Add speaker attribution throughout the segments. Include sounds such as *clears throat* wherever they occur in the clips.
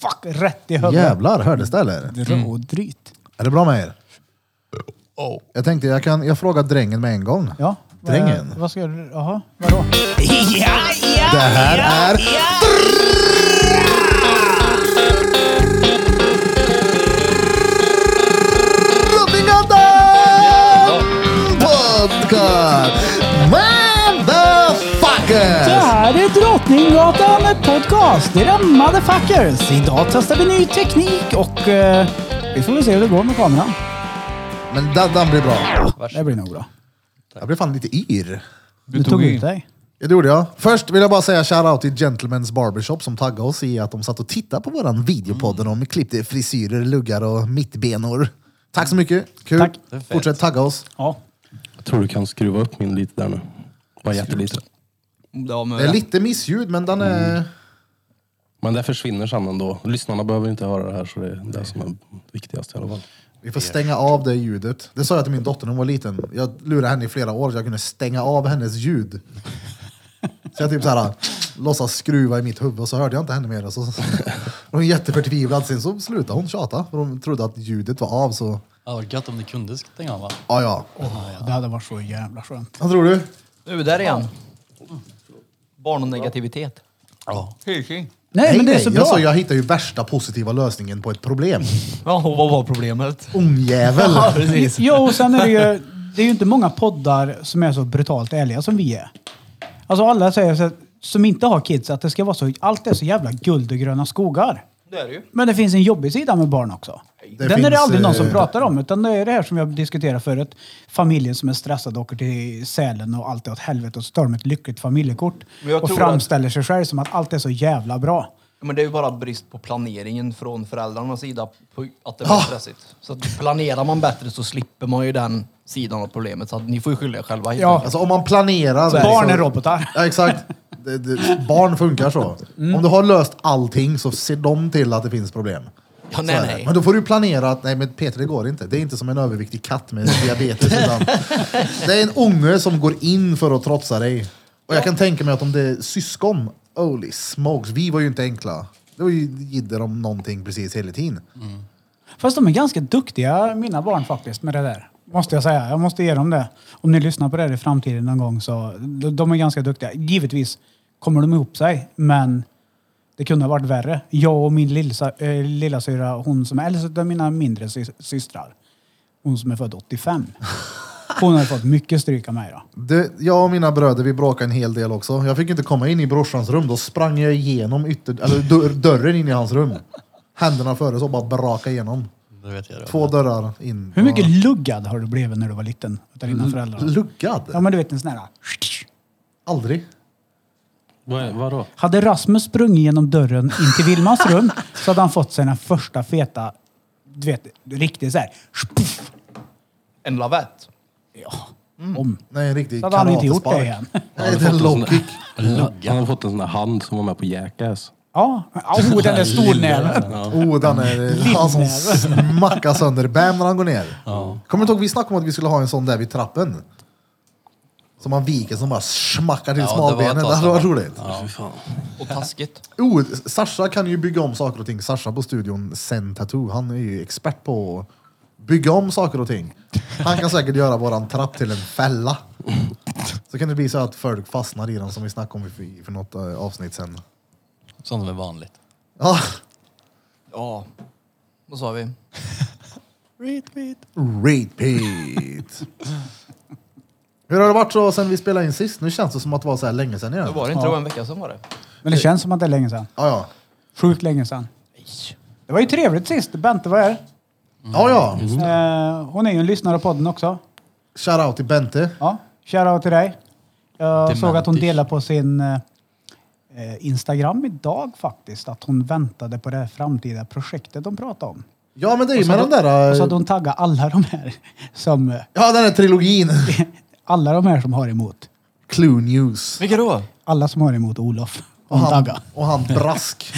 Speaker 1: fuck rätt i huvudet.
Speaker 2: Jävlar, hördes det eller?
Speaker 1: Mm. Rådryt.
Speaker 2: Är det bra med er? Jag tänkte jag kan, jag frågar drängen med en gång.
Speaker 1: Ja. vad-
Speaker 2: Drängen.
Speaker 1: Vad ska du... Jaha, vadå?
Speaker 2: Det här är...
Speaker 1: Det
Speaker 2: Drottninggatan Podcast! Motherfuckers!
Speaker 1: här är Drottninggatan podcast. Det är den motherfuckers. Idag testar vi ny teknik och eh, vi får väl se hur det går med kameran.
Speaker 2: Men den, den blir bra.
Speaker 1: Det blir nog bra.
Speaker 2: Jag blev fan lite yr.
Speaker 1: Du tog ut dig.
Speaker 2: Ja, Det gjorde jag. Först vill jag bara säga shoutout till Gentlemen's Barbershop som taggade oss i att de satt och tittade på våran videopodd
Speaker 3: Mm.
Speaker 2: och de klippte frisyrer, luggar och mittbenor. Tack så mycket. Kul.
Speaker 1: Tack.
Speaker 3: är fett.
Speaker 2: Fortsätt tagga oss.
Speaker 1: Ja.
Speaker 4: Jag tror du kan skruva upp min lite där nu. Bara jättelite.
Speaker 3: Ja, Mm. men
Speaker 2: Det är lite missljud men den är...
Speaker 4: Men det försvinner sen ändå. Lyssnarna behöver inte höra det här så det är det som är viktigast i alla fall.
Speaker 2: Vi får stänga av det ljudet. Det sa jag till min dotter när hon var liten. Jag lurade henne i flera år så jag kunde stänga av
Speaker 3: *laughs*
Speaker 2: hennes ljud. Så jag typ såhär låtsas skruva i mitt huvud och så hörde jag inte henne mer. Och
Speaker 3: *laughs*
Speaker 2: så, och hon var jätteförtvivlad. Sen så slutade hon tjata för hon trodde att ljudet var av så...
Speaker 3: det var gött om du kunde stänga av va?
Speaker 2: Ja, ja.
Speaker 1: Det hade varit så jävla skönt.
Speaker 2: Vad tror du?
Speaker 3: Nu, där igen. Barn och negativitet. Ja.
Speaker 1: Nej, men det är så bra.
Speaker 2: Alltså, jag hittar ju värsta positiva lösningen på ett problem.
Speaker 3: Ja, och vad var problemet?
Speaker 1: *laughs*
Speaker 2: Ungjävel!
Speaker 3: precis.
Speaker 1: Jo, och sen är det ju... Det är ju inte många poddar som är så brutalt ärliga som vi är. Alltså alla säger så att, som inte har kids att det ska vara så, allt är så jävla guld och gröna skogar.
Speaker 3: Det är det ju.
Speaker 1: Men det finns en jobbig sida med barn också. Den är det
Speaker 2: finns,
Speaker 1: aldrig någon som
Speaker 2: eh,
Speaker 1: pratar om, utan det är det här som jag diskuterade förut. Familjen som är stressad åker till Sälen och allt är åt helvete och så tar de ett lyckligt familjekort
Speaker 3: Men jag
Speaker 1: och
Speaker 3: tror
Speaker 1: framställer sig själv som att allt är så jävla bra.
Speaker 5: Men det är ju bara brist på planeringen från föräldrarnas sida, på att det blir
Speaker 2: Ah.
Speaker 5: stressigt. Så att planerar man bättre så slipper man ju den sidan av problemet. Så att ni får ju skylla er själva. helt
Speaker 1: Ja.
Speaker 5: enkelt.
Speaker 2: Alltså om man planerar...
Speaker 1: Så barn
Speaker 2: liksom-
Speaker 1: är robotar. Mm.
Speaker 2: Ja, exakt. Det, det, barn funkar så. Om du har löst allting så ser de till att det finns problem.
Speaker 5: Ja,
Speaker 2: Så
Speaker 5: nej,
Speaker 2: är det.
Speaker 5: nej.
Speaker 2: Men då får du planera att, nej men Peter det går inte. Det är inte som en överviktig katt
Speaker 5: *laughs*
Speaker 2: med diabetes. utan det är en unge som går in för att trotsa dig. Och jag kan tänka mig att om det är syskon, holy smokes, vi var ju inte enkla. Det var ju jidder om någonting precis hela tiden.
Speaker 1: Fast de är ganska duktiga, mina barn faktiskt, med det där. Måste jag säga. Jag måste ge dem det. Om ni lyssnar på det här i framtiden någon gång så, de de är ganska duktiga. Givetvis kommer de ihop sig, men det kunde ha varit värre. Jag och min lillsa- eh, lillasyra, hon som är äldst av mina mindre sy- systrar, hon som är född 85. Hon har fått mycket stryk av mig då.
Speaker 2: Det, jag och mina bröder vi bråkade en hel del också. Jag fick inte komma in i brorsans rum. Då sprang jag igenom ytter, eller dörr, dörren in i hans rum. Händerna före så bara braka igenom.
Speaker 3: Det vet jag.
Speaker 2: Två dörrar in.
Speaker 1: Hur mycket luggad har du blivit när du var liten? Utav dina föräldrar? Ja
Speaker 2: Luggad?
Speaker 1: men du vet en sån här...
Speaker 2: Aldrig.
Speaker 4: Vad är, vadå?
Speaker 1: Hade Rasmus sprungit genom dörren in till Vilmas rum så hade han fått sig den första feta, du vet, riktigt så här. Spuff,
Speaker 5: En lavett.
Speaker 1: om.
Speaker 2: Mm. Nej, en riktig
Speaker 1: Mm. Så hade han inte gjort det
Speaker 2: karatespark.
Speaker 1: igen.
Speaker 2: *laughs* Nej, det är en low kick.
Speaker 4: Han har fått en sån där hand som var med på Jackass.
Speaker 1: Ja, oh, den är stornäven.
Speaker 2: Oh, den är... Han som smackar sönder bam när han går ner. Kommer du inte ihåg vi snackade om att vi skulle ha en sån där vid trappen? Som man viker som bara smackar till
Speaker 3: Ja, det var ett
Speaker 2: smalbenen.
Speaker 3: tag
Speaker 2: Det hade varit
Speaker 3: sedan.
Speaker 2: roligt.
Speaker 4: Fy fan.
Speaker 5: Och taskigt.
Speaker 2: Oh, Sasha kan ju bygga om saker och ting. Sasha på studion Zen Tattoo, han är ju expert på att bygga om saker och ting. Han kan säkert göra våran trapp till en fälla. Så kan det bli så att folk fastnar i den som vi snackade om i- för något eh, avsnitt sen.
Speaker 3: Sånt som är vanligt.
Speaker 2: Ja,
Speaker 5: Ja. Vad sa vi?
Speaker 2: repeat! Hur har det varit så sen vi spelade in sist? Nu känns det som att det var så här länge sen igen.
Speaker 5: Det
Speaker 2: Ja,
Speaker 5: var det inte, det var en vecka sedan var det.
Speaker 1: Men det känns som att det är länge sedan.
Speaker 2: ja.
Speaker 1: Sjukt länge sedan. Det var ju trevligt sist. Bente var här.
Speaker 2: Ja, ja.
Speaker 1: Eh, hon är ju en lyssnare på podden också.
Speaker 2: Shoutout till Bente.
Speaker 1: Ja, shoutout till dig. Jag
Speaker 3: Dementis.
Speaker 1: såg att hon delade på sin eh, eh, Instagram idag faktiskt. Att hon väntade på det här framtida projektet de pratade om.
Speaker 2: Ja, men det är ju
Speaker 1: Och så
Speaker 2: med den
Speaker 1: hade- Och
Speaker 2: där...
Speaker 1: så
Speaker 2: eh,
Speaker 1: att hon taggar alla de här som, eh,
Speaker 2: Ja, den där
Speaker 1: *laughs*
Speaker 2: trilogin.
Speaker 1: alla de här som har emot.
Speaker 2: Clue News.
Speaker 5: Vilka då?
Speaker 1: Alla som har emot Olof.
Speaker 2: Och
Speaker 1: Hon
Speaker 2: han,
Speaker 1: taggar.
Speaker 2: och han Brask.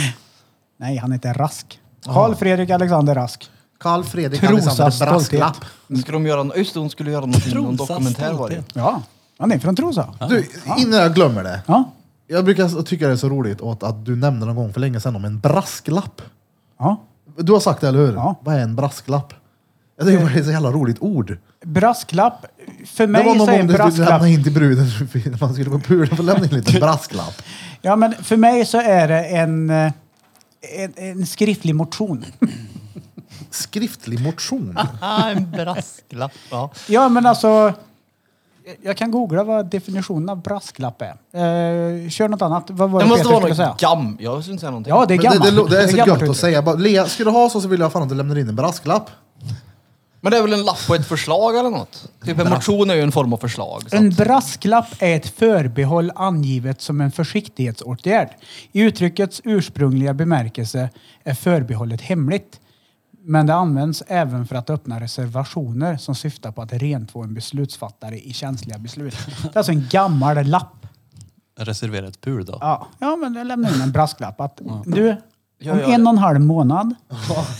Speaker 1: Nej, han heter Rask. Karl Fredrik Alexander Rask.
Speaker 2: Karl Fredrik
Speaker 1: Trosa
Speaker 2: Alexander Brasklapp.
Speaker 1: stolthet.
Speaker 5: Ska de göra, just det, hon skulle göra någonting, någon
Speaker 3: Trosas
Speaker 5: dokumentär var det
Speaker 3: stolthet.
Speaker 1: Ja, han är från Trosa.
Speaker 2: Du, innan jag glömmer det.
Speaker 1: Ja.
Speaker 2: Jag brukar tycka det är så roligt åt att du nämnde någon gång för länge sedan om en brasklapp.
Speaker 1: Ja.
Speaker 2: Du har sagt det, eller hur?
Speaker 1: Ja.
Speaker 2: Vad är en brasklapp? Jag tycker bara det är ett så jävla roligt ord.
Speaker 1: Brasklapp. För
Speaker 2: Det var
Speaker 1: mig
Speaker 2: någon
Speaker 1: så är
Speaker 2: gång
Speaker 1: en
Speaker 2: du skulle lämna
Speaker 1: brasklapp...
Speaker 2: in till bruden, *laughs* när man skulle gå på pulen, för lämna in en liten brasklapp.
Speaker 1: Ja, men för mig så är det en, eh, en, en skriftlig motion.
Speaker 2: Skriftlig motion.
Speaker 5: Ah, en brasklapp. Ja.
Speaker 1: Ja, men alltså... jag- Jag kan googla vad definitionen av brasklapp är. Eh, kör något annat. Vad var
Speaker 5: Det
Speaker 1: det
Speaker 5: måste
Speaker 1: Peter
Speaker 5: vara
Speaker 1: skulle säga?
Speaker 5: något gam. Jag syns säga någonting.
Speaker 1: Ja, det är
Speaker 2: Men det,
Speaker 1: gammalt.
Speaker 2: det, lo- det är så
Speaker 1: gammalt
Speaker 2: gött att
Speaker 1: uttryck.
Speaker 2: säga. Bara, Lea, ska du ha så, så vill jag fan att du lämnar in en brasklapp.
Speaker 5: Men det är väl en lapp på ett förslag eller något? Typ en motion är ju en form av förslag. Så.
Speaker 1: En brasklapp är ett förbehåll angivet som en försiktighetsåtgärd. I uttryckets ursprungliga bemärkelse är förbehållet hemligt. Men det används även för att öppna reservationer som syftar på att rentvå en beslutsfattare i känsliga beslut. Det är alltså en gammal lapp.
Speaker 6: Reservera ett pul då.
Speaker 1: Ja, ja men jag lämnar in en brasklapp. Att, du,
Speaker 5: Jag
Speaker 1: om
Speaker 5: gör
Speaker 1: en
Speaker 5: det.
Speaker 1: och en halv månad,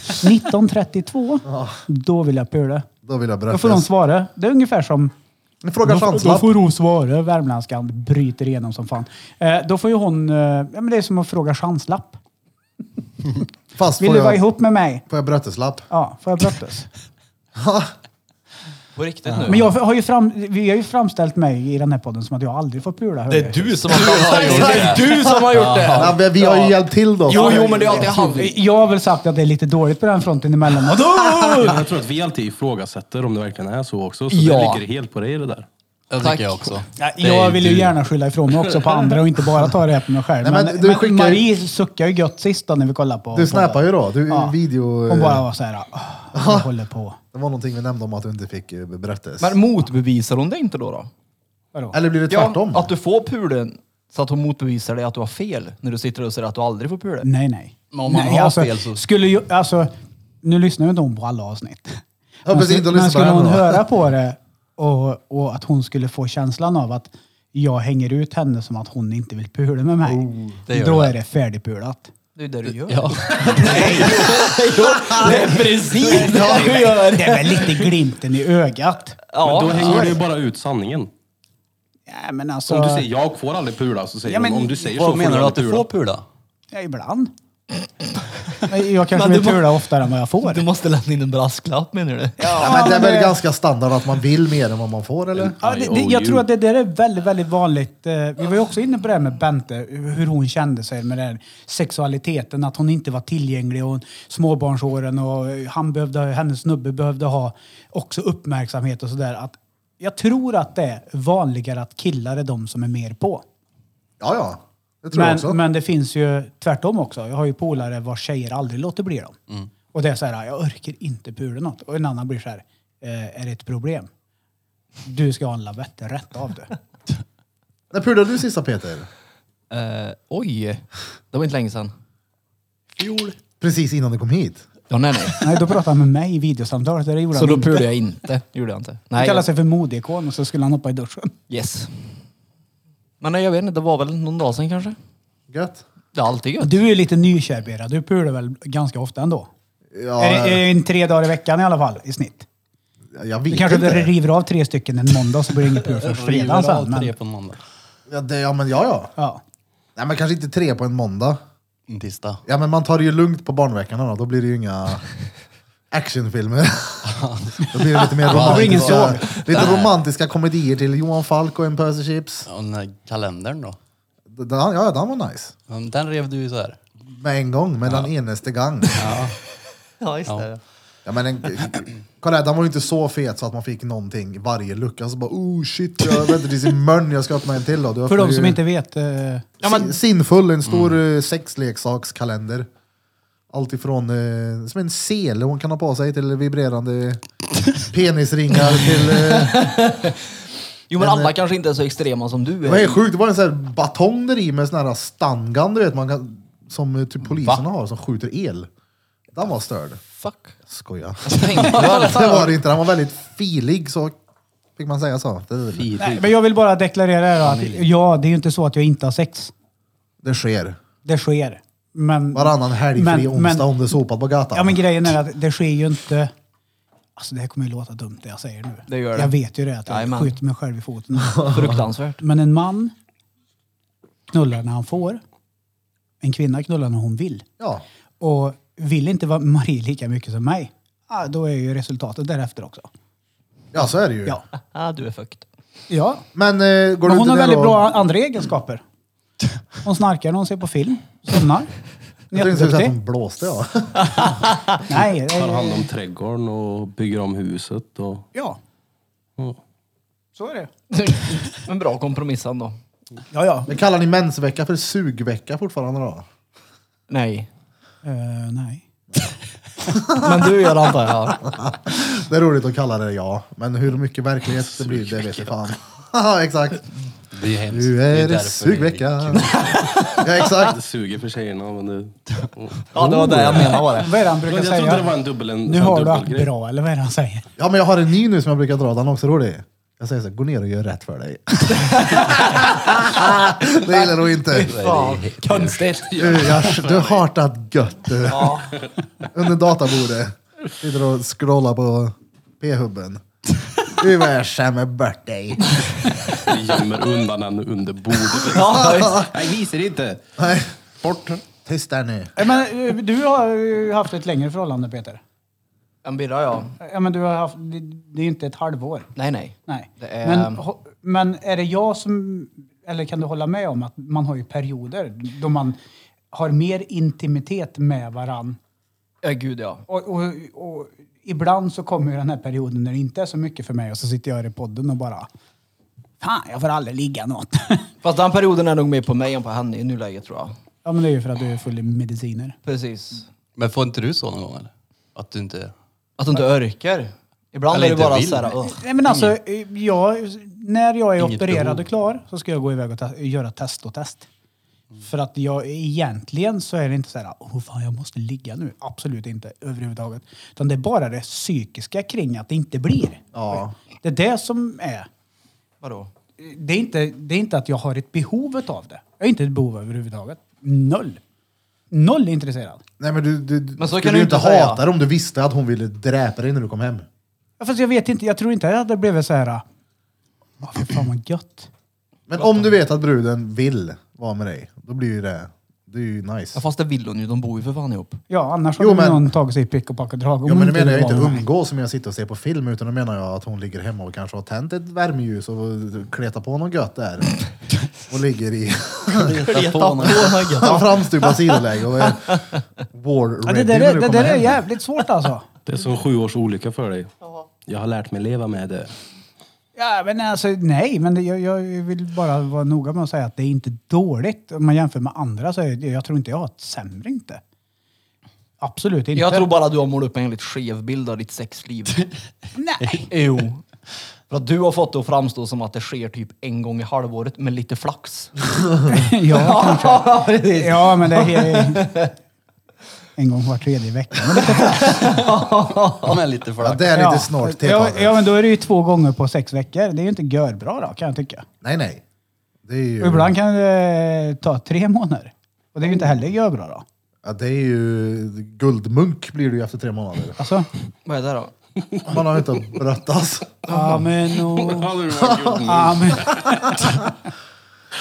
Speaker 1: 1932, då vill jag pula.
Speaker 2: Då vill jag
Speaker 1: Då får de
Speaker 2: berätta.
Speaker 1: svara. Det är ungefär som
Speaker 2: En fråga
Speaker 1: då, då
Speaker 2: chanslapp.
Speaker 1: får hon svara, värmländskan bryter igenom som fan. Eh, då får ju hon, eh, ja men det är som att fråga chanslapp.
Speaker 2: Fast
Speaker 1: Vill
Speaker 2: får
Speaker 1: du vara
Speaker 2: jag,
Speaker 1: ihop med mig?
Speaker 2: får jag bröteslapp?
Speaker 1: Ja, får jag
Speaker 2: *laughs*
Speaker 1: bröttes?
Speaker 5: På riktigt nu.
Speaker 1: Men jag har ju fram, vi har ju framställt mig i den här podden som att jag aldrig får pula. hör
Speaker 6: Det
Speaker 1: jag.
Speaker 6: är du
Speaker 5: *laughs*
Speaker 6: som har gjort
Speaker 5: Det
Speaker 6: det.
Speaker 5: är du som har gjort det!
Speaker 2: Ja, men vi har ju hjälpt till då.
Speaker 5: Jo, jo, men det är alltid han.
Speaker 1: Jag har väl sagt att det är lite dåligt på den fronten
Speaker 2: *laughs*
Speaker 1: emellanåt.
Speaker 4: Jag tror att vi alltid ifrågasätter om det verkligen är så också. Så
Speaker 5: Ja.
Speaker 4: det ligger helt på dig det där.
Speaker 6: Det
Speaker 5: Tack.
Speaker 6: tycker jag *laughs* också.
Speaker 1: Ja,
Speaker 6: Det är
Speaker 1: Jag vill ju
Speaker 6: du.
Speaker 1: gärna skylla ifrån mig också på andra och inte bara ta det här på mig själv.
Speaker 2: Nej,
Speaker 1: men,
Speaker 2: men
Speaker 1: men,
Speaker 2: du skickar ju-
Speaker 1: Marie suckar ju gött sist då när vi kollar på...
Speaker 2: Du snappar ju då. Du,
Speaker 1: Ja.
Speaker 2: video,
Speaker 1: Hon bara var så här, "Åh, jag håller
Speaker 2: *laughs*
Speaker 1: på.
Speaker 2: Det var någonting vi nämnde om att du inte fick eh, berättas.
Speaker 5: Men motbevisar hon det inte då? då?
Speaker 1: Vadå?
Speaker 2: Eller blir det tvärtom?
Speaker 5: att du får pulen så att hon motbevisar dig att du har fel när du sitter och säger att du aldrig får pulen.
Speaker 1: Nej, nej.
Speaker 5: Men om man
Speaker 1: nej,
Speaker 5: har fel så-
Speaker 1: Skulle ju, alltså, nu lyssnar ju inte hon på alla avsnitt.
Speaker 2: Ja,
Speaker 1: men
Speaker 2: precis,
Speaker 1: skulle-
Speaker 2: då lyssnar
Speaker 1: men skulle
Speaker 2: på
Speaker 1: hon
Speaker 2: henne då.
Speaker 1: höra på det och, och att hon skulle få känslan av att jag hänger ut henne som att hon inte vill pula med mig.
Speaker 5: Oh,
Speaker 6: det gör
Speaker 1: då
Speaker 6: det.
Speaker 1: är det färdigpulat.
Speaker 5: Det är det du *laughs* gör.
Speaker 6: Ja.
Speaker 5: Det är precis det du gör!
Speaker 1: Det är väl lite glimten i ögat.
Speaker 5: Ja,
Speaker 4: men då hänger
Speaker 5: ja.
Speaker 4: du ju bara ut sanningen.
Speaker 1: Ja, men
Speaker 4: Så
Speaker 1: alltså,
Speaker 4: om du säger jag får aldrig pula så säger
Speaker 1: Ja, men
Speaker 4: de, om du säger så
Speaker 6: Vad menar
Speaker 4: får
Speaker 6: du att
Speaker 4: aldrig
Speaker 6: du får pula?
Speaker 1: ja,
Speaker 5: *laughs*
Speaker 1: ibland. Men Jag kanske
Speaker 5: Men
Speaker 1: vill
Speaker 5: du må-
Speaker 1: pula oftare än vad jag får.
Speaker 5: Du måste lämna in en brasklapp menar du?
Speaker 2: Ja, men det är
Speaker 1: men
Speaker 2: väl
Speaker 1: det-
Speaker 2: ganska standard att man vill mer än vad man får, eller?
Speaker 1: Ja, det, det, jag tror att det där är väldigt, väldigt vanligt. Eh, Vi var ju också inne på det här med Bente, hur hon kände sig med den här sexualiteten, att hon inte var tillgänglig och småbarnsåren och han behövde, hennes snubbe behövde ha också uppmärksamhet och sådär. Att Jag tror att det är vanligare att killar är de som är mer på.
Speaker 2: Ja, ja. Det tror jag också.
Speaker 1: Men, men det finns ju tvärtom också. Jag har ju polare vars tjejer aldrig låter bli dem.
Speaker 2: Mm.
Speaker 1: Och det är så här, jag orkar inte pula något. Och en annan blir så här, eh, är det ett problem? Du ska ha en lavett rätt av det.
Speaker 2: När pulade du sista Peter?
Speaker 5: Eh, oj, det var inte länge sedan.
Speaker 2: Precis innan du kom hit?
Speaker 5: Ja,
Speaker 1: *laughs*
Speaker 5: nej, nej.
Speaker 1: Nej, då pratade han med mig i videosamtalet. Det gjorde
Speaker 5: Så
Speaker 1: han
Speaker 5: då
Speaker 1: inte.
Speaker 5: pulade jag inte. Det gjorde jag inte.
Speaker 1: Han
Speaker 5: Nej,
Speaker 1: kallade sig för modeikon och så skulle han hoppa i duschen.
Speaker 5: yes. Men nej, jag vet inte, det var väl någon dag sedan kanske?
Speaker 2: Gött?
Speaker 5: Det är alltid gött.
Speaker 1: Du är ju lite nykär Bera. Du pular väl ganska ofta ändå?
Speaker 2: Ja,
Speaker 1: Är, det, är det en tre dagar i veckan i alla fall i snitt?
Speaker 2: jag
Speaker 1: Du
Speaker 2: vet
Speaker 1: kanske
Speaker 2: inte.
Speaker 1: river av tre stycken en måndag så blir det inget pul
Speaker 2: *laughs*
Speaker 1: förrän fredagen
Speaker 6: River
Speaker 1: sen.
Speaker 6: av tre
Speaker 1: Men,
Speaker 6: på en måndag.
Speaker 2: Ja, det, ja, men ja, ja.
Speaker 1: ja.
Speaker 2: Nej, men kanske inte tre på en måndag.
Speaker 6: En tisdag.
Speaker 2: Ja, men man tar det ju lugnt på barnveckan då. Då blir det
Speaker 1: *laughs*
Speaker 2: ju inga actionfilmer. då blir det lite mer romantiska, lite romantiska komedier till Johan Falk och en pöse chips.
Speaker 6: Och den här kalendern då?
Speaker 2: Den, ja, den var nice.
Speaker 6: Den- Den rev du ju så här.
Speaker 2: Med en gång, med den eneste gång.
Speaker 5: Ja, just det.
Speaker 2: Ja, men en, kolla här, den var ju inte så fet så att man fick någonting i varje lucka. Så bara oh shit, jag väntar tills i mörn jag ska öppna en till då. Du
Speaker 1: För
Speaker 2: öppnar
Speaker 1: de som
Speaker 2: ju-
Speaker 1: inte vet. Eh,
Speaker 5: Ja, men- Mm.
Speaker 2: Sin- Sinnfull, en stor eh, sexleksakskalender. Allt ifrån eh, som en sele hon kan ha på sig till vibrerande
Speaker 5: *laughs*
Speaker 2: penisringar till... Eh,
Speaker 5: Jo, men eh, alla kanske inte är så extrema som du
Speaker 2: det
Speaker 5: är.
Speaker 2: var helt
Speaker 5: *laughs*
Speaker 2: sjukt, det var en sån här batong där i med sån här stangan du vet, man kan, som eh, typ poliserna har som skjuter el. Den var störd.
Speaker 5: Fuck. *laughs*
Speaker 2: Skoja.
Speaker 5: Tänkte
Speaker 2: det
Speaker 5: väl. *laughs*
Speaker 2: var det inte, den var väldigt filig så fick man säga så. Det,
Speaker 1: nej, men jag vill bara deklarera här då att ja, det är ju inte så att jag inte har sex.
Speaker 2: det sker.
Speaker 1: Det sker. Men,
Speaker 2: Varannan helg
Speaker 1: Men-
Speaker 2: fri
Speaker 1: men-
Speaker 2: onsdag om det är sopat på gatan.
Speaker 1: Ja men grejen är att det sker ju inte... Alltså det här kommer ju låta dumt det jag säger nu.
Speaker 5: Det gör det.
Speaker 1: Jag vet ju det att jag
Speaker 5: Jajamän.
Speaker 1: skjuter mig själv i foten.
Speaker 5: Fruktansvärt.
Speaker 1: Men en man knullar när han får. En kvinna knullar när hon vill.
Speaker 2: ja.
Speaker 1: och vill inte vara Marie lika mycket som mig, ja, då är ju resultatet därefter också.
Speaker 2: Ja, så är det ju.
Speaker 1: Ja.
Speaker 5: Ah, du är fucked.
Speaker 1: ja.
Speaker 2: Men eh, går
Speaker 1: Men
Speaker 2: du
Speaker 1: hon
Speaker 2: inte
Speaker 1: har
Speaker 2: ner
Speaker 1: väldigt
Speaker 2: och...
Speaker 1: bra andra egenskaper. Hon snarkar när hon ser på film, somnar. Hon är
Speaker 2: Jag tänkte precis att
Speaker 1: Jätteduktig.
Speaker 2: hon blåste ja.
Speaker 1: Nej, det
Speaker 4: Tar
Speaker 1: är-
Speaker 4: hand om trädgården och bygger om huset och...
Speaker 1: ja,
Speaker 4: och
Speaker 1: så är det.
Speaker 5: *laughs* Men bra kompromiss ändå.
Speaker 1: Ja, ja.
Speaker 2: Men kallar ni mensvecka för sugvecka fortfarande då?
Speaker 5: Nej.
Speaker 1: Eh, nej.
Speaker 5: Men du gör det antar jag?
Speaker 2: Det är roligt att kalla det ja, men hur mycket verklighet det blir det vet jag fan. *laughs* Haha, exakt.
Speaker 6: Det är ju hemskt.
Speaker 2: Nu är det
Speaker 6: därför
Speaker 2: sugvecka. *laughs*
Speaker 6: är
Speaker 2: Ja, exakt.
Speaker 4: Det suger för tjejerna men det... och-
Speaker 5: Ja, det var det jag menade var det.
Speaker 1: Vad är det han brukar
Speaker 4: Jag
Speaker 1: säga?
Speaker 4: trodde det var en dubbel... En,
Speaker 1: Nu
Speaker 4: en
Speaker 1: har du haft
Speaker 4: dubbelgrej.
Speaker 1: bra, eller vad är det han säger?
Speaker 2: Ja, men jag har en ny nu som jag brukar dra, den är också rolig. Jag säger så här, gå ner och gör rätt för dig. *laughs* det gillar du inte.
Speaker 5: Fan, *laughs* konstigt.
Speaker 2: Du, jag, du har hartat gött du. Under databordet. Sitter och scrollar på p-hubben. Du vad jag skämmer bort dig.
Speaker 4: Vi gömmer undan henne
Speaker 1: *laughs*
Speaker 4: under bordet. Nej, visar inte.
Speaker 2: Nej,
Speaker 4: Bort.
Speaker 2: tyst där nu.
Speaker 1: Eh, Men eh, du har ju haft ett längre förhållande, Peter.
Speaker 5: En birra ja.
Speaker 1: Ja, men du har haft, det, det är ju inte ett halvår.
Speaker 5: Nej, nej.
Speaker 1: Nej.
Speaker 5: Det är-
Speaker 1: Men, ho- men är det jag som... Eller kan du hålla med om att man har ju perioder då man har mer intimitet med varann.
Speaker 5: Ja, gud ja.
Speaker 1: Och, och, och ibland så kommer ju den här perioden när det inte är så mycket för mig och så sitter jag här i podden och bara... Fan, jag får aldrig ligga något. *laughs*
Speaker 5: Fast den perioden är nog mer på mig än på henne i nuläget tror jag.
Speaker 1: ja, men det är ju för att du är full i mediciner.
Speaker 5: Precis.
Speaker 6: Men får inte du så någon gång eller? Att du inte...
Speaker 5: Att du inte orkar. Ibland
Speaker 6: Eller
Speaker 5: är det
Speaker 6: inte
Speaker 5: bara
Speaker 6: vill.
Speaker 5: såhär... "Ugh."
Speaker 1: Nej, men alltså, jag, när jag är
Speaker 6: Inget
Speaker 1: opererad
Speaker 6: behov.
Speaker 1: och klar så ska jag gå iväg och te- göra test och test.
Speaker 6: Mm.
Speaker 1: För att jag egentligen så är det inte så här, åh fan jag måste ligga nu. Absolut inte överhuvudtaget. Utan det är bara det psykiska kring att det inte blir.
Speaker 2: Ja.
Speaker 1: Det är det som är.
Speaker 5: Vadå?
Speaker 1: Det är inte, det är inte att jag har ett behov av det. Jag har inte ett behov överhuvudtaget. Noll. Noll intresserad.
Speaker 2: Nej men du, du
Speaker 5: Men så
Speaker 2: skulle
Speaker 5: kan
Speaker 2: ju
Speaker 5: du
Speaker 2: inte
Speaker 5: inte säga.
Speaker 2: hata det om du visste att hon ville dräpa dig när du kom hem.
Speaker 1: Ja, Fast jag vet inte, jag tror inte att det blev så här, åh fy fan vad gött.
Speaker 2: Men om du vet att bruden vill vara med dig, då blir ju det, det är ju nice.
Speaker 5: Ja, fast det vill hon ju. De bor ju för fan ihop.
Speaker 1: Ja, annars
Speaker 2: Jo,
Speaker 1: hade
Speaker 2: men-
Speaker 1: någon tagit sig i pick och pack och drag. om
Speaker 2: Ja men
Speaker 1: hon
Speaker 2: nu menar jag
Speaker 1: ville
Speaker 2: inte
Speaker 1: vara med.
Speaker 2: umgås som jag sitter och ser på film, utan då menar jag att hon ligger hemma och kanske har tänt ett värmeljus och kletar på något gött där. Och ligger i
Speaker 5: Reta på honom. *laughs*
Speaker 2: framstupa sidoläge och är war
Speaker 1: Ja, det
Speaker 2: ready
Speaker 1: där,
Speaker 2: när
Speaker 1: är,
Speaker 2: du
Speaker 1: det
Speaker 2: kommer
Speaker 1: där är
Speaker 2: hem.
Speaker 1: jävligt svårt alltså.
Speaker 4: Det är som sju års olycka för dig. Jag har lärt mig leva med det.
Speaker 1: Ja, men alltså, nej, men det, jag, jag vill bara vara noga med att säga att det är inte dåligt. Om man jämför med andra så är det, jag tror inte jag har ett sämre inte. Absolut inte.
Speaker 5: Jag tror bara att du har målat upp en helt skev bild av ditt sexliv.
Speaker 1: *laughs* Nej.
Speaker 5: *laughs* jo. För att du har fått det att framstå som att det sker typ en gång i halvåret med lite flax.
Speaker 1: ja, kanske. ja, men det är en gång var tredje vecka. Men det,
Speaker 6: Ja, men lite för
Speaker 2: Ja,
Speaker 6: det.
Speaker 2: det är lite
Speaker 1: ja.
Speaker 2: snart
Speaker 1: ja,
Speaker 2: tilltaget.
Speaker 1: ja, men då är det ju två gånger på sex veckor. Det är ju inte görbra då, kan jag tycka.
Speaker 2: Nej nej. Det är ju,
Speaker 1: Och ibland kan det ta tre månader. Och det är ju inte heller görbra då.
Speaker 2: ja, det är ju guldmunk blir du ju efter tre månader.
Speaker 1: Alltså,
Speaker 5: Vad är det då?
Speaker 2: Man har ju inte alltså. bröttats.
Speaker 1: amen och...
Speaker 4: Ja, nu var det kul.
Speaker 1: Amen.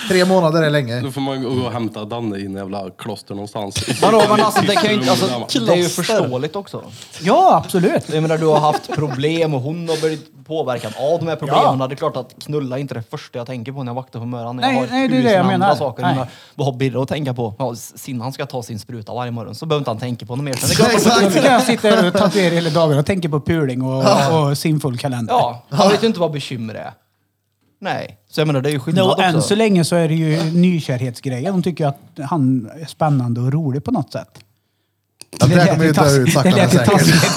Speaker 2: Tre månader är länge.
Speaker 4: Då får man gå och hämta Danne i en jävla kloster någonstans.
Speaker 5: Vadå, men alltså det kan ju
Speaker 4: *laughs*
Speaker 5: inte...
Speaker 4: Där,
Speaker 5: Alltså,
Speaker 4: va?
Speaker 5: det är ju förståeligt också.
Speaker 1: Ja, absolut.
Speaker 5: Jag menar, du har haft problem och hon har blivit påverkad av de här problemen.
Speaker 1: Ja.
Speaker 5: Det är klart att knulla är inte det första jag tänker på när jag vaktar på morgonen.
Speaker 1: Nej,
Speaker 5: jag har
Speaker 1: nej, det är det
Speaker 5: tusen
Speaker 1: jag
Speaker 5: andra
Speaker 1: menar.
Speaker 5: Saker.
Speaker 1: Nej.
Speaker 5: Men Vad har Birre att tänka på? Ja, sin han ska ta sin spruta varje morgon så behöver inte han tänka på något mer. Sen är det
Speaker 1: *laughs*
Speaker 5: klart att-
Speaker 1: Jag
Speaker 2: Exakt.
Speaker 1: kan jag sitta här och tatuera hela dagen och tänka på puling och, och simfull kalender.
Speaker 5: Ja, han vet ju inte vad bekymmer är. Nej, så jag menar det är ju
Speaker 1: No,
Speaker 5: skillnad
Speaker 1: och än
Speaker 5: också.
Speaker 1: så länge så är det ju nykärhetsgrejen. De tycker ju att han är spännande och rolig på något sätt.
Speaker 2: Ja, det här kommer ju dö
Speaker 1: *laughs*
Speaker 2: ut sakta men
Speaker 1: men
Speaker 2: säkert.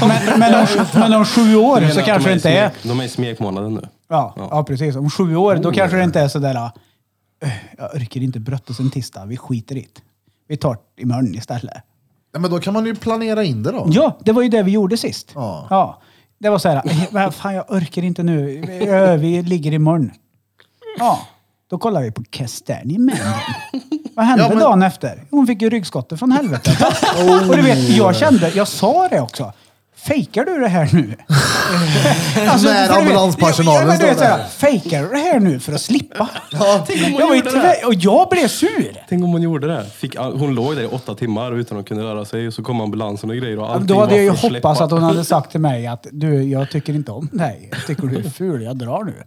Speaker 1: Men, men, om, men om sju år så kanske det inte är...
Speaker 4: De är i smekmånaden nu.
Speaker 1: Ja, ja, precis. Om sju år, då kanske det inte är sådär... "Öh, Jag orkar inte bröttes en tisdag, vi skiter i det. Vi tar det imorgon istället.
Speaker 2: Ja, men då kan man ju planera in det då.
Speaker 1: Ja, det var ju det vi gjorde sist.
Speaker 2: Ja.
Speaker 1: Det var så här, "Men fan jag orkar inte nu, Ö, vi ligger imorgon. Ja, då kollar vi på Kastanjen med henne. Vad hände
Speaker 2: Ja, men-
Speaker 1: dagen efter? Hon fick ju ryggskottet från helvetet. Och du vet, jag kände, jag sa det också. Fejkar du det här
Speaker 2: *laughs*
Speaker 1: nu? Alltså,
Speaker 2: När
Speaker 1: för du vet-
Speaker 2: ambulanspersonalen
Speaker 1: Ja, men du vet
Speaker 2: står där.
Speaker 1: såhär, Fejkar du det här nu för att slippa?
Speaker 4: Tänk om hon
Speaker 1: jag, var ju
Speaker 4: gjorde det.
Speaker 1: tyvärr, och jag blev sur!
Speaker 4: Tänk om hon gjorde det. Fick, hon låg där i åtta timmar utan att kunna röra sig och så kom ambulansen och grejer och
Speaker 1: Ja, men
Speaker 4: allting
Speaker 1: Då hade
Speaker 4: var
Speaker 1: jag ju
Speaker 4: försläppat.
Speaker 1: hoppats att hon hade sagt till mig att du, jag tycker inte om dig. Jag tycker du är ful, jag drar nu.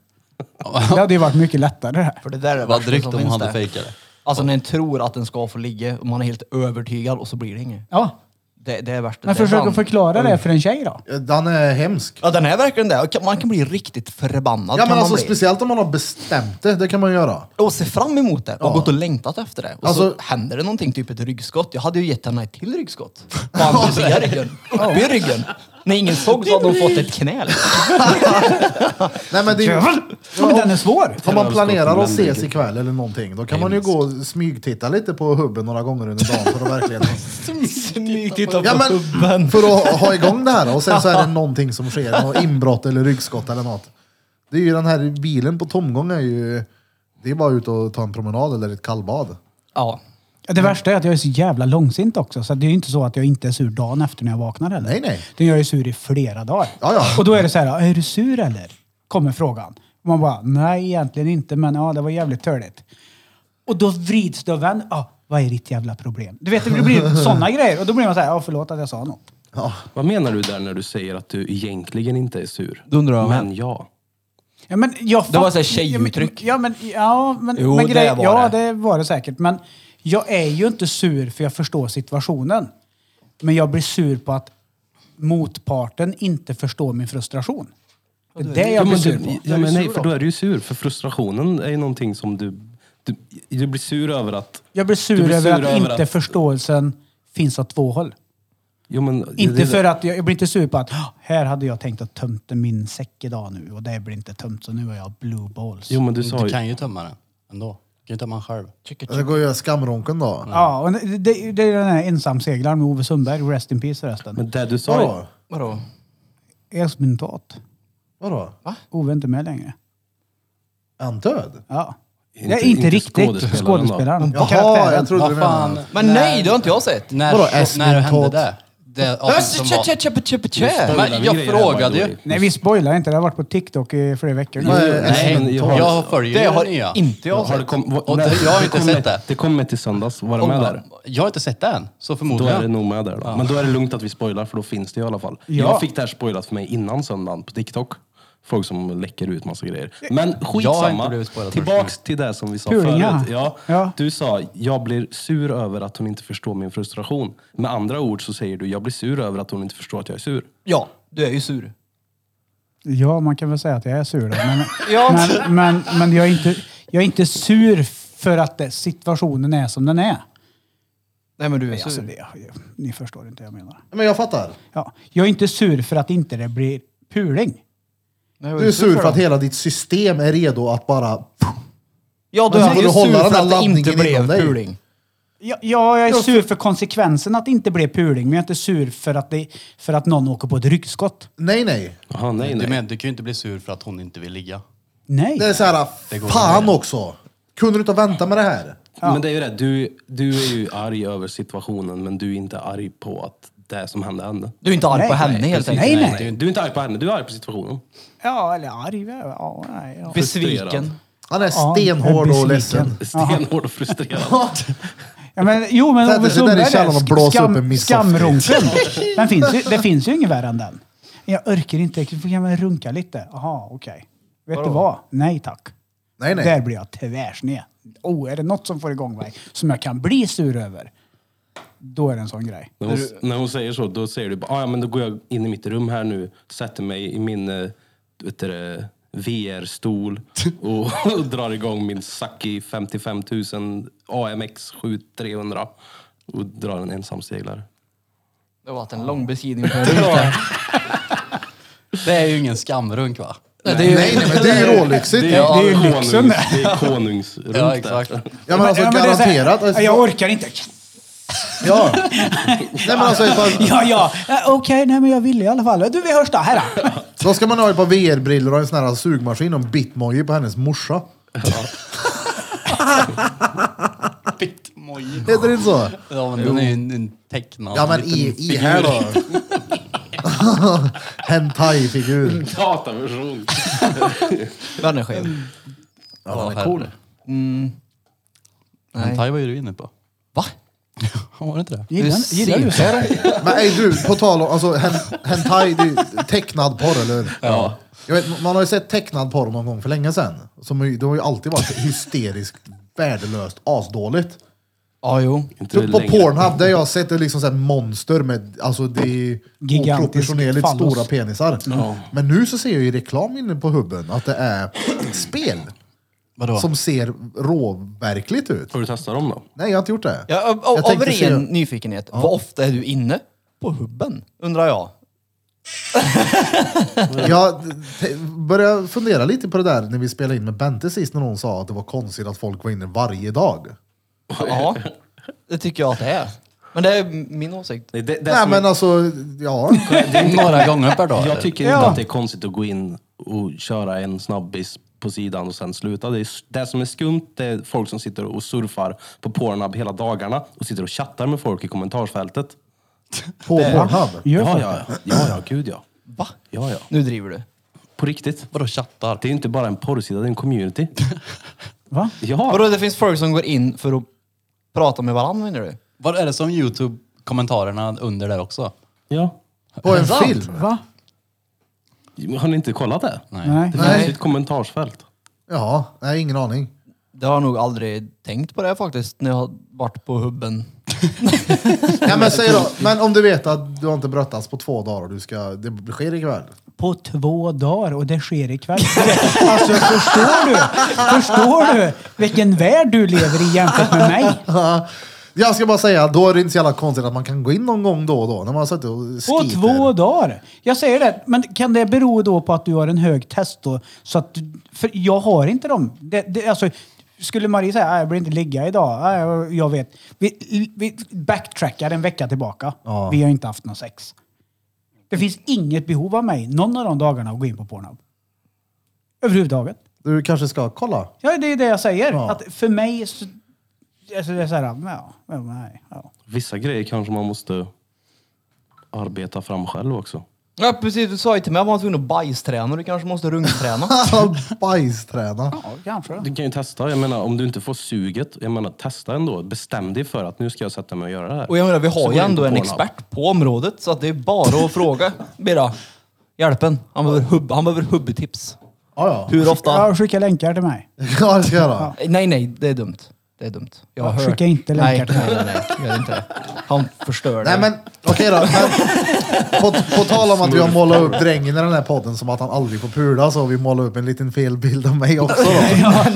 Speaker 1: Det hade ju varit mycket lättare det här.
Speaker 5: För det där är det
Speaker 6: Vad
Speaker 5: värsta
Speaker 6: drygt
Speaker 5: som
Speaker 6: om hon
Speaker 5: finns
Speaker 6: hade
Speaker 5: där.
Speaker 6: fejkat det.
Speaker 5: Alltså när en tror att den ska få ligga och man är helt övertygad och så blir det inget.
Speaker 1: Ja,
Speaker 5: Det, det är värst.
Speaker 1: men
Speaker 5: det är
Speaker 1: försök
Speaker 5: fan-
Speaker 1: att förklara det för en tjej då.
Speaker 2: Den är hemsk.
Speaker 5: Ja den är verkligen det. Och kan- Man kan bli riktigt förbannad.
Speaker 2: Ja
Speaker 5: kan
Speaker 2: men alltså
Speaker 5: man bli.
Speaker 2: speciellt om man har bestämt det, det kan man göra.
Speaker 5: Och se fram emot det och gått och längtat efter det. Och
Speaker 2: Alltså-
Speaker 5: så händer det någonting, typ ett ryggskott. Jag hade ju gett henne ett till ryggskott. På andra sidan ryggen. Uppe i ryggen. När ingen såg så hade hon fått ett knä. liksom.
Speaker 2: Nej men det är ju...
Speaker 1: Ja, men den är svår!
Speaker 2: Om man planerar att
Speaker 4: Landviken.
Speaker 2: ses ikväll eller någonting, då kan man ju gå och smygtitta lite på hubben några gånger under dagen för att *laughs* verkligen...
Speaker 5: Titta
Speaker 2: Ja, men, för att ha igång det här och sen så *laughs* är det någonting som sker, något inbrott eller ryggskott eller något. Det är ju den här bilen på tomgång är ju... Det är bara ut och ta en promenad eller ett kallbad.
Speaker 5: Ja.
Speaker 1: Det
Speaker 2: Mm.
Speaker 1: värsta är att jag är så jävla långsint också. Så det är ju inte så att jag inte är sur dagen efter när jag vaknar heller.
Speaker 2: Nej, nej.
Speaker 1: Det jag är sur i flera dagar.
Speaker 2: Ja, ja.
Speaker 1: Och då är det så här, är du sur eller? Kommer frågan. Och man bara, nej egentligen inte, men ja, det var jävligt törligt. Och då vrids det och vänder. Ja, vad är ditt jävla problem? Du vet, det blir
Speaker 2: *laughs*
Speaker 1: sådana grejer. Och då blir man så här, ja förlåt att jag sa något.
Speaker 4: Vad menar du där när du säger att du egentligen inte är sur?
Speaker 6: Då undrar jag med.
Speaker 4: Men ja.
Speaker 1: Ja, men jag
Speaker 5: Det var
Speaker 1: fatt-
Speaker 5: så här tjejuttryck.
Speaker 1: Ja, men, ja, men,
Speaker 5: Jo,
Speaker 1: men
Speaker 5: det
Speaker 1: grej-
Speaker 5: var
Speaker 1: ja,
Speaker 5: det.
Speaker 1: det var det säkert. Men jag är ju inte sur för jag förstår situationen. Men jag blir sur på att motparten inte förstår min frustration. Det är det jag blir
Speaker 4: men,
Speaker 1: sur
Speaker 4: du,
Speaker 1: på.
Speaker 4: ja, men nej, för då är du ju sur. För frustrationen är ju någonting som du... Du, du blir sur över att...
Speaker 1: Jag blir sur,
Speaker 4: Du blir sur
Speaker 1: över att
Speaker 4: över
Speaker 1: inte
Speaker 4: att- förståelsen
Speaker 1: förståelsen finns åt två håll.
Speaker 4: Jo, men,
Speaker 1: Inte
Speaker 4: det-
Speaker 1: för att jag, jag blir inte sur på att "Ah, här hade jag tänkt att tömt min säck idag nu och det blir inte tömt så nu är jag blue balls.
Speaker 4: Jo, men du sa
Speaker 6: Du
Speaker 4: ju...
Speaker 6: kan ju tömma den ändå. Du kan ju tömma den själv.
Speaker 2: Det går ju att göra skamronken då.
Speaker 1: Ja, och det, det, det är den här ensamseglaren med Ove Sundberg, rest in peace förresten.
Speaker 4: Men det du sa ju...
Speaker 2: Vadå?
Speaker 5: Vadå?
Speaker 1: Esmintat.
Speaker 2: Vadå?
Speaker 1: Ove är inte med längre.
Speaker 2: Är han död?
Speaker 1: Ja. Inte,
Speaker 4: Inte-
Speaker 1: inte, inte
Speaker 4: inte
Speaker 1: riktigt.
Speaker 4: skådespelaren
Speaker 1: Skådespelaren.
Speaker 4: då?
Speaker 2: Jaha, jag
Speaker 1: Karaktären.
Speaker 2: trodde du
Speaker 6: Vad fan.
Speaker 2: menade...
Speaker 5: Men nej, det har inte jag sett.
Speaker 6: När,
Speaker 2: Vadå,
Speaker 6: så, när
Speaker 2: Esmin
Speaker 6: hände
Speaker 2: Todd?
Speaker 6: det? det
Speaker 5: Ja,
Speaker 2: Alltså,
Speaker 6: avsnittet som
Speaker 5: tja, tja,
Speaker 6: var...
Speaker 5: tja, tja, tja.
Speaker 6: Men
Speaker 4: vi
Speaker 6: jag
Speaker 4: grejer här,
Speaker 6: frågade
Speaker 4: by the
Speaker 6: ju.
Speaker 4: way.
Speaker 1: Nej, vi spoilar inte. Det har varit på TikTok i flera veckor
Speaker 2: Vad
Speaker 1: nu.
Speaker 2: är
Speaker 6: Nej,
Speaker 2: Esmin
Speaker 4: jag
Speaker 2: Todd?
Speaker 4: har-
Speaker 6: jag följer
Speaker 5: Det
Speaker 6: ju
Speaker 5: har
Speaker 6: det nya.
Speaker 5: inte jag
Speaker 4: Har
Speaker 5: sett.
Speaker 4: det kom, vad-
Speaker 6: Och det-
Speaker 4: nej,
Speaker 6: jag har inte
Speaker 4: kom
Speaker 6: sett
Speaker 4: med,
Speaker 6: det.
Speaker 4: Det kom med till söndags. Var det med där?
Speaker 6: Jag har inte sett den, så
Speaker 4: Då
Speaker 6: förmodligen.
Speaker 4: är det nog med där. Då. Men då är det lugnt att vi spoilar, för då finns det i alla fall.
Speaker 1: Ja.
Speaker 4: Jag fick det här spoilat för mig innan söndagen på TikTok. Folk som läcker ut massa grejer. Men
Speaker 6: Jag har inte
Speaker 4: skitsamma.
Speaker 6: blivit spoilad
Speaker 4: Tillbaks till det som vi sa
Speaker 1: Pulingar.
Speaker 4: förut. Ja,
Speaker 1: Ja.
Speaker 4: Du sa, jag blir sur över att hon inte förstår min frustration. Med andra ord så säger du, jag blir sur över att hon inte förstår att jag är sur.
Speaker 5: Ja, du är ju sur.
Speaker 1: Ja, man kan väl säga att jag är sur. Då, *laughs* men, men, men, men jag, är inte, jag är inte sur för att det, situationen är som den är.
Speaker 5: Nej men du är
Speaker 1: Alltså,
Speaker 5: sur.
Speaker 1: det, jag, ni förstår inte vad jag menar.
Speaker 2: Men jag fattar.
Speaker 1: Ja. Jag är inte sur för att inte det blir puling.
Speaker 5: Nej, vad
Speaker 2: Du är sur för
Speaker 5: då?
Speaker 2: att hela ditt system är redo att bara...
Speaker 5: Ja, du
Speaker 2: Men
Speaker 5: är
Speaker 2: får
Speaker 5: ju
Speaker 2: du hålla
Speaker 5: sur
Speaker 2: den
Speaker 5: för
Speaker 2: här
Speaker 5: att det inte
Speaker 2: laddningen inom
Speaker 5: blev
Speaker 2: dig?
Speaker 5: puling.
Speaker 1: Ja, ja, jag är sur för konsekvensen att det inte blev puling, men jag är inte sur för att, det, för att någon åker på ett ryggskott.
Speaker 2: Nej, nej.
Speaker 4: Aha, nej,
Speaker 6: Du,
Speaker 4: nej.
Speaker 6: men, du kan ju inte bli sur för att hon inte vill ligga.
Speaker 1: Nej.
Speaker 2: Det är så här,
Speaker 6: går
Speaker 2: fan
Speaker 6: vidare.
Speaker 2: också! Kunde du inte vänta med det här?
Speaker 4: Men det är ju det, du, du är ju arg över situationen, men du är inte arg på att det som hände hände.
Speaker 5: Du är inte arg
Speaker 1: Nej,
Speaker 5: på henne
Speaker 1: nej,
Speaker 5: helt
Speaker 1: precis.
Speaker 5: enkelt.
Speaker 1: Nej, nej.
Speaker 4: Du, du är inte arg på henne, du är arg på situationen.
Speaker 1: Ja, eller arg. Ja, nej, ja.
Speaker 5: Besviken.
Speaker 4: Frustrerad.
Speaker 2: Han är
Speaker 1: Ja, jag är
Speaker 2: stenhård
Speaker 1: besviken.
Speaker 2: och ledsen.
Speaker 4: Stenhård och frustrerad.
Speaker 1: Ja, men, jo, men
Speaker 2: Sätter
Speaker 1: Ove
Speaker 2: sig där i
Speaker 1: Sundberg,
Speaker 2: källaren och
Speaker 1: där,
Speaker 2: blåser upp en
Speaker 1: skam,
Speaker 2: miss off.
Speaker 1: skamrunken.
Speaker 2: *laughs*
Speaker 1: Den finns ju, det finns ju inget värre än den. Jag orkar inte riktigt, får jag väl runka lite? Jaha, okej. Vet du vad? Nej tack.
Speaker 2: Nej, nej.
Speaker 1: Där blir jag tvärsned. Oh, är det något som får igång mig som jag kan bli sur över, då är det en sån grej.
Speaker 4: När hon, när hon säger så, då säger du bara, "Ah, ja men då går jag in i mitt rum här nu, sätter mig i min eh, vet du det, VR-stol och, *laughs* och drar igång min Saki 55 000 AMX 7300 och drar en ensamseglare.
Speaker 5: Det var en lång beskrivning på en ruta.
Speaker 6: Det är ju ingen skamrunk va?
Speaker 2: Nej, nej, *laughs* men det är ju rålyxigt.
Speaker 1: Det är ju
Speaker 4: konungs-
Speaker 1: lyxen det.
Speaker 4: Det är konungsrunt
Speaker 6: Ja, exakt.
Speaker 4: där.
Speaker 2: Ja men alltså
Speaker 1: Ja, men det är så här,
Speaker 2: garanterat. Alltså,
Speaker 1: Jag orkar inte.
Speaker 2: Ja. Nej men alltså, ifall-
Speaker 1: Ja, ja. Eh, Okej, nej men jag ville i alla fall. Du, vi hörs då. Här då.
Speaker 2: då ska man ha ett par VR-brillor och en sån här sugmaskin och en bitmoji på hennes morsa.
Speaker 6: Bitmoji.
Speaker 2: Heter det inte så?
Speaker 6: Ja men den är ju en, en tecknad
Speaker 2: Ja men
Speaker 6: liten
Speaker 2: i, i
Speaker 6: figur.
Speaker 2: här då. *laughs* Hentai-figur.
Speaker 4: Dataversion.
Speaker 5: Den är skev.
Speaker 2: Ja, den är
Speaker 6: herre.
Speaker 2: cool.
Speaker 5: Nej.
Speaker 6: Hentai var ju du inne på. *laughs*
Speaker 5: Va?
Speaker 6: Var det inte det?
Speaker 1: Gillar,
Speaker 5: Du
Speaker 1: gillar du så här?
Speaker 2: Men ey du, på tal om alltså, hen, hentai, det är ju tecknad porr eller hur? Ja. Jag vet, man har ju sett tecknad porr någon gång för länge sedan. Som, ju- det har ju alltid varit hysteriskt värdelöst, asdåligt.
Speaker 5: Ja, jo.
Speaker 4: Inte
Speaker 2: Typ på
Speaker 4: längre.
Speaker 2: Pornhub, där jag har sett det är liksom så här monster med alltså det är
Speaker 1: Gigantisk
Speaker 2: oproportionerligt
Speaker 1: fallos.
Speaker 2: stora penisar. Men nu så ser jag ju reklam inne på hubben att det är spel
Speaker 6: Vadå?
Speaker 2: som ser råverkligt ut.
Speaker 4: Har du testat dem då?
Speaker 2: Nej, jag har inte gjort det.
Speaker 5: Ja, av, av
Speaker 2: tänkte
Speaker 5: ren
Speaker 2: se-
Speaker 5: nyfikenhet, hur ofta är du inne på hubben? Undrar jag.
Speaker 2: Jag te- började fundera lite på det där när vi spelade in med Bente sist när hon sa att det var konstigt att folk var inne varje dag.
Speaker 5: Ja, det tycker jag att det är. Men det är min åsikt.
Speaker 4: Nej, det, det
Speaker 2: Nej
Speaker 4: som
Speaker 2: men alltså, ja.
Speaker 6: Några gånger per dag.
Speaker 4: Jag tycker
Speaker 1: Ja.
Speaker 4: inte att det är konstigt att gå in och köra en snabbis på sidan och sen sluta. Det, är, det som är skumt det är folk som sitter och surfar på Pornhub hela dagarna och sitter och chattar med folk i kommentarsfältet.
Speaker 2: På Pornhub.
Speaker 1: Gör
Speaker 4: Ja,
Speaker 1: folk
Speaker 4: ja, ja. ja, ja gud ja.
Speaker 5: Va?
Speaker 4: Ja, ja.
Speaker 5: Nu driver du.
Speaker 4: På riktigt.
Speaker 6: Vadå chattar?
Speaker 4: Det är ju inte bara en porrsida, det är en community.
Speaker 1: *laughs* Va?
Speaker 4: Ja,
Speaker 5: Vadå, det finns folk som går in för att prata med varandra menar du?
Speaker 6: Vad är det som Youtube-kommentarerna under där också?
Speaker 4: ja.
Speaker 2: På en
Speaker 5: Sant.
Speaker 2: film.
Speaker 1: Va?
Speaker 4: Har ni inte kollat det?
Speaker 6: Nej.
Speaker 1: Nej.
Speaker 4: Det
Speaker 2: Nej.
Speaker 4: finns ju ett kommentarsfält.
Speaker 2: Ja, nej ingen aning.
Speaker 5: Det har jag nog aldrig tänkt på det faktiskt när jag har varit på hubben.
Speaker 2: Ja, men, säg då, men om du vet att du har inte bröttats på två dagar och du ska, det sker ikväll.
Speaker 1: På två dagar och det sker ikväll. *laughs* Alltså förstår du? Förstår du vilken värld du lever i jämfört med mig?
Speaker 2: Jag ska bara säga, då är det inte så jävla konstigt att man kan gå in någon gång då och då när man har suttit och
Speaker 1: På
Speaker 2: skiter.
Speaker 1: två dagar! Jag säger det, men kan det bero då på att du har en hög testo? Så att, du- för jag har inte dem. Det, det, alltså, skulle Marie säga "Nej, jag blir inte ligga idag, Nej, jag- jag vet. Vi, vi backtrackar en vecka tillbaka.
Speaker 2: Ja.
Speaker 1: Vi har inte haft någon sex. Det finns inget behov av mig någon av de dagarna att gå in på Pornhub. Överhuvudtaget.
Speaker 2: Du kanske ska kolla? *laughs*
Speaker 1: Ja, det är det jag säger.
Speaker 2: Ja.
Speaker 1: Att för mig så... Alltså det är så här, ja, ja, nej, ja.
Speaker 4: Vissa grejer kanske man måste arbeta fram själv också.
Speaker 5: Ja precis, du sa ju till mig att man var tvungen att bajsträna och du kanske måste rungträna.
Speaker 4: *laughs*
Speaker 2: Bajsträna.
Speaker 1: Ja, kanske det.
Speaker 4: Du kan ju testa. Jag menar, om du inte får suget, jag menar, testa ändå. Bestäm dig för att nu ska jag sätta mig och göra det här.
Speaker 5: Och jag menar, vi
Speaker 4: Så
Speaker 5: har
Speaker 4: går
Speaker 5: ju
Speaker 4: du in
Speaker 5: ändå en
Speaker 4: på Pornhub.
Speaker 5: expert på området så att det är bara att fråga. Bira, hjälp en. Han behöver, hubb, han behöver hubbetips.
Speaker 2: Ja, ja.
Speaker 5: Hur ofta?
Speaker 1: Ja, skicka länkar till mig.
Speaker 2: Ja, det ska jag göra.
Speaker 5: Nej, nej, det är dumt. Det är dumt. Jag har
Speaker 1: Ja,
Speaker 5: hört.
Speaker 1: skicka inte länkar
Speaker 5: nej,
Speaker 1: till
Speaker 5: nej, nej, nej, gör inte det. Han förstör
Speaker 2: Nej
Speaker 5: det.
Speaker 2: men okej då. Men, på, på tal om att vi har målat upp drängen i den här podden som att han aldrig får pula så har vi målat upp en liten fel bild av mig också då.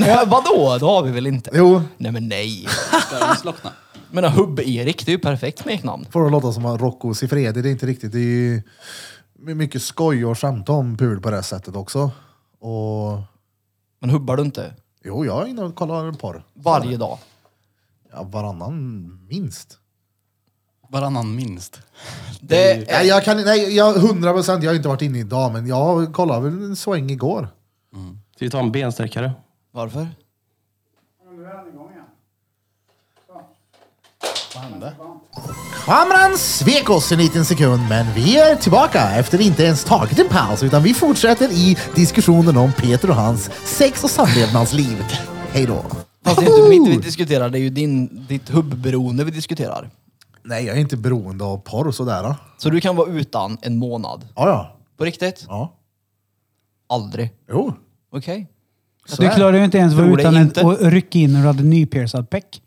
Speaker 5: Ja, vadå? Det har vi väl inte?
Speaker 2: Jo,
Speaker 5: Nej men nej.
Speaker 6: Ska den slockna?
Speaker 5: Men Hubb-Erik, det är ju perfekt smeknamn.
Speaker 2: får det låta som att Rocco Siffredi, det är inte riktigt. Det är ju mycket skoj och skämt om pul på det här sättet också. Och
Speaker 5: Men hubbar du inte?
Speaker 2: jo, jag är inne och kollar en porr.
Speaker 5: Varje dag.
Speaker 2: Ja, varannan minst.
Speaker 6: Varannan minst.
Speaker 5: Det är...
Speaker 2: Nej, jag kan nej, jag, 100 procent, jag har inte varit inne idag, men jag kollade väl en sväng igår.
Speaker 4: Ska vi ta en bensträckare?
Speaker 5: Varför?
Speaker 2: Kamran svek oss en liten sekund, men vi är tillbaka efter inte ens tagit en paus, utan vi fortsätter i diskussionen om Peter och hans sex och samlevnadsliv. Hej då.
Speaker 5: Fast det är inte mitt vi diskuterar, det är ju din, ditt hubbberoende vi diskuterar.
Speaker 2: Nej, jag är inte beroende av porr och sådär. då.
Speaker 5: Så du kan vara utan en månad.
Speaker 2: Ja, ja.
Speaker 5: På riktigt?
Speaker 2: ja.
Speaker 5: Aldrig.
Speaker 2: Jo.
Speaker 5: Okej.
Speaker 2: Så
Speaker 1: Du
Speaker 2: är det.
Speaker 1: klarar ju inte ens vara
Speaker 5: Tror det
Speaker 1: utan
Speaker 5: inte.
Speaker 1: att rycka in när du hade nypiercad peck.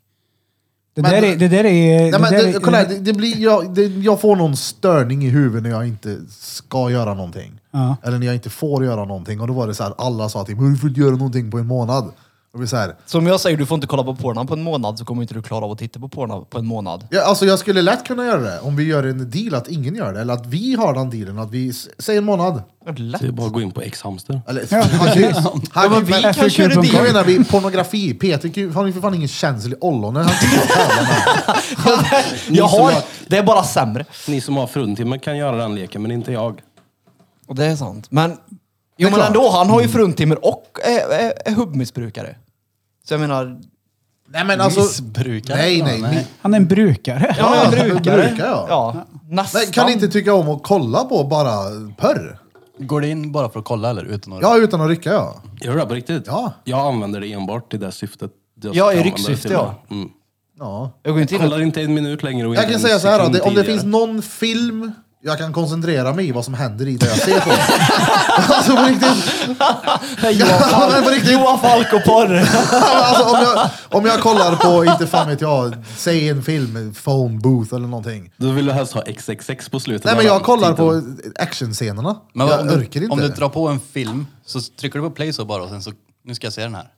Speaker 1: Det,
Speaker 2: Men-
Speaker 1: där är, det där är...
Speaker 2: Nej, men
Speaker 1: det där
Speaker 2: det,
Speaker 1: är-
Speaker 2: kolla här, det, det blir, jag, det, jag får någon störning i huvudet när jag inte ska göra någonting.
Speaker 1: Ja.
Speaker 2: Eller när jag inte får göra någonting. Och då var det så här, alla sa till mig, du får inte göra någonting på en månad. Och det blir så här,
Speaker 5: Som jag säger, du får inte kolla på Pornhub på en månad så kommer inte du klara av att titta på Pornhub på en månad.
Speaker 2: Ja, alltså jag skulle lätt kunna göra det om vi gör en deal att ingen gör det. Eller att vi har den dealen. Att vi, s- säg en månad.
Speaker 5: Det är lätt.
Speaker 4: Det är bara att gå in på X-hamster.
Speaker 2: Eller, *laughs* han kan ju- han kan ju-
Speaker 5: vi kan
Speaker 2: FQ.
Speaker 5: köra en deal.
Speaker 2: Jag menar, vi, pornografi. Peter kan ju- han har ju för fan ingen känsel i ollonet. Han kan ju inte tala med.
Speaker 5: Jag har... *laughs* Det är bara sämre.
Speaker 4: Ni som har fruntimmer kan göra den leken, men inte jag.
Speaker 5: Och det är sant. Men... Jo men
Speaker 2: klart.
Speaker 5: ändå, han har ju fruntimmer och är, är, är hubbmissbrukare. Så jag menar...
Speaker 2: Nej men alltså.
Speaker 6: Missbrukare?
Speaker 2: Nej, nej.
Speaker 6: Ja, nej.
Speaker 2: nej.
Speaker 1: Han är en brukare.
Speaker 2: Ja,
Speaker 5: Ja, brukare.
Speaker 2: brukar jag.
Speaker 5: Ja. Nästan.
Speaker 2: Nej, kan ni inte tycka om att kolla på bara porr?
Speaker 6: Går du in bara för att kolla eller? Utan att...
Speaker 2: Ja, utan att rycka ja.
Speaker 4: Gör du det på riktigt?
Speaker 2: Ja.
Speaker 4: Jag använder det enbart till det syftet. Jag
Speaker 5: Ja, i
Speaker 4: använder det
Speaker 5: rycksyfte,
Speaker 4: till.
Speaker 5: ja.
Speaker 4: Mm.
Speaker 2: ja.
Speaker 5: Jag går inte in
Speaker 4: Kollar inte en minut längre och
Speaker 2: Jag
Speaker 4: inte
Speaker 2: kan
Speaker 4: en
Speaker 2: säga så här, då,
Speaker 4: sekund
Speaker 2: det, om det
Speaker 4: tidigare.
Speaker 2: finns någon film jag kan koncentrera mig i vad som händer i det jag ser på. alltså på riktigt.
Speaker 5: Johan
Speaker 2: Ja, men på
Speaker 5: Falk,
Speaker 2: riktigt.
Speaker 5: Johan Falk och porr.
Speaker 2: Alltså, om, jag, om jag kollar på, inte fan vet jag, säg en film, phone booth eller någonting.
Speaker 4: Då vill du helst ha XXX på slutet.
Speaker 2: Nej men jag kollar på
Speaker 4: Titeln.
Speaker 2: actionscenerna.
Speaker 6: Men
Speaker 2: jag
Speaker 6: om, du,
Speaker 2: orkar inte.
Speaker 6: om du drar på en film så trycker du på play så bara och sen så, nu ska jag se den här.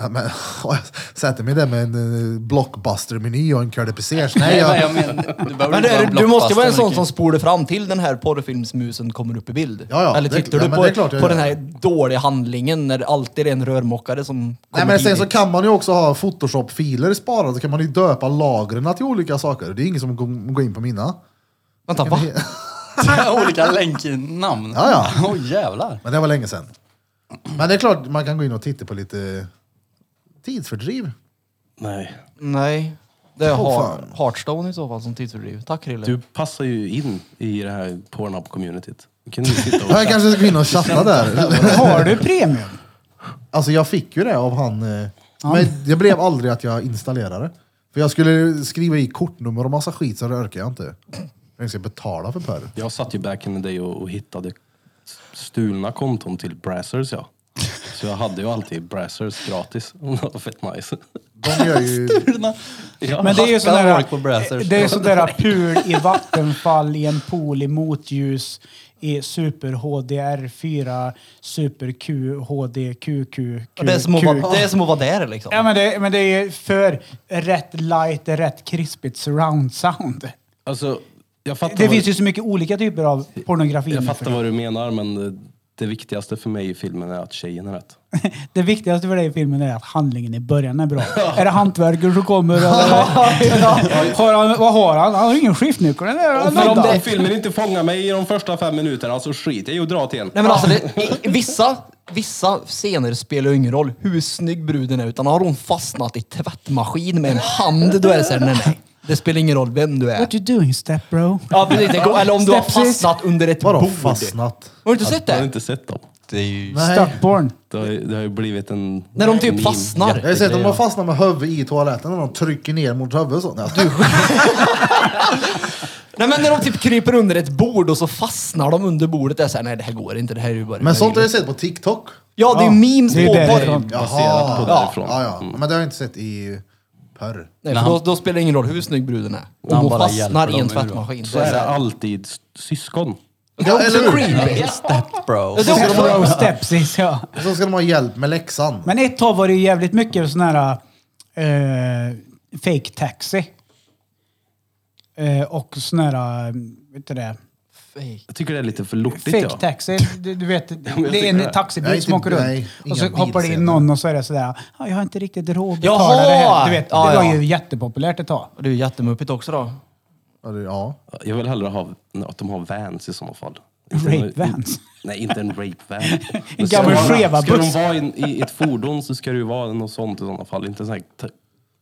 Speaker 2: Ja, men, *laughs* jag sätter mig där med en eh, blockbuster-meny och en curly pesers. Nej,
Speaker 6: Nej,
Speaker 2: jag,
Speaker 6: men jag menar, du behöver
Speaker 5: Men
Speaker 6: inte
Speaker 5: det,
Speaker 6: vara
Speaker 5: du måste vara
Speaker 6: blockbuster,
Speaker 5: en sån
Speaker 6: men
Speaker 5: som spolar fram till den här porrfilmsmusen kommer upp i bild.
Speaker 2: Ja, ja,
Speaker 5: Eller
Speaker 2: det-
Speaker 5: tittar
Speaker 2: ja,
Speaker 5: du
Speaker 2: men
Speaker 5: på,
Speaker 2: det är klart jag
Speaker 5: på
Speaker 2: gör.
Speaker 5: den här dåliga handlingen när det alltid är en rörmokare som
Speaker 2: Nej,
Speaker 5: kommer
Speaker 2: men sen så
Speaker 5: tidigt?
Speaker 2: kan man ju också ha Photoshop-filer sparade, så kan man ju döpa lagren till olika saker. Det är ingen som går- går in på mina.
Speaker 5: Vänta, va?
Speaker 1: *laughs*
Speaker 6: kan- Olika länknamn.
Speaker 2: Ja, ja.
Speaker 6: Åh jävlar.
Speaker 2: *laughs* Men det var länge sedan. Men det är klart, man kan gå in och titta på lite
Speaker 6: *laughs*
Speaker 2: tidsfördriv.
Speaker 4: Nej.
Speaker 5: Nej. Det är
Speaker 2: Åh,
Speaker 5: oh,
Speaker 2: fan.
Speaker 5: Hearthstone i så fall som tidsfördriv. Tack Krille.
Speaker 4: Du passar ju in i det här Pornhub-communityt. Du kan ju sitta och...
Speaker 2: *laughs* Ja, Jag kanske ska gå in och chatta
Speaker 6: *laughs*
Speaker 2: där.
Speaker 1: Har du premium?
Speaker 2: Alltså jag fick ju det av han, eh, men det blev aldrig att jag installerade. För jag skulle skriva i kortnummer och massa skit, så det orkar jag inte. Jag ska betala för porr.
Speaker 4: Jag satt ju back in the day och, och hittade stulna konton till Brazzers ja. Så jag hade ju alltid Brazzers gratis. Det var fett nice.
Speaker 2: De gör ju...
Speaker 4: Ja.
Speaker 1: Men det är ju
Speaker 6: Hacka
Speaker 1: sån
Speaker 6: folk på
Speaker 1: där,
Speaker 6: Brazzers.
Speaker 1: det är sån där pul i vattenfall, i en pool i motljus, i super HDR4, super Q, HD, QQ, Q,
Speaker 5: Ja, det, är som att vara, det är som att vara där liksom.
Speaker 1: Ja men det, men det är ju för rätt light, rätt krispigt surround sound.
Speaker 4: Alltså, jag fattar,
Speaker 1: Det
Speaker 4: vad,
Speaker 1: finns ju så mycket olika typer av pornografi.
Speaker 4: jag
Speaker 1: nu
Speaker 4: fattar
Speaker 1: för-
Speaker 4: vad du menar men det, det viktigaste för mig i filmen är att tjejen är rätt.
Speaker 1: *laughs* Det viktigaste för dig i filmen är att handlingen i början är bra. Är det hantverkare som kommer? Eller, har han, vad har han? Han har ingen skiftnyckel. Den är-
Speaker 4: Om,
Speaker 1: den är-
Speaker 4: om den filmen inte fångar mig i de första fem minuterna så skiter jag i att dra till en.
Speaker 5: Nej men alltså, det, i- vissa, vissa scener spelar ju ingen roll hur snygg bruden är, utan har hon fastnat i tvättmaskin med en hand, då är det såhär, nej nej. Det spelar ingen roll vem du är.
Speaker 1: What you doing step bro?
Speaker 5: Ja precis, det går- eller om du har
Speaker 1: Stepsis.
Speaker 5: fastnat under ett
Speaker 2: Vadå
Speaker 5: bord.
Speaker 2: fastnat?
Speaker 5: Har du inte sett
Speaker 4: Jag har
Speaker 5: det?
Speaker 4: inte sett dem.
Speaker 6: Det är ju...
Speaker 1: Stuckborn.
Speaker 4: Det har, ju- det har ju blivit en...
Speaker 5: När de typ
Speaker 4: meme.
Speaker 5: fastnar.
Speaker 2: Jag har sett att de fastnar med huvudet i toaletten och de trycker ner mot huvudet så. Nej, du,
Speaker 5: Nej men när de typ kryper under ett bord och så fastnar de under bordet. Det är såhär, nej det här går inte, det här är ju bara
Speaker 2: men sånt har jag sett på TikTok.
Speaker 5: Ja, det är ju memes
Speaker 1: Det är
Speaker 5: på
Speaker 1: det.
Speaker 5: porr.
Speaker 4: Baserat på
Speaker 5: Ja.
Speaker 4: därifrån.
Speaker 2: Ja, ja. Men det Mm. har jag inte sett i porr.
Speaker 5: Nej, för då, då spelar det ingen roll hur snygg bruden är.
Speaker 6: När
Speaker 5: Om
Speaker 6: han
Speaker 5: hon
Speaker 6: bara
Speaker 5: fastnar
Speaker 6: hjälper
Speaker 5: i en
Speaker 6: dem ur då.
Speaker 5: tvättmaskin.
Speaker 4: Så är det alltid s- syskon.
Speaker 2: Ja, eller hur?
Speaker 6: Step bro.
Speaker 5: Det är
Speaker 1: Step
Speaker 5: också-
Speaker 1: bro stepsis ja.
Speaker 2: Så ska de ha hjälp med läxan.
Speaker 1: Men ett tag var det ju jävligt mycket sån här eh, fake taxi. Eh, och sån här, eh, vet du det?
Speaker 5: Fake.
Speaker 4: Jag tycker det är lite för lortigt.
Speaker 1: Fake
Speaker 4: ja.
Speaker 1: taxi.
Speaker 4: *laughs*
Speaker 1: Du, du vet,
Speaker 4: jag
Speaker 1: det är
Speaker 4: tycker
Speaker 1: en
Speaker 4: det. typ-
Speaker 1: taxibil
Speaker 2: Nej,
Speaker 1: som åker
Speaker 2: inte-
Speaker 1: runt.
Speaker 2: nej,
Speaker 1: och så
Speaker 2: inga
Speaker 1: hoppar det in
Speaker 2: bilscener.
Speaker 1: någon och så är det sådär, "Ja, jag har inte riktigt råd att betala
Speaker 5: Jaha!
Speaker 1: det här. Du vet,
Speaker 5: Ja,
Speaker 1: det var
Speaker 5: ja.
Speaker 1: ju jättepopulärt ett tag.
Speaker 5: Och det är ju jättemuppigt också då.
Speaker 2: Ja, det- Ja.
Speaker 4: Jag vill hellre ha att de har vans i sådana fall. Inte
Speaker 1: Rape
Speaker 4: någon-
Speaker 1: vans?
Speaker 4: Nej, inte en rape van.
Speaker 1: En gammal Cheva-buss.
Speaker 4: Ska de vara i, i ett fordon så ska det ju vara något sånt i sådana fall. Inte en sån här t-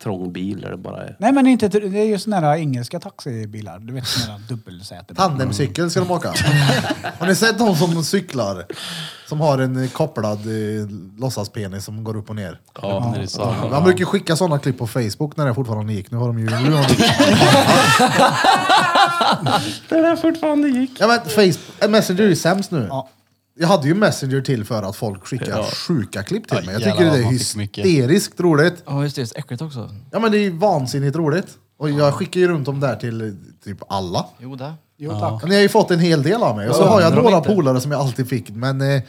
Speaker 4: trång bil där det bara är...
Speaker 1: Nej men inte, det är ju såna här engelska taxibilar. Du vet såna där dubbelsäten.
Speaker 2: Tandemcykel ska de
Speaker 6: *laughs*
Speaker 2: åka. Har ni sett de som cyklar? Som har en eh, kopplad eh, låtsaspenis som går upp och ner.
Speaker 6: Ja, när det är så.
Speaker 2: Man brukar ju skicka sådana klipp på Facebook när det fortfarande gick. Nu har de ju... Nu har de...
Speaker 4: Det där fortfarande gick.
Speaker 2: Ja, men Facebook, eh, Messenger är ju sämst nu.
Speaker 1: Ja.
Speaker 2: Jag hade ju Messenger till för att folk skickar
Speaker 4: Ja.
Speaker 2: sjuka klipp
Speaker 6: Ja,
Speaker 2: till mig. Jag
Speaker 6: jävlar
Speaker 2: tycker det
Speaker 6: vad
Speaker 2: är
Speaker 6: man fick mycket.
Speaker 2: hysteriskt roligt.
Speaker 5: Ja just det, det är så äckligt också.
Speaker 2: Ja men det är ju vansinnigt roligt. Och jag skickar ju runt dem där till eh, typ alla.
Speaker 5: Jo det.
Speaker 1: Jo tack.
Speaker 2: Ni har ju fått en hel del av mig. Och så
Speaker 5: Jag
Speaker 2: har jag
Speaker 5: undrar om
Speaker 2: några
Speaker 5: inte.
Speaker 2: polare som jag alltid fick. Men eh,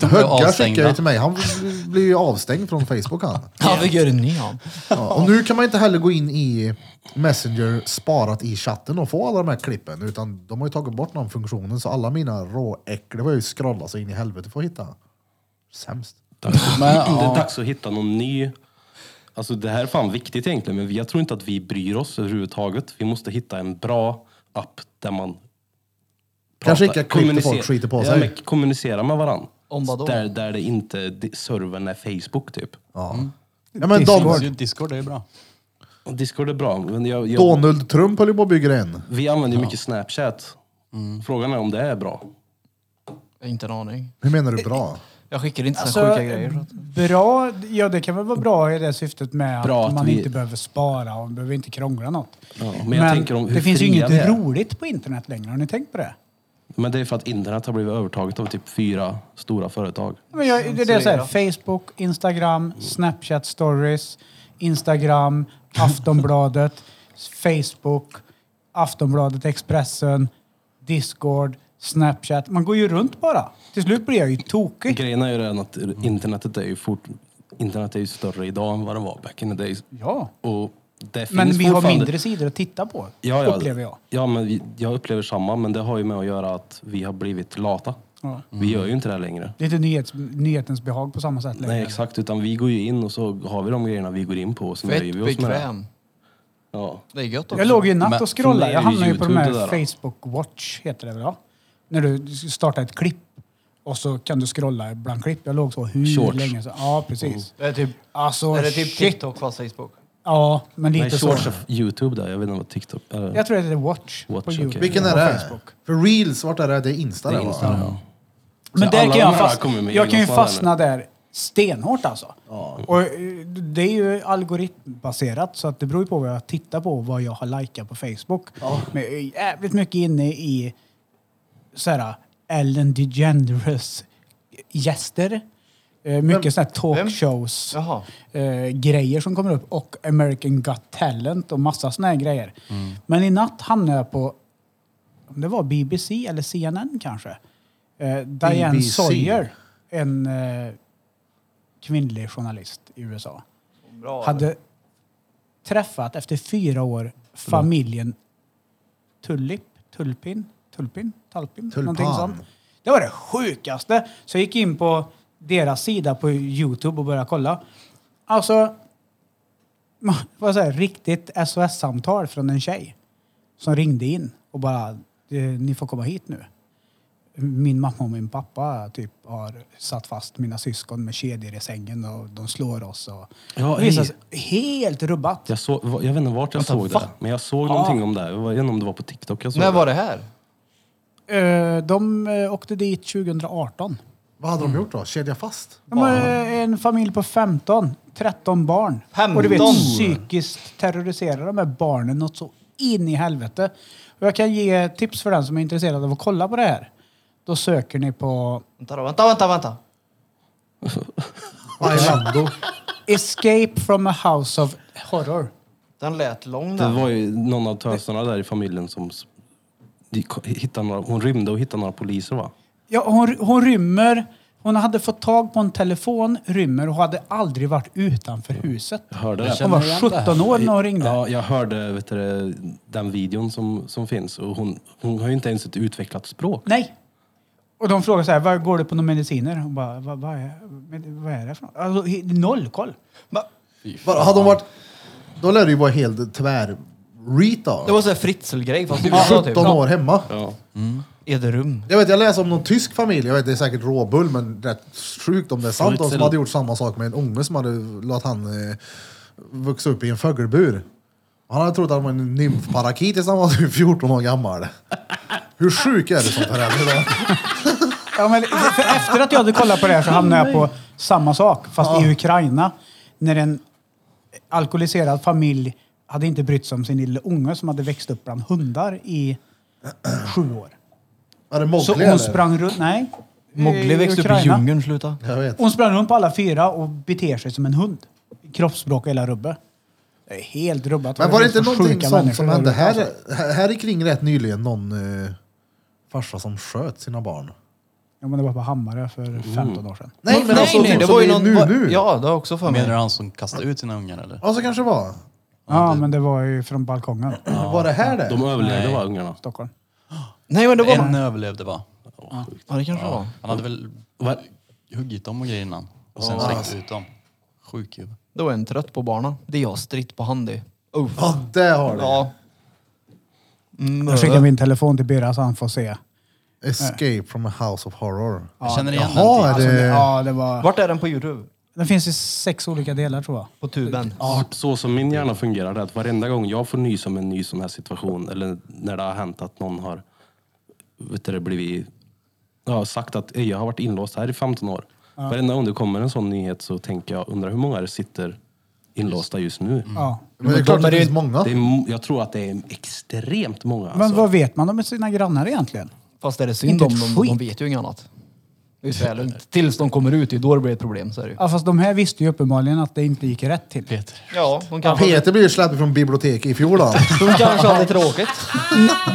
Speaker 6: De blev
Speaker 2: Högga skickar
Speaker 6: avstängda.
Speaker 2: ju till mig. Han blir ju avstängd från Facebook han.
Speaker 5: Ja, vad gör ni av?
Speaker 2: Ja. Och nu kan man inte heller gå in i Messenger sparat i chatten och få alla de här klippen. Utan de har ju tagit bort den funktionen. Så alla mina råäckliga var ju scrolla så in i helvete för att hitta. Sämst.
Speaker 6: Men,
Speaker 4: Det är
Speaker 6: ja.
Speaker 4: dags att hitta någon ny... Alltså det här är fan viktigt egentligen, men jag tror inte att vi bryr oss överhuvudtaget. Vi måste hitta en bra app där man...
Speaker 2: Kanske
Speaker 4: pratar-
Speaker 2: skicka klipp där
Speaker 4: kommunicer-
Speaker 2: folk skiter på
Speaker 4: Ja,
Speaker 2: sig.
Speaker 4: men kommunicera med varandra.
Speaker 5: Om vadå?
Speaker 4: Där, där det inte... Servern är Facebook typ.
Speaker 2: Ja. Ja, men
Speaker 6: Discord.
Speaker 2: de,
Speaker 6: Discord är ju bra.
Speaker 4: Discord är bra, men jag, jag,
Speaker 2: Donald Trump höll ju på att bygga en.
Speaker 4: vi använder ju mycket Snapchat.
Speaker 1: Mm.
Speaker 4: Frågan är om det är bra.
Speaker 5: Jag har inte en aning.
Speaker 2: Hur menar du bra?
Speaker 5: Jag skickar inte såna
Speaker 1: Alltså,
Speaker 5: sjuka grejer.
Speaker 1: bra, ja det kan väl vara bra i det syftet med
Speaker 4: Bra
Speaker 1: att
Speaker 4: att
Speaker 1: man
Speaker 4: vi-
Speaker 1: inte behöver spara och behöver inte krångla något.
Speaker 4: Ja, men jag tänker om hur
Speaker 1: det finns ju
Speaker 4: fria
Speaker 1: inget
Speaker 4: vi är.
Speaker 1: roligt på internet längre, har ni tänkt på det?
Speaker 4: Men det är för att internet har blivit övertaget av typ fyra stora företag.
Speaker 1: Men jag, det är det så här, Facebook, Instagram, Snapchat stories, Instagram, Aftonbladet,
Speaker 4: *laughs*
Speaker 1: Facebook, Aftonbladet, Expressen, Discord, Snapchat. Man går ju runt bara. Till slut blir jag ju tokig.
Speaker 4: Grejen är ju den att
Speaker 1: Mm.
Speaker 4: internetet är ju fort... Internet är ju större idag än vad det var back in the days.
Speaker 1: Ja.
Speaker 4: Och det finns
Speaker 1: Men vi har
Speaker 4: fortfarande-
Speaker 1: mindre sidor att titta på,
Speaker 4: ja, ja,
Speaker 1: upplever jag.
Speaker 4: Ja, men vi, jag upplever samma, men det har ju med att göra att vi har blivit lata.
Speaker 1: Ja.
Speaker 4: Vi gör ju inte det här längre.
Speaker 1: Det är inte nyhets, nyhetens behag på samma sätt längre.
Speaker 4: Nej, exakt. Utan vi går ju in och så har vi de grejerna vi går in på och så nöjer
Speaker 5: Fett
Speaker 4: vi oss med det.
Speaker 5: bekväm.
Speaker 4: Ja.
Speaker 5: Det är gött också.
Speaker 1: Jag låg ju i natt
Speaker 4: Men
Speaker 1: och scrollade. Jag
Speaker 4: för mig är
Speaker 1: hamnade ju
Speaker 4: det
Speaker 1: på de här
Speaker 4: YouTube det där,
Speaker 1: Facebook Watch, heter det väl? ja? När du startar ett klipp och så kan du scrolla bland klipp. Jag låg så hur
Speaker 4: Shorts.
Speaker 1: länge som Ja, precis.
Speaker 5: Det är typ,
Speaker 1: Alltså,
Speaker 5: är det typ
Speaker 1: shit.
Speaker 5: TikTok fast Facebook?
Speaker 1: Ja, men
Speaker 4: Nej,
Speaker 1: lite så.
Speaker 4: shorts är YouTube där. Jag vet inte vad TikTok... Eller,
Speaker 1: Jag tror att det är Watch,
Speaker 4: Watch,
Speaker 1: på
Speaker 4: okej.
Speaker 1: YouTube.
Speaker 2: Vilken är
Speaker 1: och
Speaker 2: det?
Speaker 1: Facebook.
Speaker 2: För reels, vart är det? Det är Insta
Speaker 4: det
Speaker 2: det
Speaker 4: är Insta,
Speaker 2: va?
Speaker 4: ja.
Speaker 1: Men
Speaker 4: Så
Speaker 1: där kan
Speaker 4: alla de
Speaker 1: jag
Speaker 4: här kommer
Speaker 1: fastna.
Speaker 4: med
Speaker 1: Jag
Speaker 4: egna
Speaker 1: kan ju
Speaker 4: svar där
Speaker 1: fastna där stenhårt alltså. Och eh, det är ju algoritmbaserat så att det beror ju på vad jag tittar på och vad jag har likat på Facebook. Men jag är jävligt mycket inne i såhär Ellen DeGeneres gäster. Eh, Mycket sådana här talkshows.
Speaker 5: Jaha.
Speaker 1: eh, grejer som kommer upp och American Got Talent och massa såna här grejer. Men i natt hamnade jag på, om det var BBC eller CNN kanske, eh, Diane
Speaker 2: BBC.
Speaker 1: Sawyer, en eh, kvinnlig journalist i USA,
Speaker 5: Bra.
Speaker 1: hade träffat efter fyra år familjen Tulip, Tulpin, Tulpin, Talpin,
Speaker 2: Tulpan.
Speaker 1: någonting sånt. Det var det sjukaste. Så jag gick in på deras sida på Youtube och började kolla. Alltså, *laughs* det var så här, riktigt SOS-samtal från en tjej som ringde in och bara, "Eh, ni får komma hit nu. Min mamma och min pappa typ har satt fast mina syskon med kedjor i sängen och de slår oss. Och
Speaker 4: Ja,
Speaker 1: det visar
Speaker 4: hej.
Speaker 1: sig helt rubbat.
Speaker 4: Jag, såg, jag vet inte vart jag
Speaker 5: Vänta,
Speaker 4: såg
Speaker 5: va?
Speaker 4: det, men jag såg någonting om det. här. Jag vet inte om det var på TikTok jag såg
Speaker 5: När var det här?
Speaker 1: Eh, De eh, åkte dit 2018.
Speaker 2: Vad hade de gjort då? Kedja fast?
Speaker 1: De har eh, en familj på 15, 13 barn. Och du vet,
Speaker 5: 15?
Speaker 1: psykiskt terroriserar de här barnen något så in i helvete. Och jag kan ge tips för den som är intresserad av att kolla på det här. Då söker ni på
Speaker 5: Vänta, då, vänta, vänta, vänta.
Speaker 2: Bailando?
Speaker 1: Escape from a house of horror.
Speaker 5: Den lät lång
Speaker 4: Det
Speaker 5: den.
Speaker 4: var ju någon av tösarna där i familjen som s- de ko- hittade några, hon rymde och hittade några poliser va?
Speaker 1: Ja, hon, hon rymmer. Hon hade fått tag på en telefon, rymmer och hade aldrig varit utanför huset.
Speaker 4: Jag hörde
Speaker 6: Jag
Speaker 4: det.
Speaker 1: Hon
Speaker 6: känner igen det
Speaker 1: var
Speaker 6: här.
Speaker 1: 17 år när hon ringde.
Speaker 4: Ja, jag hörde vet du, det, den videon som, som finns och hon, hon har ju inte ens ett utvecklat språk.
Speaker 1: Nej. Och de frågar så här, vad går det på några mediciner? Hon bara, vad, vad, är, vad är det för något? Alltså, he- noll koll.
Speaker 2: Bara, Hade de varit... Då lär det ju vara helt tvär... Reet
Speaker 5: Det
Speaker 2: då.
Speaker 5: var sån här fritzelgrej fast i USA typ.
Speaker 2: 17 år hemma.
Speaker 4: Ja.
Speaker 5: Ederum.
Speaker 2: Jag vet, jag läser om någon tysk familj, jag vet det är säkert råbull men rätt sjukt om det är sant, de som
Speaker 4: Fruitzel.
Speaker 2: hade gjort samma sak med en unge som hade låtit han eh, vuxa upp i en fågelbur. Han hade trott att han var en nymfparakit tills han var typ 14
Speaker 1: *laughs*
Speaker 2: år gammal. Hur sjuk är du som förälder då?
Speaker 1: Ja, men, för för efter att jag hade kollat på det här så hamnade jag på samma sak, fast i Ukraina. När en alkoholiserad familj hade inte brytt sig om sin lilla unge som hade växt upp bland hundar i sju år.
Speaker 2: Är det Mowgli
Speaker 1: Så
Speaker 2: eller?
Speaker 1: hon sprang runt... Nej.
Speaker 5: Mowgli växte upp i
Speaker 1: Ukraina.
Speaker 5: djungeln, sluta.
Speaker 2: Jag vet.
Speaker 1: Hon sprang runt på alla fyra och beter sig som en hund. Kroppsspråk och hela rubbet. Det är helt rubbat.
Speaker 2: Men var det inte
Speaker 1: så
Speaker 2: någonting
Speaker 1: sjuka
Speaker 2: sånt
Speaker 1: människor
Speaker 2: som
Speaker 1: där
Speaker 2: hände
Speaker 1: ute, alltså.
Speaker 2: här, här i kring rätt nyligen? Någon eh, farsa som sköt sina barn.
Speaker 1: Ja, men det var på Hammarö för 15 år sedan.
Speaker 2: Nej men alltså typ som det är nu nu. Ja.
Speaker 5: Ja, det har jag också för
Speaker 6: Menar du
Speaker 5: mig.
Speaker 6: han som kastade ut sina ungar eller?
Speaker 2: så kanske det var.
Speaker 1: Ja, men det var ju från balkongen.
Speaker 2: Var det här det?
Speaker 4: De överlevde va, ungarna?
Speaker 1: Stockholm.
Speaker 5: Nej men det var...
Speaker 6: En överlevde va?
Speaker 5: Ja, det kanske det var.
Speaker 6: Han hade väl
Speaker 4: Va?
Speaker 6: huggit dem och grejer innan. Och sen släckt ut dem. Sjuk ju.
Speaker 5: Det var en trött på barnen. Det är jag stritt på hand i. Uff.
Speaker 2: Ja, det har du.
Speaker 5: Ja. Mm,
Speaker 1: Jag skickade min telefon till Birra så han får se.
Speaker 2: Escape from a house of horror.
Speaker 6: Jag känner igen den.
Speaker 2: Jaha,
Speaker 6: till-
Speaker 1: Alltså,
Speaker 2: är
Speaker 1: det,
Speaker 2: det...
Speaker 1: ja, det var...
Speaker 5: Vart är den på Youtube?
Speaker 1: Den finns i sex olika delar tror jag.
Speaker 5: På tuben.
Speaker 4: Så som min hjärna fungerar det är att varenda gång jag får nys om en ny sån här situation eller när det har hänt att någon har vet du, det, blivit, ja, sagt att "Ey, jag har varit inlåst här i 15 år. Varenda gång det kommer en sån nyhet så tänker jag, undrar hur många det sitter inlåsta just nu.
Speaker 1: Ja.
Speaker 2: Men det är klart
Speaker 5: de är
Speaker 2: det
Speaker 5: ju-
Speaker 2: finns många.
Speaker 4: Det är, mo- jag tror att det är extremt många.
Speaker 1: Men
Speaker 4: Alltså.
Speaker 1: vad vet man om sina grannar egentligen?
Speaker 5: Fast är det synd
Speaker 1: Inte
Speaker 5: om
Speaker 1: ett
Speaker 5: dem, de
Speaker 1: skit.
Speaker 5: vet ju inget annat. Det är så här lugnt. Tills de kommer ut, det är då det blir ett problem. Så är det ju.
Speaker 1: Ja, fast de här visste ju uppenbarligen att det inte gick rätt till.
Speaker 6: Peter.
Speaker 5: Ja, de kanske,
Speaker 2: Peter blev ju släppt från biblioteket i fjol då.
Speaker 5: de kanske hade tråkigt.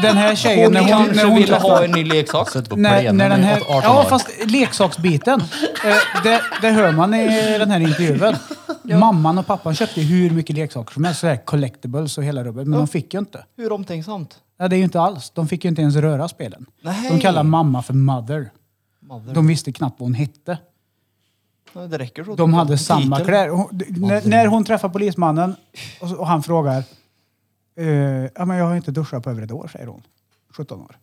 Speaker 1: Den här tjejen,
Speaker 5: Hon
Speaker 1: när hon,
Speaker 5: kanske
Speaker 1: när hon
Speaker 5: ville ha
Speaker 1: träffade-
Speaker 5: en ny leksak.
Speaker 6: Suttit på
Speaker 1: När,
Speaker 6: plenen
Speaker 1: när den
Speaker 6: i
Speaker 1: här,
Speaker 6: 18 år.
Speaker 1: ja, fast leksaksbiten. eh, det, det hör man i den här intervjun. Mamman och pappan köpte ju hur mycket leksaker som helst, så här collectibles och hela rubbet. Men de fick ju inte.
Speaker 5: Hur omtänksamt?
Speaker 1: Ja, det är ju inte alls. De fick ju inte ens röra spelen.
Speaker 5: Nej.
Speaker 1: De kallar mamma för mother.
Speaker 5: Mother.
Speaker 1: De visste knappt vad hon hette.
Speaker 5: Ja, Det räcker så.
Speaker 1: De hade samma
Speaker 5: Titel.
Speaker 1: kläder. Hon, d- när, när hon träffar polismannen och, och han frågar. eh, ja, men jag har inte duschat på över ett år, säger hon. 17 år.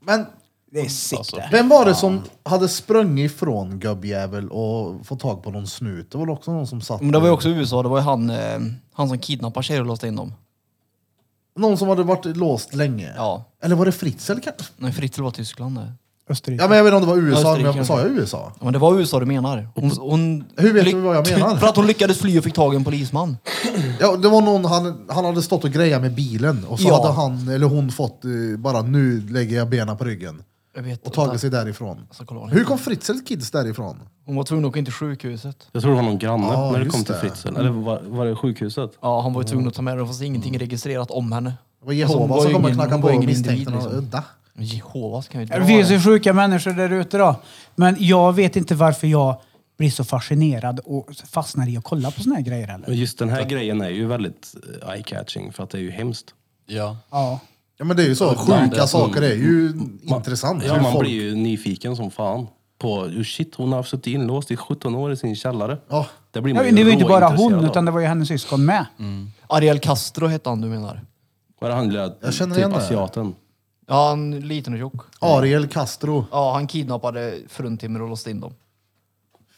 Speaker 2: Men
Speaker 1: Det är sick det.
Speaker 2: vem var det som hade sprungit ifrån gubbjävel och fått tag på någon snut? Det var väl också någon som satt...
Speaker 5: Men det var ju också i USA, det var ju han, eh, han som kidnappade tjejer och låste in dem.
Speaker 2: Någon som hade varit låst länge.
Speaker 5: Ja.
Speaker 2: Eller var det Fritz eller kanske?
Speaker 5: Nej, Fritzl var Tyskland det.
Speaker 1: Österrike.
Speaker 2: Ja men jag vet inte om det var USA,
Speaker 5: Österrike,
Speaker 2: men sa jag USA?
Speaker 5: Ja, men det var USA du menar. Hon, hon
Speaker 2: Hur vet
Speaker 5: lyck-
Speaker 2: du vad jag menar?
Speaker 5: *laughs* För att hon lyckades fly och fick tag i en polisman.
Speaker 2: Ja, det var någon, han, han hade stått och grejat med bilen och så
Speaker 5: Ja.
Speaker 2: hade han eller hon fått eh, bara nu lägger jag benen på ryggen.
Speaker 5: Jag vet
Speaker 2: Och
Speaker 5: inte.
Speaker 2: tagit sig därifrån.
Speaker 5: Alltså, kolla vad hon
Speaker 2: Hur
Speaker 5: heter.
Speaker 2: kom Fritzels kids därifrån?
Speaker 5: Hon var tvungen att åka in till sjukhuset.
Speaker 4: Jag tror det var någon granne
Speaker 2: Ja,
Speaker 4: när det
Speaker 2: just
Speaker 4: kom till
Speaker 2: det.
Speaker 4: Fritzl. Eller var, var det sjukhuset?
Speaker 5: Ja, han var ju tvungen att ta med henne. Det fanns ingenting registrerat om henne.
Speaker 2: Mm. Det var
Speaker 5: Alltså, hon
Speaker 2: Jehova som
Speaker 5: ju
Speaker 2: kom och
Speaker 5: ingen-
Speaker 2: knackade
Speaker 5: hon var
Speaker 2: på
Speaker 5: ju
Speaker 2: och
Speaker 5: ingen
Speaker 2: misstänkte
Speaker 5: individ,
Speaker 2: någon.
Speaker 5: liksom.
Speaker 2: Udda.
Speaker 5: Men Jehovas kan ju inte
Speaker 1: Det finns ju
Speaker 5: det.
Speaker 1: sjuka människor där ute då. Men jag vet inte varför jag blir så fascinerad och fastnar i att kolla på såna här grejer heller.
Speaker 4: Men just den här grejen är ju väldigt eh, eye-catching för att det är ju hemskt.
Speaker 6: Ja.
Speaker 1: Ja.
Speaker 2: Ja men det är ju så,
Speaker 4: det är-
Speaker 2: sjuka saker är ju intressant.
Speaker 4: Ja,
Speaker 2: Hur
Speaker 4: man
Speaker 2: folk-
Speaker 4: blir ju nyfiken som fan. På, "Oh shit, hon har suttit inlåst i 17 år i sin källare.
Speaker 2: Ja.
Speaker 4: Det blir
Speaker 1: Ja,
Speaker 4: man
Speaker 1: men det var ju inte bara
Speaker 4: råintresserad
Speaker 1: hon,
Speaker 4: av.
Speaker 1: utan det var ju hennes syskon med.
Speaker 5: Ariel Castro hette han du menar?
Speaker 4: Vad det handlar om,
Speaker 2: Jag känner
Speaker 4: typ
Speaker 2: igen det.
Speaker 4: asiaten.
Speaker 5: Ja, han är liten och tjock.
Speaker 2: Ariel Castro.
Speaker 5: Ja, han kidnappade fruntimmer och låste in dem.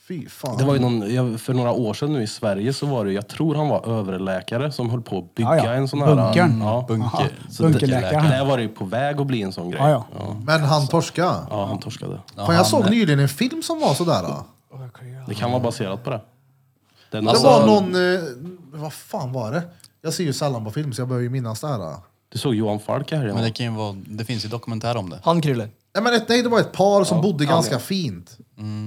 Speaker 2: Fy fan.
Speaker 4: Det var ju någon, jag- för några år sedan nu i Sverige så var det, jag tror han var överläkare som höll på att bygga
Speaker 1: Ja, ja.
Speaker 4: en sån här...
Speaker 1: Bunkern.
Speaker 4: Ja,
Speaker 1: Aha,
Speaker 6: Bunker. Så
Speaker 1: Bunkerläkaren.
Speaker 4: Där var det ju på väg att bli en sån grej.
Speaker 1: Ja, ja.
Speaker 2: Men han torska.
Speaker 4: Ja, han torskade.
Speaker 2: Fan, jag såg nyligen en film som var sådär. Då.
Speaker 4: Det kan vara baserat på det. Den
Speaker 2: Det var någon... Eh, vad fan var det? Jag ser ju sällan på film så jag behöver ju minnas det här. Då.
Speaker 4: Du såg Johan Falk här
Speaker 6: Men
Speaker 4: igen.
Speaker 6: det kan ju vara, det finns ju dokumentär om det.
Speaker 5: Han Krille.
Speaker 2: Nej, men ett, nej, det var ett par som bodde ganska fint.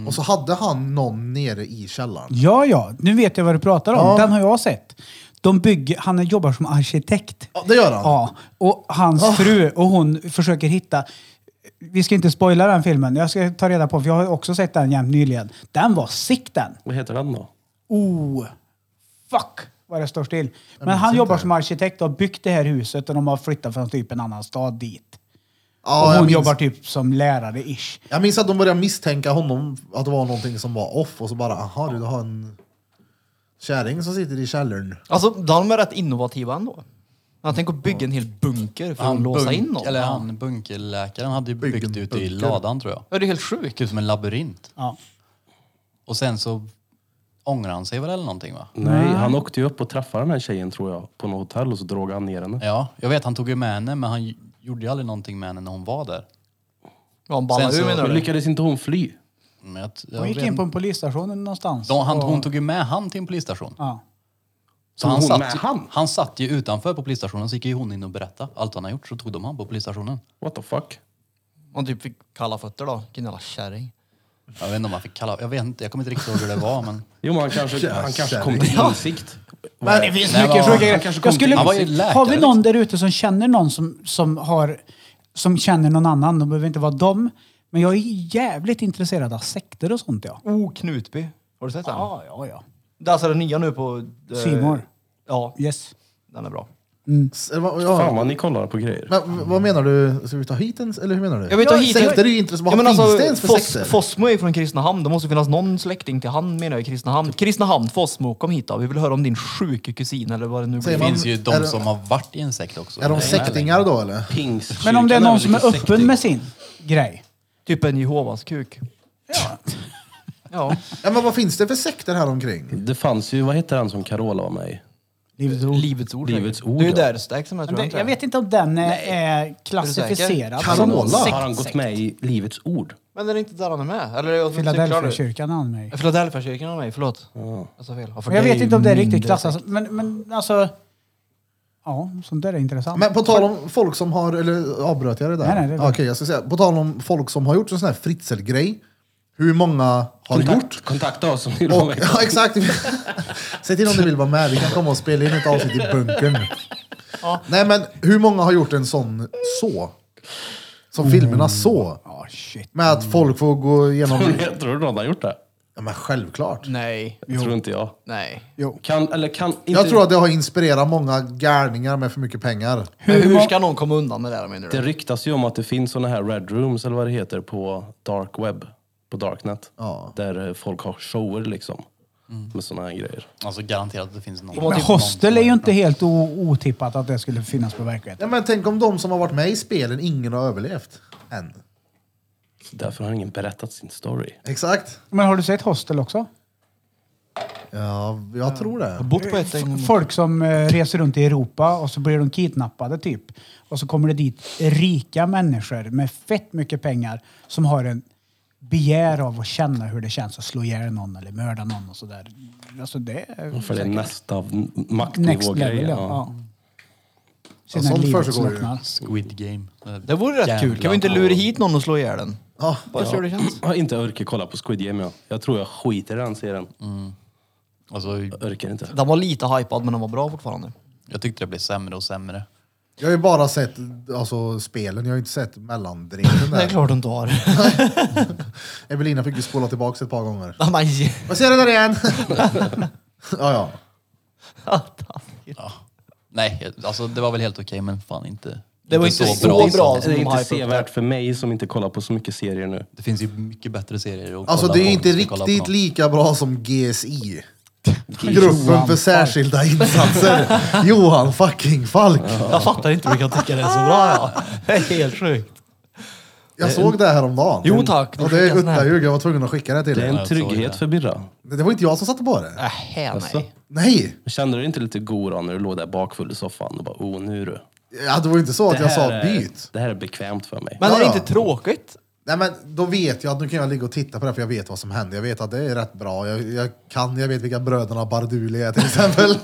Speaker 2: Och så hade han någon nere i källaren.
Speaker 1: Ja, ja. Nu vet jag vad du pratar om. Den har jag sett. De bygger, han jobbar som arkitekt.
Speaker 2: Ja, det gör han.
Speaker 1: Ja, och hans fru och hon försöker hitta... Vi ska inte spoila den filmen. Jag ska ta reda på, för jag har också sett den jämt nyligen. Den var sick den!
Speaker 4: Vad heter den då?
Speaker 1: Oh, fuck vad det står still. Men han jobbar som arkitekt och har byggt det här huset och de har flyttat från typ en annan stad dit.
Speaker 2: Ja,
Speaker 1: och
Speaker 2: jag
Speaker 1: hon
Speaker 2: minns-
Speaker 1: jobbar typ som lärare-ish.
Speaker 2: Jag minns att de började misstänka honom att det var någonting som var off och så bara, aha du du har en kärring som sitter i källaren.
Speaker 5: Alltså, de är rätt innovativa ändå. Han tänker bygga en hel bunker för att låsa
Speaker 6: bunk-
Speaker 5: in någon.
Speaker 6: Eller han bunkerläkaren hade ju
Speaker 2: Bygg en
Speaker 6: byggt ut i
Speaker 2: bunker.
Speaker 6: ladan tror jag.
Speaker 5: Ja, det är helt sjukt.
Speaker 6: Typ som en labyrint.
Speaker 1: Ja.
Speaker 6: Och sen så ångrar han sig väl eller någonting va?
Speaker 4: Nej, han åkte ju upp och träffade den här tjejen tror jag, på något hotell och så drog han ner henne.
Speaker 6: Ja, jag vet han tog ju med henne men han ju- gjorde ju aldrig någonting med henne när hon var där.
Speaker 5: Ja, han ballar
Speaker 6: Sen
Speaker 5: ur
Speaker 6: så-
Speaker 5: menar
Speaker 4: Men
Speaker 5: du?
Speaker 4: lyckades inte hon fly?
Speaker 6: Men jag, t- jag
Speaker 1: Hon gick
Speaker 6: vet-
Speaker 1: in på en polisstation någonstans.
Speaker 6: de, han,
Speaker 1: och-
Speaker 6: hon tog ju med han till en polisstation.
Speaker 1: Ja.
Speaker 6: Så
Speaker 4: Tog
Speaker 6: han
Speaker 4: hon
Speaker 6: satt,
Speaker 4: med
Speaker 6: ju-
Speaker 4: han?
Speaker 6: han satt ju utanför på polisstationen så gick ju hon in och berättade allt han har gjort. Så tog de han på polisstationen.
Speaker 4: What the fuck?
Speaker 5: Han typ fick kalla fötter då. Vilken jävla kärring.
Speaker 6: Jag vet inte om man fick kalla... Jag vet inte, jag kommer inte riktigt ihåg hur det var men...
Speaker 4: Jo, men han kanske, han kanske kom till insikt.
Speaker 2: Men,
Speaker 1: Det finns
Speaker 6: Nej,
Speaker 1: mycket
Speaker 6: vad-
Speaker 1: sjuka
Speaker 4: han
Speaker 1: grejer.
Speaker 4: kanske kom
Speaker 1: Jag skulle,
Speaker 6: till- Han var ju läkare,
Speaker 1: har vi någon där ute som känner någon som, som, har, som känner någon annan? De behöver inte vara dem. Men jag är jävligt intresserad av sekter och sånt. Ja,
Speaker 5: Oh, Knutby. Har du sett den?
Speaker 1: ja, ja. ja.
Speaker 5: Det är alltså den nya nu på... eh,
Speaker 1: Simor.
Speaker 5: Ja,
Speaker 1: Yes.
Speaker 5: den är bra.
Speaker 2: s- vad-
Speaker 4: Fan
Speaker 2: ja.
Speaker 4: vad ni kollar på grejer.
Speaker 2: men v- vad menar du? Ska vi ta hit en, s- eller hur menar du?
Speaker 5: Jag vill ta hit...
Speaker 2: Sekter är ju intressant. Vad
Speaker 5: Ja, men
Speaker 2: finns
Speaker 5: alltså,
Speaker 2: det ens för
Speaker 5: Foss,
Speaker 2: sekter?
Speaker 5: Fossmo är ju från Kristinehamn. Det måste ju finnas någon släkting till han menar jag i Kristinehamn. Kristinehamn, Fossmo, kom hit då. Vi vill höra om din sjuke kusin eller vad det nu
Speaker 2: Säger
Speaker 6: Det
Speaker 5: blir.
Speaker 2: man-
Speaker 6: finns ju
Speaker 2: är
Speaker 6: de
Speaker 2: det-
Speaker 6: som har varit i en sekt också.
Speaker 2: är de
Speaker 6: Nej,
Speaker 2: sektingar då eller?
Speaker 4: Pingstkyrkan
Speaker 1: Men om det är någon som är
Speaker 4: lite
Speaker 1: öppen
Speaker 4: sektig.
Speaker 1: med sin grej.
Speaker 5: Typ en Jehovas kuk. Ja.
Speaker 2: Ja, men vad finns det för sekter här omkring?
Speaker 4: Det fanns ju, vad hette han som Carola var med i?
Speaker 1: Livets ord.
Speaker 5: Livets ord.
Speaker 4: Livets
Speaker 5: säkert.
Speaker 4: ord,
Speaker 5: Det är ju
Speaker 4: ja.
Speaker 5: där Stack som jag tror
Speaker 1: Det,
Speaker 5: inte
Speaker 1: jag
Speaker 5: är.
Speaker 1: vet inte om den är, är klassificerad.
Speaker 2: Carola?
Speaker 1: som sekt.
Speaker 4: Har han gått med i Livets ord?
Speaker 5: Men är det inte där han är med? Eller är
Speaker 1: alltså, typ,
Speaker 5: jag Philadelphia
Speaker 1: Philadelphia-kyrkan han mig.
Speaker 5: Philadelphia-kyrkan har mig, förlåt. Jag sa fel. Ja, för
Speaker 1: Men jag
Speaker 5: det är
Speaker 1: vet
Speaker 5: ju
Speaker 1: inte om det är
Speaker 5: mindre
Speaker 1: riktigt klassat
Speaker 5: sekt.
Speaker 1: som- men, men alltså... Ja, sånt där är intressant.
Speaker 2: Men på tal om folk som har, eller avbröt jag det där?
Speaker 1: Nej, nej, det är bra.
Speaker 2: Okej, jag ska säga. På tal om folk som har gjort en sån här fritzelgrej. Hur många har gjort?
Speaker 4: Kontakt, kontakta oss om ni vill
Speaker 1: *laughs*
Speaker 4: vara
Speaker 2: Och,
Speaker 4: med.
Speaker 2: ja, exakt. *laughs* Säg till om du vill vara med. Vi kan komma och spela in ett avsnitt i bunkern. Nej, men hur många har gjort en sån så? Som filmerna så?
Speaker 1: Mm. Ja, Mm. shit.
Speaker 2: Med att folk får gå igenom...
Speaker 4: Jag tror någon har gjort det.
Speaker 2: Ja, men självklart.
Speaker 5: Nej,
Speaker 4: Jag tror inte jag.
Speaker 5: nej.
Speaker 4: Kan, eller kan inte...
Speaker 2: Jag tror att det har inspirerat många gärningar med för mycket pengar.
Speaker 5: Men hur ska någon komma undan med det här menar
Speaker 4: Det
Speaker 5: du?
Speaker 4: ryktas ju om att det finns såna här red rooms eller vad det heter på dark web, på darknet.
Speaker 2: Ja. Mm.
Speaker 4: Där eh, folk har shower liksom. Med såna här grejer.
Speaker 6: Alltså garanterat att det finns någon. typ
Speaker 1: Men
Speaker 6: någon
Speaker 1: hostel är
Speaker 6: som
Speaker 1: ju
Speaker 6: har-
Speaker 1: inte helt o- otippat att det skulle finnas på verkligheten.
Speaker 2: Ja, men tänk om de som har varit med i spelen, ingen har överlevt än.
Speaker 4: Så därför har ingen berättat sin story.
Speaker 2: Exakt.
Speaker 1: Men har du sett hostel också?
Speaker 2: Ja, jag tror det.
Speaker 5: Bort på ett en...
Speaker 1: Folk som eh, reser runt i Europa och så blir de kidnappade typ. Och så kommer det dit rika människor med fett mycket pengar som har en begär av att känna hur det känns att slå ihjäl någon eller mörda någon och sådär. Alltså det är
Speaker 4: För det är nästa
Speaker 1: next level.
Speaker 4: maktnivå-grej.
Speaker 1: Ja.
Speaker 4: Mm. Ja.
Speaker 1: Ja.
Speaker 2: Ja,
Speaker 1: Sen
Speaker 2: sånt
Speaker 1: när livet
Speaker 2: försiggår ju.
Speaker 1: slocknar.
Speaker 6: Squid Game.
Speaker 5: Det vore rätt kul. Kan vi inte lura hit någon och slå ihjäl den?
Speaker 2: Ja.
Speaker 5: Bara se hur det känns.
Speaker 4: Jag har inte orkat kolla på Squid Game. Jag, jag tror jag skiter i den serien.
Speaker 1: Mm.
Speaker 6: Alltså,
Speaker 4: Jag orkar inte.
Speaker 5: Den var lite hypad men den var bra fortfarande.
Speaker 6: jag tyckte det blev sämre och sämre.
Speaker 2: Jag har ju bara sett alltså, spelen, jag har ju inte sett mellandreten
Speaker 5: *laughs* Det är
Speaker 2: där.
Speaker 5: klart du inte har.
Speaker 2: Evelina fick ju spola tillbaka ett par gånger.
Speaker 5: Nej.
Speaker 2: Vad ser du där igen? ja, ja.
Speaker 6: Ja. Nej, jag- alltså det var väl helt okej men fan inte. liksom.
Speaker 5: Det var inte så bra.
Speaker 4: Det
Speaker 5: som de
Speaker 4: är inte
Speaker 5: hypar upp
Speaker 4: sevärt för mig som inte kollar på så mycket serier nu.
Speaker 6: Det finns ju mycket bättre serier att
Speaker 2: Alltså
Speaker 6: kolla
Speaker 2: det är
Speaker 6: på
Speaker 2: ju
Speaker 6: om
Speaker 2: inte
Speaker 6: du ska kolla på
Speaker 2: riktigt
Speaker 6: någon.
Speaker 2: lika bra som GSI. Gruppen för särskilda insatser. Johan fucking Falk.
Speaker 5: Jag fattar inte hur du kan tycka det är så bra. Ja. Det är helt sjukt.
Speaker 2: Jag såg det här häromdagen.
Speaker 5: Jo, tack. Du
Speaker 2: Och det är
Speaker 5: skickade den här.
Speaker 2: Uttaljug, jag var tvungen att skicka det till
Speaker 4: Det är
Speaker 2: dig.
Speaker 4: en
Speaker 6: jag såg
Speaker 4: trygghet
Speaker 6: det.
Speaker 4: för Birra.
Speaker 2: Det var inte jag som satte på det.
Speaker 5: Äh, nej.
Speaker 2: Nej!
Speaker 4: Kände du inte lite god då när du låg där bakfull i soffan och bara oh nu du.
Speaker 2: Ja, det var ju inte så att jag sa
Speaker 4: är-
Speaker 2: byt.
Speaker 4: Det här är bekvämt för mig.
Speaker 5: Men är det
Speaker 2: Ja, ja.
Speaker 5: inte tråkigt?
Speaker 2: Nej men då vet jag att nu kan jag ligga och titta på det för jag vet vad som händer. Jag vet att det är rätt bra. Jag, jag kan, jag vet vilka bröderna Barduli är till
Speaker 6: *laughs*
Speaker 2: exempel.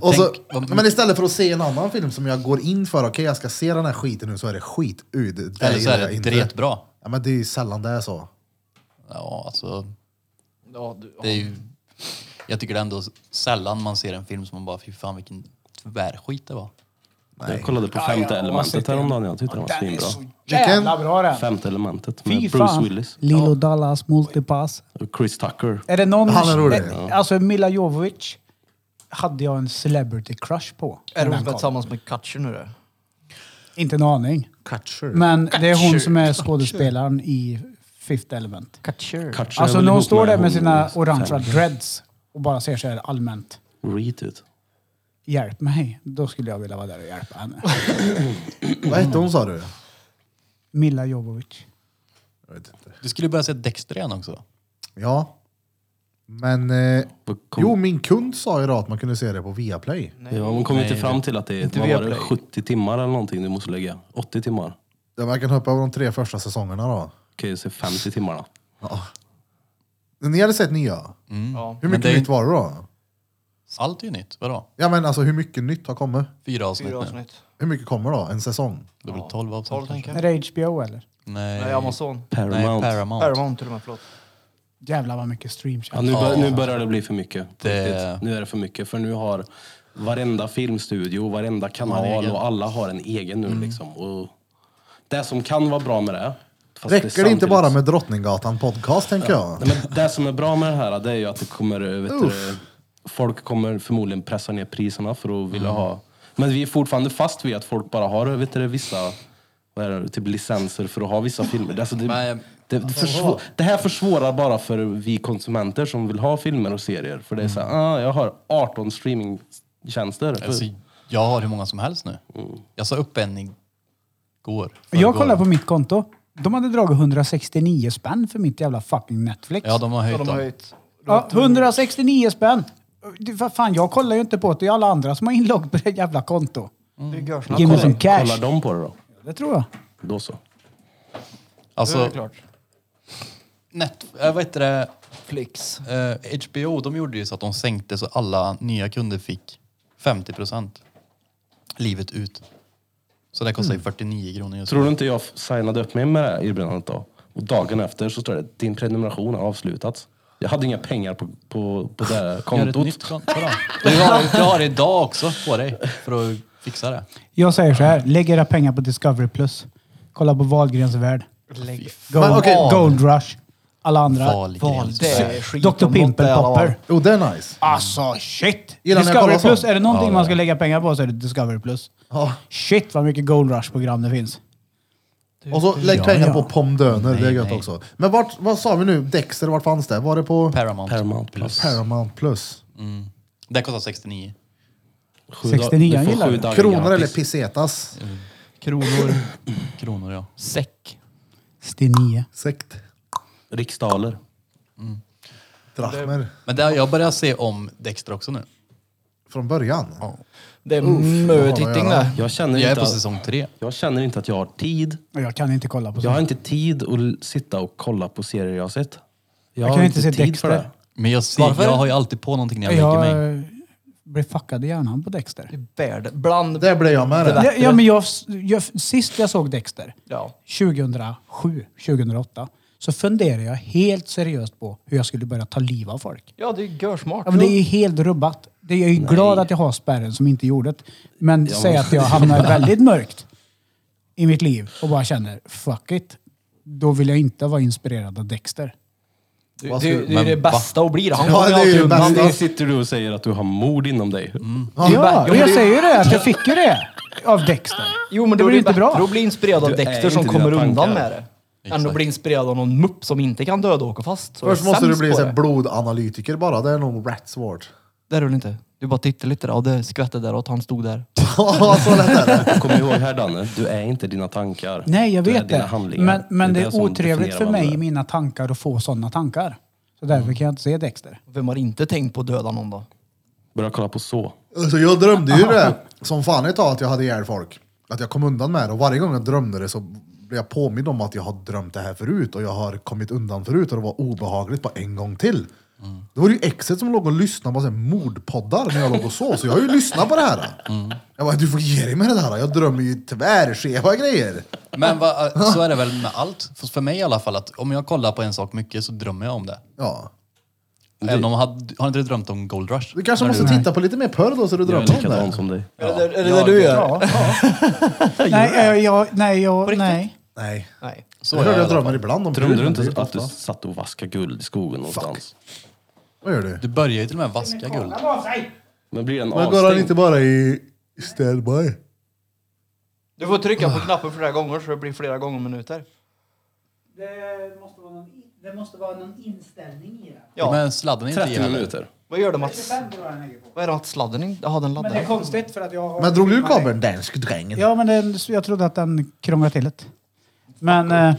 Speaker 2: och så,
Speaker 6: tänk vad-
Speaker 2: men istället för att se en annan film som jag går in för, okej jag ska se den här skiten nu så är det skitud. Det
Speaker 6: Eller så
Speaker 2: gillar
Speaker 6: är
Speaker 2: jag
Speaker 6: det
Speaker 2: inte.
Speaker 6: dretbra.
Speaker 2: Ja men det är ju sällan det är så.
Speaker 6: Ja, alltså. Det är ju, jag tycker det är ändå sällan man ser en film som man bara, fy fan vilken tvärskit det var.
Speaker 4: Jag kollade på Femte elementet häromdagen. Jag tyckte den var
Speaker 1: Den är
Speaker 4: svinbra.
Speaker 1: så jävla bra den.
Speaker 4: Femte elementet med
Speaker 1: Fy
Speaker 4: Bruce
Speaker 1: fan.
Speaker 4: Willis
Speaker 1: Lilo Dallas multipass.
Speaker 4: och Chris Tucker.
Speaker 1: Är det någon...
Speaker 2: Han är rolig.
Speaker 1: Eh, Alltså Mila Jovovich hade jag en celebrity crush på.
Speaker 5: Är
Speaker 1: när
Speaker 5: de
Speaker 1: den kom.
Speaker 5: tillsammans med Kutcher nu då?
Speaker 1: Inte en aning.
Speaker 2: Catcher.
Speaker 1: Men det är hon som är skådespelaren i Fifth Element.
Speaker 5: Kutcher.
Speaker 4: Kutcher är
Speaker 1: Alltså
Speaker 4: väl
Speaker 1: när hon
Speaker 4: ihop
Speaker 1: står där med
Speaker 4: hon-
Speaker 1: sina orangea
Speaker 4: Sam.
Speaker 1: dreads och bara ser så här allmänt.
Speaker 4: Reet ut.
Speaker 1: Hjälp mig. Då skulle jag vilja vara där och hjälpa henne.
Speaker 2: Vad hette hon sa du?
Speaker 1: Mila Jovovich.
Speaker 2: Jag vet inte.
Speaker 6: Du skulle börja se Dexter igen också.
Speaker 2: Ja. Men... Eh,
Speaker 4: Vad kom-
Speaker 2: jo min kund sa ju då att man kunde se det på Viaplay.
Speaker 4: Ja, hon kom ju inte fram till att det är vad var det,
Speaker 5: Viaplay.
Speaker 4: 70 timmar eller någonting du måste lägga. 80 timmar.
Speaker 2: Ja, man kan hoppa över de tre första säsongerna då.
Speaker 4: Okej, jag ser 50 timmar då.
Speaker 2: Ni hade sett nya?
Speaker 5: Ja.
Speaker 2: Hur mycket
Speaker 6: det är-
Speaker 2: nytt var det då?
Speaker 6: Allt är ju nytt. Vadå?
Speaker 2: Ja men alltså hur mycket nytt har kommit?
Speaker 6: Fyra avsnitt
Speaker 5: Fyra
Speaker 6: nu.
Speaker 5: avsnitt.
Speaker 2: Hur mycket kommer då? En säsong?
Speaker 6: Det blir tolv avsnitt.
Speaker 5: Tolv
Speaker 6: kanske.
Speaker 5: tänker jag.
Speaker 1: Är det HBO eller?
Speaker 6: Nej,
Speaker 5: Nej, Amazon.
Speaker 6: Nej,
Speaker 4: Paramount.
Speaker 6: Paramount.
Speaker 5: Paramount till och med, förlåt.
Speaker 1: Jävlar vad mycket streams.
Speaker 4: Ja, nu, bör, nu börjar det bli för mycket.
Speaker 6: Det-
Speaker 4: Riktigt. Nu är det för mycket. För nu har varenda filmstudio, varenda
Speaker 6: Har en
Speaker 4: kanal
Speaker 6: egen.
Speaker 4: och alla har en egen nu liksom. Och det som kan vara bra med det... fast
Speaker 2: Räcker det inte
Speaker 4: samtidigt-
Speaker 2: bara med Drottninggatan podcast tänker jag?
Speaker 4: Nej, men det som är bra med det här det är ju att det kommer, vet du, folk kommer förmodligen pressa ner priserna för att vilja ha. Men vi är fortfarande fast vid att folk bara har vet du, vissa vad är det, typ licenser för att ha vissa filmer. Alltså det,
Speaker 6: Men-
Speaker 4: det, försvå- det här försvårar bara för vi konsumenter som vill ha filmer och serier. För det är så här, ah, jag har 18 streamingtjänster.
Speaker 6: Alltså, jag har hur många som helst nu. Jag sa upp en igår.
Speaker 1: Jag
Speaker 6: Förrgår.
Speaker 1: kollar på mitt konto. De hade dragit 169 spänn för mitt jävla fucking Netflix.
Speaker 6: Ja, de har höjt
Speaker 7: Ja, de har
Speaker 6: dem.
Speaker 7: höjt.
Speaker 1: Ja, 169 spänn! Det- Vad fan, jag kollar ju inte på det. Det är alla andra som har inlogg på det jävla konto.
Speaker 7: Det är görsnack.
Speaker 1: Ge mig som
Speaker 4: Kollar
Speaker 1: cash.
Speaker 4: de på det då?
Speaker 1: Det tror jag.
Speaker 4: Då så.
Speaker 7: Det är
Speaker 6: Alltså,
Speaker 7: klart.
Speaker 6: net, äh, vad heter det?
Speaker 5: Flix.
Speaker 6: Eh, HBO, de gjorde ju så att de sänkte så alla nya kunder fick 50 procent livet ut. Så det kostar ju 49 kronor just
Speaker 4: Mm. Tror
Speaker 6: nu.
Speaker 4: du inte jag f- signade upp mig med det här erbjudandet då? Och dagen efter så står det din prenumeration har avslutats. Jag hade inga pengar på, på, på det här
Speaker 6: Gör ett nytt
Speaker 4: kontot.
Speaker 6: konto då. Du har, du har det idag också på dig för att fixa det.
Speaker 1: Jag säger så här, lägg era pengar på Discovery+. Plus. Kolla på Wahlgrens värld.
Speaker 5: Lägg.
Speaker 1: Gold,
Speaker 2: Men okej.
Speaker 1: Gold Rush. Alla andra.
Speaker 6: Wahlgrens.
Speaker 5: Det är skit
Speaker 1: Dr.
Speaker 5: om något
Speaker 1: Pimple
Speaker 5: där, va?
Speaker 1: Popper.
Speaker 2: Jo, det är nice.
Speaker 1: Alltså shit!
Speaker 2: Gillar ni att
Speaker 1: Discovery
Speaker 2: kolla sånt?
Speaker 1: Plus, är det någonting man ska lägga pengar på så är det Discovery Plus.
Speaker 2: Ja.
Speaker 1: Shit vad mycket Gold Rush-program det finns.
Speaker 2: Och så lägg pengar
Speaker 1: ja.
Speaker 2: på pomdöner, det är
Speaker 6: Nej,
Speaker 2: gött
Speaker 6: nej.
Speaker 2: också. Men vart, vad sa vi nu? Dexter, vart fanns det? Var det på
Speaker 6: Paramount.
Speaker 4: Paramount plus.
Speaker 2: Paramount plus?
Speaker 6: Det kostar 69.
Speaker 4: Sju
Speaker 1: 69
Speaker 4: dag- du får
Speaker 1: gillar
Speaker 4: sju
Speaker 1: det.
Speaker 4: dagar
Speaker 2: Kronor eller
Speaker 4: gratis.
Speaker 2: pesetas?
Speaker 5: Kronor.
Speaker 6: kronor ja.
Speaker 5: Säck.
Speaker 1: Stenio.
Speaker 2: Sekt.
Speaker 4: Riksdaler.
Speaker 2: Drachmer.
Speaker 6: Men det, jag börjar se om Dexter också nu.
Speaker 2: Från början?
Speaker 5: Det är
Speaker 2: vad
Speaker 5: mycket
Speaker 2: har jag
Speaker 5: titting
Speaker 2: där?
Speaker 5: där.
Speaker 4: Jag känner,
Speaker 6: Jag är
Speaker 4: inte,
Speaker 6: på
Speaker 4: att-
Speaker 6: säsong tre.
Speaker 4: jag känner inte att jag har tid.
Speaker 1: Jag kan inte kolla på
Speaker 4: Jag har
Speaker 1: sånt.
Speaker 4: inte tid att l- sitta och kolla på serier jag har sett. Jag,
Speaker 1: Jag
Speaker 4: har
Speaker 1: kan
Speaker 4: inte
Speaker 1: inte se
Speaker 4: tid
Speaker 1: Dexter.
Speaker 4: för det.
Speaker 6: Men jag, ser, jag har ju alltid på någonting när jag lägger mig.
Speaker 1: Jag eh, blev fuckad i hjärnan på Dexter.
Speaker 5: Bär det. Bland...
Speaker 2: Det blev jag med det.
Speaker 1: Ja, ja, men jag, jag, sist jag såg Dexter,
Speaker 5: Ja.
Speaker 1: 2007, 2008, så funderade jag helt seriöst på hur jag skulle börja ta liv av folk.
Speaker 5: ja, det är ju görsmart.
Speaker 1: Ja, men det är ju helt rubbat. Det är jag är ju glad att jag har spärren som inte gjorde det. Men säg att jag hamnar väldigt mörkt i mitt liv och bara känner fuck it. Då vill jag inte vara inspirerad av Dexter.
Speaker 5: Det,
Speaker 2: Vad
Speaker 5: det, det,
Speaker 2: skulle-
Speaker 5: är ju det
Speaker 6: men va?
Speaker 5: bästa att bli det. Han
Speaker 2: Ja,
Speaker 5: kommer
Speaker 2: det är
Speaker 5: alltid
Speaker 2: ju
Speaker 5: undan.
Speaker 2: bästa.
Speaker 4: Nu sitter du och säger att du har mod inom dig.
Speaker 1: Mm. Ja, och jag säger ju det, att jag fick ju det av Dexter.
Speaker 5: Jo, men
Speaker 1: det
Speaker 5: då är
Speaker 1: blir
Speaker 5: det
Speaker 1: inte bra.
Speaker 5: bättre att bli inspirerad av
Speaker 4: Du är
Speaker 5: Dexter som
Speaker 4: inte
Speaker 5: kommer
Speaker 4: dina
Speaker 5: undan
Speaker 4: tankar.
Speaker 5: med det. Än
Speaker 6: Exakt.
Speaker 5: att bli inspirerad av någon mupp som inte kan döda och åka fast. Så
Speaker 2: Först
Speaker 5: är
Speaker 2: måste du
Speaker 5: sämst
Speaker 2: bli
Speaker 5: på
Speaker 2: så här
Speaker 5: det.
Speaker 2: blodanalytiker bara, det är nog rätt svårt.
Speaker 5: Det är du inte. Du bara tittade lite där och det skvättade där och han stod där.
Speaker 2: Ja, så lätt är det.
Speaker 4: Kom ihåg här Danne, du är inte dina tankar.
Speaker 1: Nej, jag
Speaker 4: du är
Speaker 1: vet
Speaker 4: dina
Speaker 1: det.
Speaker 4: handlingar.
Speaker 1: Men, men det är,
Speaker 4: som
Speaker 1: otrevligt
Speaker 4: definierar
Speaker 1: för
Speaker 4: vem du
Speaker 1: mig i
Speaker 4: är.
Speaker 1: mina tankar att få sådana tankar. Så därför kan jag inte se Dexter.
Speaker 5: Vem har inte tänkt på att döda någon då?
Speaker 4: Börja kolla på så.
Speaker 2: Alltså, jag drömde ju det som fan ett tag att jag hade ihjäl folk. Att jag kom undan med det och varje gång jag drömde det så blev jag påmind om att jag har drömt det här förut och jag har kommit undan förut och det var obehagligt bara en gång till.
Speaker 4: Mm.
Speaker 2: Det var ju exet som låg och lyssnade på så här mordpoddar när jag låg och sov, så jag har ju lyssnat på det här.
Speaker 4: Mm.
Speaker 2: Jag bara, du får ge dig med det här. Jag drömmer ju tvärskeva grejer.
Speaker 6: Men va, så är det väl med allt. För- För mig i alla fall, att om jag kollar på en sak mycket så drömmer jag om det.
Speaker 2: Ja.
Speaker 6: Även om jag hade, har inte du drömt om Gold Rush?
Speaker 2: Du kanske måste titta på lite mer porr då så du
Speaker 4: Jag är
Speaker 2: drömmer om
Speaker 4: likadan
Speaker 2: det.
Speaker 4: som dig.
Speaker 5: Är det, är det, det du gör?
Speaker 2: Ja, ja.
Speaker 1: Nej, jag, jag, nej, jag, nej.
Speaker 2: Nej.
Speaker 5: Nej.
Speaker 2: Så jag
Speaker 6: är
Speaker 2: hörde
Speaker 6: jag
Speaker 2: jag
Speaker 6: i alla
Speaker 2: drömmer ibland om
Speaker 4: Drömde du
Speaker 2: bruden, det är
Speaker 4: inte
Speaker 2: ju
Speaker 4: att du
Speaker 2: ofta.
Speaker 4: satt och vaskade guld i skogen någonstans?
Speaker 2: Vad gör du?
Speaker 6: Du börjar ju till och med vaska guld.
Speaker 4: Men blir den
Speaker 2: Men går han
Speaker 4: avstängd?
Speaker 2: inte bara i standby?
Speaker 5: Du får trycka på knappen flera gånger så det blir flera gånger minuter.
Speaker 1: Det måste vara någon, det måste vara någon inställning i det.
Speaker 5: Ja.
Speaker 6: Men sladden är inte
Speaker 4: 30
Speaker 6: i heller.
Speaker 4: minuter.
Speaker 5: Vad gör det med att... Vad är det med att sladden inte... Jaha, den
Speaker 1: Men det är
Speaker 5: laddar.
Speaker 1: konstigt för att jag har...
Speaker 2: Men drog du kabeln dansk drängen?
Speaker 1: Ja, men den, jag trodde att den krånglade till det. Men... Eh,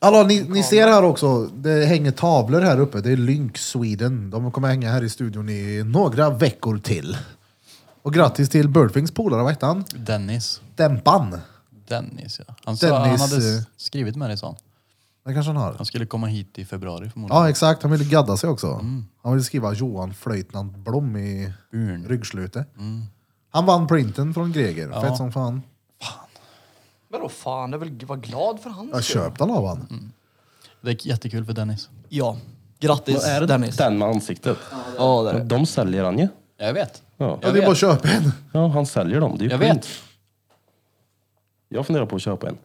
Speaker 2: Hallå, ni, ni ser här också, det hänger tavlor här uppe. Det är Lynx Sweden. De kommer hänga här i studion i några veckor till. Och grattis till Birdfings polare, vad hette han?
Speaker 6: Dennis.
Speaker 2: Dämpan.
Speaker 6: Dennis ja. Han, sa,
Speaker 2: Dennis,
Speaker 6: han hade
Speaker 2: eh,
Speaker 6: s- skrivit med dig sa han.
Speaker 2: Det kanske han har.
Speaker 6: Han skulle komma hit i februari förmodligen.
Speaker 2: Ja, exakt. Han ville gadda sig också. Han ville skriva Johan Flöjtnant Blom i
Speaker 6: Urn.
Speaker 2: ryggslutet. Han vann printen från Greger. Fett som fan.
Speaker 5: Vadå fan, det är väl... Var glad för hans
Speaker 2: Jag
Speaker 5: skull.
Speaker 2: köpte den av han.
Speaker 6: Det är jättekul för Dennis.
Speaker 5: Ja.
Speaker 4: Men
Speaker 5: Grattis
Speaker 4: Är det
Speaker 5: Dennis.
Speaker 4: den med ansiktet?
Speaker 5: Ja, det är det.
Speaker 4: De säljer han ju.
Speaker 6: Jag vet.
Speaker 4: Ja.
Speaker 2: Ja, det är bara att köpa en.
Speaker 4: ja, han säljer dem. Det är ju
Speaker 6: Jag
Speaker 4: skit.
Speaker 6: vet.
Speaker 4: Jag funderar på att köpa en.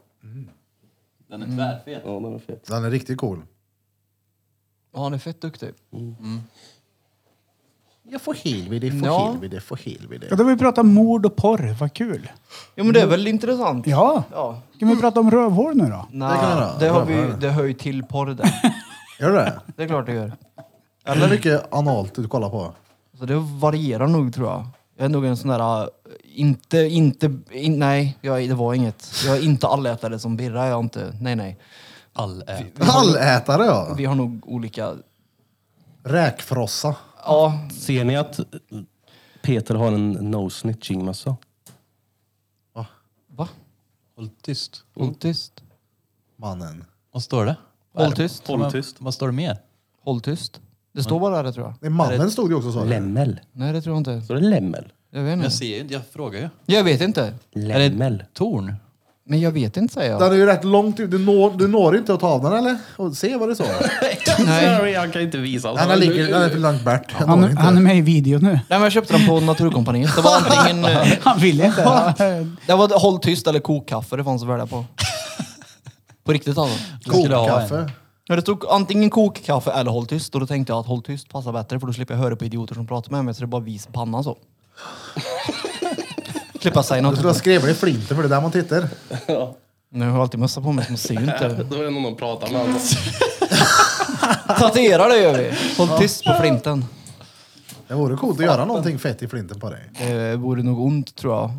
Speaker 6: Den är tvärfet.
Speaker 4: Ja, den är fet.
Speaker 2: Den är riktigt cool.
Speaker 5: Ja, han är fett duktig.
Speaker 2: Jag får helvete,
Speaker 5: får Ja. helvete,
Speaker 2: får helvete.
Speaker 1: ja, då vill vi prata mord och porr, vad kul.
Speaker 5: Jo, men det är väl intressant?
Speaker 1: Ja.
Speaker 5: Ja.
Speaker 1: Kan vi prata om rövhår nu då?
Speaker 5: Nej,
Speaker 2: Det
Speaker 5: det,
Speaker 2: kan jag göra.
Speaker 5: har
Speaker 2: Pröva
Speaker 5: vi
Speaker 2: det.
Speaker 5: det hör ju till porr där.
Speaker 2: Gör du det?
Speaker 5: Det är klart det gör.
Speaker 2: Eller mycket analt du kollar på?
Speaker 5: Så det varierar nog tror jag. Jag är nog en sån där, äh, inte, inte, in, nej, jag, det var inget. Jag är inte allätare som Birra, jag är inte, nej nej.
Speaker 6: All ät.
Speaker 2: Allätare ja!
Speaker 5: Vi har nog olika,
Speaker 2: Räkfrossa.
Speaker 5: ja,
Speaker 4: Ser ni att Peter har en no snitching-mössa?
Speaker 5: va?
Speaker 6: Håll tyst.
Speaker 2: Mm.
Speaker 5: Håll tyst.
Speaker 2: Mannen.
Speaker 6: Vad står det?
Speaker 5: Håll tyst.
Speaker 6: Vad-
Speaker 4: Håll tyst.
Speaker 6: Vad står det mer?
Speaker 5: Håll tyst. Det står bara det tror jag.
Speaker 2: Nej, mannen stod det också så.
Speaker 4: Lämmel.
Speaker 5: Nej det tror jag inte.
Speaker 4: Så det är lämmel?
Speaker 5: Jag vet inte.
Speaker 6: Jag ser ju inte, jag frågar ju.
Speaker 5: Jag vet inte.
Speaker 4: Lämmel.
Speaker 6: Torn?
Speaker 5: Men jag vet inte säger jag.
Speaker 2: Den är ju rätt långt ut. Du når, du når inte att ta av den eller? Och se vad det står.
Speaker 5: Nej.
Speaker 4: Sorry, jag kan inte visa.
Speaker 2: Den här ligger den är för långt bort. Jag når
Speaker 1: Han,
Speaker 2: inte.
Speaker 1: han är med i videon nu.
Speaker 5: Nej men jag köpte den på Naturkompaniet.
Speaker 2: *laughs*
Speaker 5: Det var antingen, eh,
Speaker 1: Han vill inte.
Speaker 5: det var håll tyst eller kokkaffe det fanns att välja på. På riktigt alltså.
Speaker 6: Jag skulle ha en.
Speaker 2: Kokkaffe.
Speaker 5: Ja, det stod antingen kokkaffe eller håll tyst och då tänkte jag att håll tyst passar bättre för då slipper jag höra på idioter som pratar med mig så det bara vis pannan så. slipper jag säga
Speaker 2: Du skulle ha
Speaker 5: något.
Speaker 2: skrivit i flinten för det är där man tittar.
Speaker 5: Nu har jag alltid mössa på mig så man ser ju inte.
Speaker 4: Då är det någon som pratar med honom.
Speaker 5: Tatuera det gör vi! Håll tyst på flinten.
Speaker 2: Det vore coolt att göra någonting fett i flinten på dig.
Speaker 5: Det vore nog ont tror jag.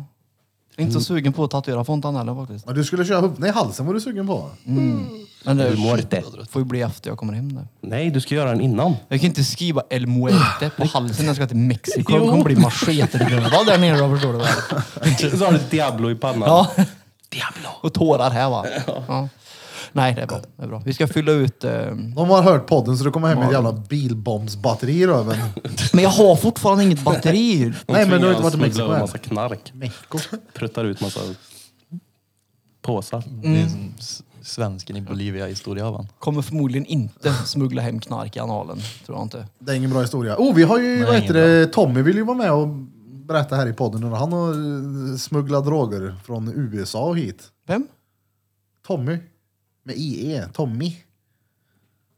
Speaker 5: Jag är inte så
Speaker 4: Mm.
Speaker 5: sugen på att tatuera fontan heller faktiskt.
Speaker 2: Men du skulle köra huvudet i halsen var du sugen på.
Speaker 5: Men det
Speaker 4: Du mår inte.
Speaker 5: får ju bli efter jag kommer hem där.
Speaker 4: Nej, du ska göra den innan.
Speaker 5: Jag kan inte skriva El Muerte på halsen när jag ska till Mexiko. Jag kommer bli machetedödad där nere då förstår du väl.
Speaker 4: Så har du Diablo i pannan.
Speaker 5: Ja. Och tårar här va? Ja. Nej, det är bra. Det är bra. Vi ska fylla ut... Eh,
Speaker 2: De har hört podden så du kommer hem med ett jävla bilbombsbatteri i röven.
Speaker 5: men jag har fortfarande inget batteri.
Speaker 4: De
Speaker 2: Nej, men du har
Speaker 4: tvingar
Speaker 2: inte varit i
Speaker 4: smuggla
Speaker 2: Mexiko
Speaker 4: över
Speaker 2: än.
Speaker 4: massa knark. Pruttar ut massa påsar.
Speaker 6: Det är som s- svensken i Bolivia i Storjavan.
Speaker 5: Kommer förmodligen inte smuggla hem knark i analen. Tror jag inte.
Speaker 2: Det är ingen bra historia. Oh, vi har ju, vad heter det, Tommy vill ju vara med och berätta här i podden. Och Han har eh, smugglat droger från USA och hit.
Speaker 5: Vem?
Speaker 2: Tommy. Med IE, Tommy.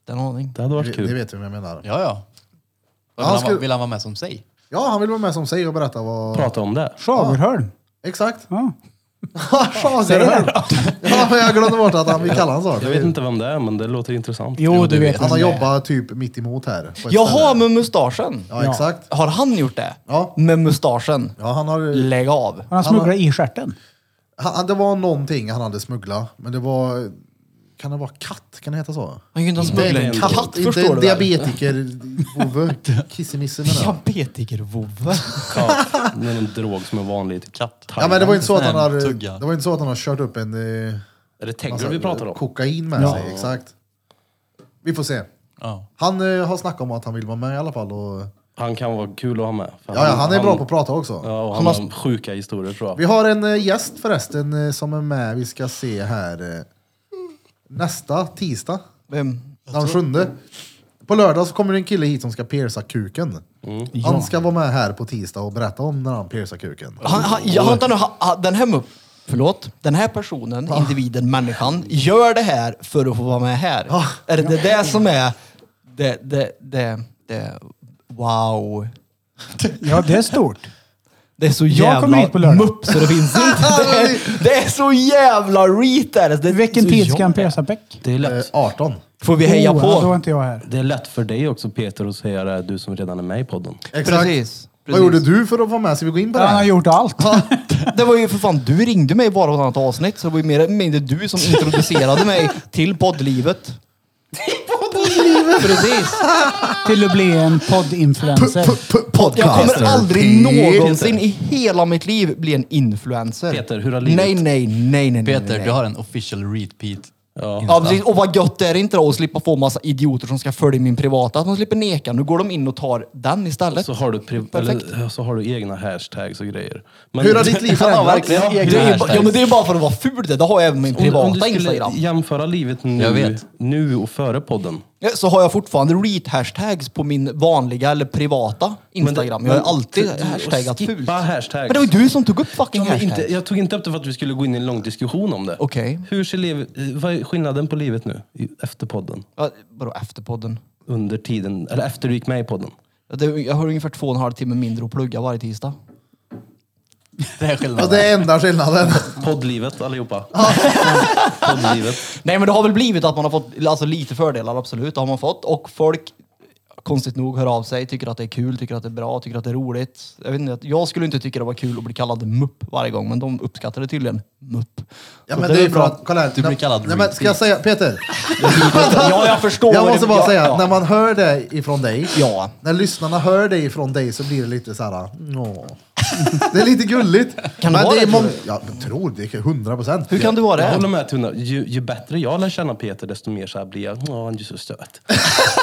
Speaker 5: Den aning.
Speaker 4: Det hade
Speaker 2: Det,
Speaker 4: varit
Speaker 2: det
Speaker 4: kul.
Speaker 2: vet vi vad jag menar.
Speaker 6: Ja, ja. Vill
Speaker 2: han
Speaker 6: han,
Speaker 2: skulle-
Speaker 6: vara- vill han vara med som sig?
Speaker 2: Ja, han vill vara med som sig och berätta vad...
Speaker 4: Prata om det.
Speaker 1: Schagerholm.
Speaker 2: Exakt. *laughs*
Speaker 1: Ja.
Speaker 2: Schagerhörn. *laughs* ja, men jag glömde bort att han, vi kallar honom så.
Speaker 4: Jag vet inte vem det är, men det låter intressant.
Speaker 1: Jo, du vet.
Speaker 2: Han har
Speaker 1: vem det är.
Speaker 2: jobbat typ mitt emot här. på ett
Speaker 5: Jaha,
Speaker 2: ställe.
Speaker 5: med mustaschen!
Speaker 2: Ja, exakt.
Speaker 5: Har han gjort det?
Speaker 2: Ja.
Speaker 5: Med mustaschen?
Speaker 2: Ja, han har...
Speaker 5: Lägg av!
Speaker 1: Han smugglar i stjärten.
Speaker 2: Han, det var någonting han hade smugglat, men det var... Kan det vara katt? Kan det heta så?
Speaker 5: Han kan ju inte ens smuggla en katt,
Speaker 2: inte
Speaker 5: förstår
Speaker 2: en
Speaker 5: du väl?
Speaker 2: diabetiker-vovve. Kissemisse menar jag.
Speaker 5: Diabetiker-vovve.
Speaker 4: Ja, Det är en drog som är vanlig. i typ
Speaker 6: Katt.
Speaker 2: Ja, men det var inte så att han har,
Speaker 6: Tugga.
Speaker 2: det var inte så att han har kört upp en eh,
Speaker 4: Är det Tegger vi pratar om?
Speaker 2: kokain med sig. Exakt. Vi får se.
Speaker 6: Ja.
Speaker 2: Han eh, har snackat om att han vill vara med i alla fall. Och, ja,
Speaker 4: Han kan vara kul att ha med. För
Speaker 2: ja, han är bra på att prata också.
Speaker 4: Ja, och han,
Speaker 5: Han
Speaker 4: har sjuka historier tror jag.
Speaker 2: Vi har en eh, gäst förresten eh, som är med. Vi ska se här. Eh, nästa tisdag,
Speaker 5: Vem?
Speaker 2: den sjunde. På lördag så kommer det en kille hit som ska pierca kuken.
Speaker 5: Mm.
Speaker 2: Han ska vara med här på tisdag och berätta om när han piercar kuken.
Speaker 5: Han, han, ja, vänta nu, han, han, den här mu- Förlåt? Den här personen,
Speaker 1: Ah.
Speaker 5: individen, människan, gör det här för att få vara med här.
Speaker 1: Ah.
Speaker 2: Ja.
Speaker 5: Är det det där som är det, det, det, det, wow.
Speaker 1: Ja, det är stort.
Speaker 5: Det är så
Speaker 1: kommer
Speaker 5: jävla
Speaker 1: hit på lördag. *laughs*
Speaker 5: mupp så det finns inte. Det är, det är så jävla reet där. Det är
Speaker 1: Vilken
Speaker 5: så
Speaker 1: tid ska han
Speaker 5: jobbigt.
Speaker 1: pierca bäck?
Speaker 4: Det är
Speaker 2: Eh,
Speaker 4: lätt,
Speaker 2: 18.
Speaker 5: Får vi heja
Speaker 1: Oh, ja, Då är
Speaker 5: på?
Speaker 1: inte jag här.
Speaker 4: det är lätt för dig också Peter att säga det, här, du som redan är med i podden.
Speaker 2: Exakt.
Speaker 5: Precis.
Speaker 2: Vad gjorde du för att vara med? Ska vi gå in på det?
Speaker 1: Han har
Speaker 2: här?
Speaker 1: gjort allt.
Speaker 5: *laughs* Det var ju för fan, du ringde mig bara på ett annat avsnitt så det var ju mer eller mindre du som introducerade mig
Speaker 1: *laughs*
Speaker 5: till poddlivet. Precis.
Speaker 1: Till att bli en poddinfluencer.
Speaker 5: Jag kommer
Speaker 2: Podcaster.
Speaker 5: aldrig
Speaker 2: Peter.
Speaker 5: någonsin i hela mitt liv bli en influencer.
Speaker 4: Peter, hur har livet-
Speaker 5: Nej, nej, nej, nej. nej,
Speaker 6: Peter,
Speaker 5: nej.
Speaker 6: du har en official repeat.
Speaker 5: Ja, precis. Och vad gött är det inte då att slippa få massa idioter som ska följa min privata. Att man slipper neka. Nu går de in och tar den istället.
Speaker 4: Så har du, pri-
Speaker 5: Perfekt.
Speaker 4: eller, så har du egna hashtags och grejer. Men
Speaker 2: Hur har ditt
Speaker 4: *laughs*
Speaker 2: liv
Speaker 6: Han har
Speaker 2: förändrats?
Speaker 6: verkligen
Speaker 5: det
Speaker 6: egna
Speaker 5: är ju, ba-
Speaker 6: hashtags.
Speaker 5: ja, men det är ju bara för att vara ful det. Det har jag även min
Speaker 4: om, om
Speaker 5: privata
Speaker 4: du skulle
Speaker 5: Instagram.
Speaker 4: jämföra livet
Speaker 6: Jag
Speaker 4: nu,
Speaker 6: vet.
Speaker 4: nu och före podden.
Speaker 5: Ja, Så har jag fortfarande read-hashtags på min vanliga eller privata Instagram. jag har alltid hashtaggat
Speaker 4: skippa
Speaker 5: fult.
Speaker 4: hashtags.
Speaker 5: Men det var ju du som tog upp fucking
Speaker 4: Ja, men
Speaker 5: hashtags.
Speaker 4: inte, jag tog inte upp det för att vi skulle gå in i en lång diskussion om det.
Speaker 5: Okej.
Speaker 4: Hur ser livet, eh, vad är skillnaden på livet nu i- efter podden?
Speaker 5: Ja, Vadå efter podden?
Speaker 4: Under tiden, eller efter du gick med i podden?
Speaker 5: Ja, det- Jag har ungefär två och en halv timme mindre att plugga varje tisdag.
Speaker 6: Det är
Speaker 2: Ja,
Speaker 6: skillnaden.
Speaker 2: det är enda skillnaden.
Speaker 4: Poddlivet allihopa. *laughs* poddlivet.
Speaker 5: Nej men det har väl blivit att man har fått alltså, lite fördelar, absolut. Det har man fått. Och folk konstigt nog hör av sig, tycker att det är kul, tycker att det är bra, tycker att det är roligt. Jag, vet inte, att- jag skulle inte tycka det var kul att bli kallad mupp varje gång, men de uppskattade tydligen mupp.
Speaker 2: Ja,
Speaker 5: Så
Speaker 2: men det är
Speaker 5: väl
Speaker 2: ju för att, kolla här.
Speaker 6: Du blir kallad
Speaker 2: nej, men, Ska jag säga, Peter?
Speaker 5: Ja, jag förstår.
Speaker 2: Jag
Speaker 5: vad
Speaker 2: måste
Speaker 5: du-
Speaker 2: bara
Speaker 5: ja,
Speaker 2: säga,
Speaker 5: ja.
Speaker 2: när man hör det ifrån dig,
Speaker 5: Ja.
Speaker 2: när lyssnarna hör det ifrån dig så blir det lite så här. "Nå." Det är lite gulligt.
Speaker 5: Kan det vara
Speaker 2: är
Speaker 5: det,
Speaker 2: mång-
Speaker 5: tror du?
Speaker 2: Ja, jag tror det, är 100 procent.
Speaker 5: Hur kan du vara
Speaker 4: Jag
Speaker 5: det?
Speaker 4: håller med Tuna. Ju, ju bättre jag lär känna Peter, desto mer så här blir jag. Åh, han är ju så
Speaker 5: *laughs*
Speaker 4: söt.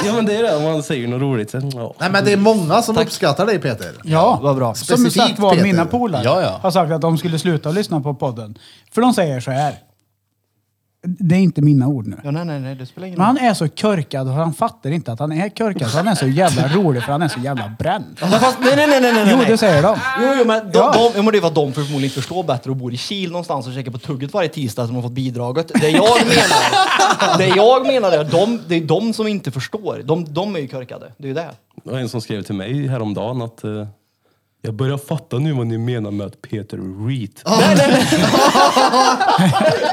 Speaker 4: ja, men det är det. Om man säger något roligt. Så, åh.
Speaker 2: Nej men det är många som uppskattar dig Peter.
Speaker 1: Ja,
Speaker 5: vad bra.
Speaker 1: Som
Speaker 2: Specifikt,
Speaker 1: sagt var,
Speaker 2: Peter.
Speaker 1: mina polare
Speaker 6: Ja, ja.
Speaker 1: har sagt att de skulle sluta lyssna på podden. För de säger så här. Det är inte mina ord nu.
Speaker 7: Ja, nej, nej, nej, det spelar ingen
Speaker 1: Men han är så körkad och han fattar inte att han är körkad. Så han är så jävla rolig för han är så jävla bränd.
Speaker 5: Men fast, nej, nej, nej, nej, nej.
Speaker 1: *laughs* Jo,
Speaker 5: nej.
Speaker 1: det säger de.
Speaker 5: Jo, jo, men de,
Speaker 1: Ja.
Speaker 5: de, jo, men det är för att de förmodligen inte förstår bättre och bor i Kil någonstans och käkar på tugget varje tisdag som har fått bidraget. Det
Speaker 4: *laughs*
Speaker 5: jag menar, det jag menar är att de, det är de som inte förstår. De, de är ju körkade. Det är ju det.
Speaker 4: Det var en som skrev till mig häromdagen att eh, jag börjar fatta nu vad ni menar med att Peter är reet.
Speaker 5: Nej, nej, nej.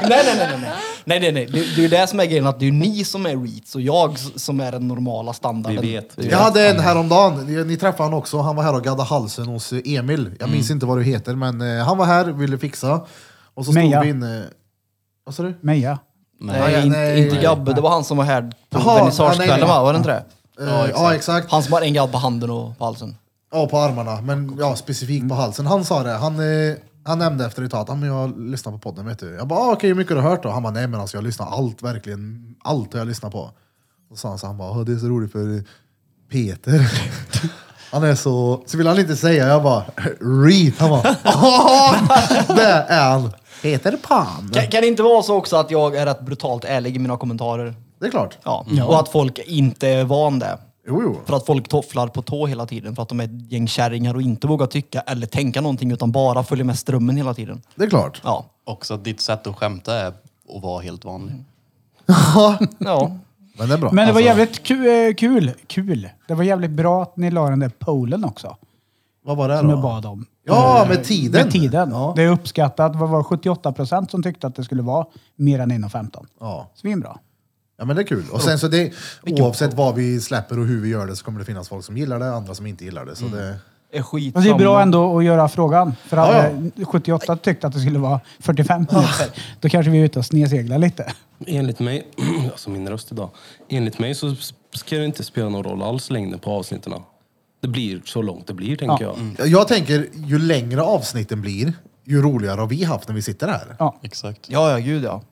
Speaker 5: nej, nej, nej, nej, nej. Nej, nej, nej. Det, det är ju det som är grejen, att det är ju ni som är reats och jag s- som är den normala standarden.
Speaker 4: Vi vet.
Speaker 5: Det är ju
Speaker 2: Jag hade en häromdagen, ni ni träffade han också, han var här och gaddade halsen hos eh, Emil. Jag minns inte vad du heter men eh, han var här, ville fixa. Och så stod
Speaker 1: Meja.
Speaker 2: vi inne... Vad sa du?
Speaker 1: Meja.
Speaker 5: Nej,
Speaker 2: Nej,
Speaker 5: inte,
Speaker 2: nej.
Speaker 5: inte Gabbe. Det var han som var här på
Speaker 2: Jaha, ja, nej,
Speaker 5: vernissagekvällen,
Speaker 2: nej.
Speaker 5: va? Var det inte det?
Speaker 2: Eh, Ja exakt.
Speaker 5: Han som har en gadd på handen och på halsen.
Speaker 2: Ja, på armarna, men ja, specifikt på halsen. Han sa det, han, eh, han nämnde efter ett tag att "Ja, men jag lyssnar på podden, vet du. Jag bara, ah, okej, hur mycket har du hört då? Han bara, nej men alltså jag lyssnar allt, verkligen. Allt har jag lyssnat på. Och så han, så han bara, "Ah, det är så roligt för eh, Peter. *laughs* Han är så... Så vill han inte säga, jag bara, reet. Han bara, "Ah, det är han. Peter Pan.
Speaker 5: Kan, kan det inte vara så också att jag är rätt brutalt ärlig i mina kommentarer?
Speaker 2: Det är klart.
Speaker 5: Ja.
Speaker 1: Mm.
Speaker 5: Och att folk inte är van det.
Speaker 2: Jo, jo.
Speaker 5: För att folk tofflar på tå hela tiden för att de är ett gäng kärringar och inte vågar tycka eller tänka någonting utan bara följer med strömmen hela tiden.
Speaker 2: Det är klart.
Speaker 5: Ja.
Speaker 6: Också att ditt sätt att skämta är att vara helt vanlig.
Speaker 5: Mm. Ja.
Speaker 2: Men det är bra. Alltså,
Speaker 1: Men det var jävligt ku- eh, kul. Kul. Det var jävligt bra att ni la den där polen också.
Speaker 2: Vad var det
Speaker 1: Som jag
Speaker 2: då?
Speaker 1: bad om. Eh,
Speaker 2: Ja, med tiden.
Speaker 1: Med tiden.
Speaker 2: Ja.
Speaker 1: Det är uppskattat. Vad var det? 78 procent som tyckte att det skulle vara mer än 1,15.
Speaker 2: Ja.
Speaker 1: Svinbra.
Speaker 2: Ja men det är kul. Och sen så det, oavsett vad vi släpper och hur vi gör det så kommer det finnas folk som gillar det, andra som inte gillar det.
Speaker 5: Mm.
Speaker 2: Så det
Speaker 5: Är skit
Speaker 1: Men det är bra
Speaker 5: samma.
Speaker 1: ändå att göra frågan. För
Speaker 2: Ja,
Speaker 1: hade 78 tyckt att det skulle vara 45 minuter, då kanske vi är ute och sneseglar lite.
Speaker 4: Enligt mig, *clears throat* alltså min röst idag. Enligt mig så ska det inte spela någon roll alls längden på avsnitten. Det blir så långt det blir, tänker jag.
Speaker 2: Jag tänker, ju längre avsnitten blir, ju roligare har vi haft när vi sitter här.
Speaker 1: Ja.
Speaker 6: Exakt.
Speaker 5: Ja, ja, gud ja.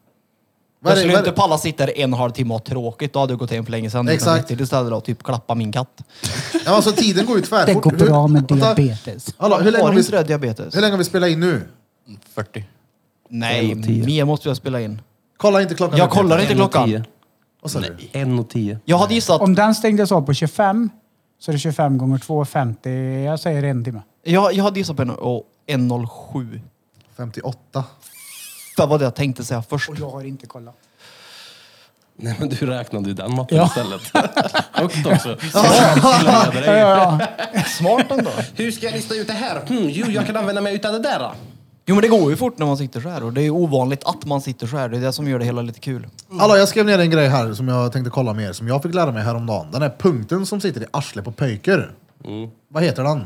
Speaker 2: Vad är
Speaker 5: Jag
Speaker 2: det-
Speaker 5: skulle
Speaker 2: vad är det-
Speaker 5: inte palla sitta där en halvtimme och ha tråkigt. Då hade jag gått hem för länge sedan.
Speaker 2: Exakt.
Speaker 5: Utan Till istället och typ klappa min katt.
Speaker 2: Ja, alltså, tiden går ju tvärfort.
Speaker 1: Det går bra med
Speaker 2: Hur- vänta.
Speaker 1: diabetes.
Speaker 2: Hallå, hur, länge
Speaker 5: har
Speaker 2: har
Speaker 5: du inte
Speaker 2: vi,
Speaker 5: det diabetes?
Speaker 2: hur länge har vi spelat in nu?
Speaker 6: 40.
Speaker 5: Nej, mer måste jag spela in.
Speaker 2: Kolla inte klockan.
Speaker 5: Jag
Speaker 2: nu, Peter.
Speaker 5: kollar inte
Speaker 4: En och
Speaker 5: klockan.
Speaker 4: tio.
Speaker 2: Vad sa du?
Speaker 4: En och tio.
Speaker 5: Jag hade gissat
Speaker 1: Om den stängdes av på 25 så är det 25 gånger 2, 50. Jag säger en timme.
Speaker 5: Jag, jag hade gissat på en, och 1.07.
Speaker 2: 58.
Speaker 5: Det var det jag tänkte säga först.
Speaker 1: Och jag har inte kollat.
Speaker 4: Nej, men du räknade ju den matten
Speaker 1: Ja.
Speaker 4: istället. *laughs* Högt också.
Speaker 1: *laughs* Ja, ja, ja.
Speaker 5: Smart ändå.
Speaker 4: Hur ska jag lista ut det här? Hmm, jo, jag kan använda mig utav det där. Då.
Speaker 5: Jo men det går ju fort när man sitter så här och det är ju ovanligt att man sitter så här. Det är det som gör det hela lite kul.
Speaker 2: Hallå, jag skrev ner en grej här som jag tänkte kolla med er, som jag fick lära mig häromdagen. Den här punkten som sitter i arslet på pöjker. Vad heter den?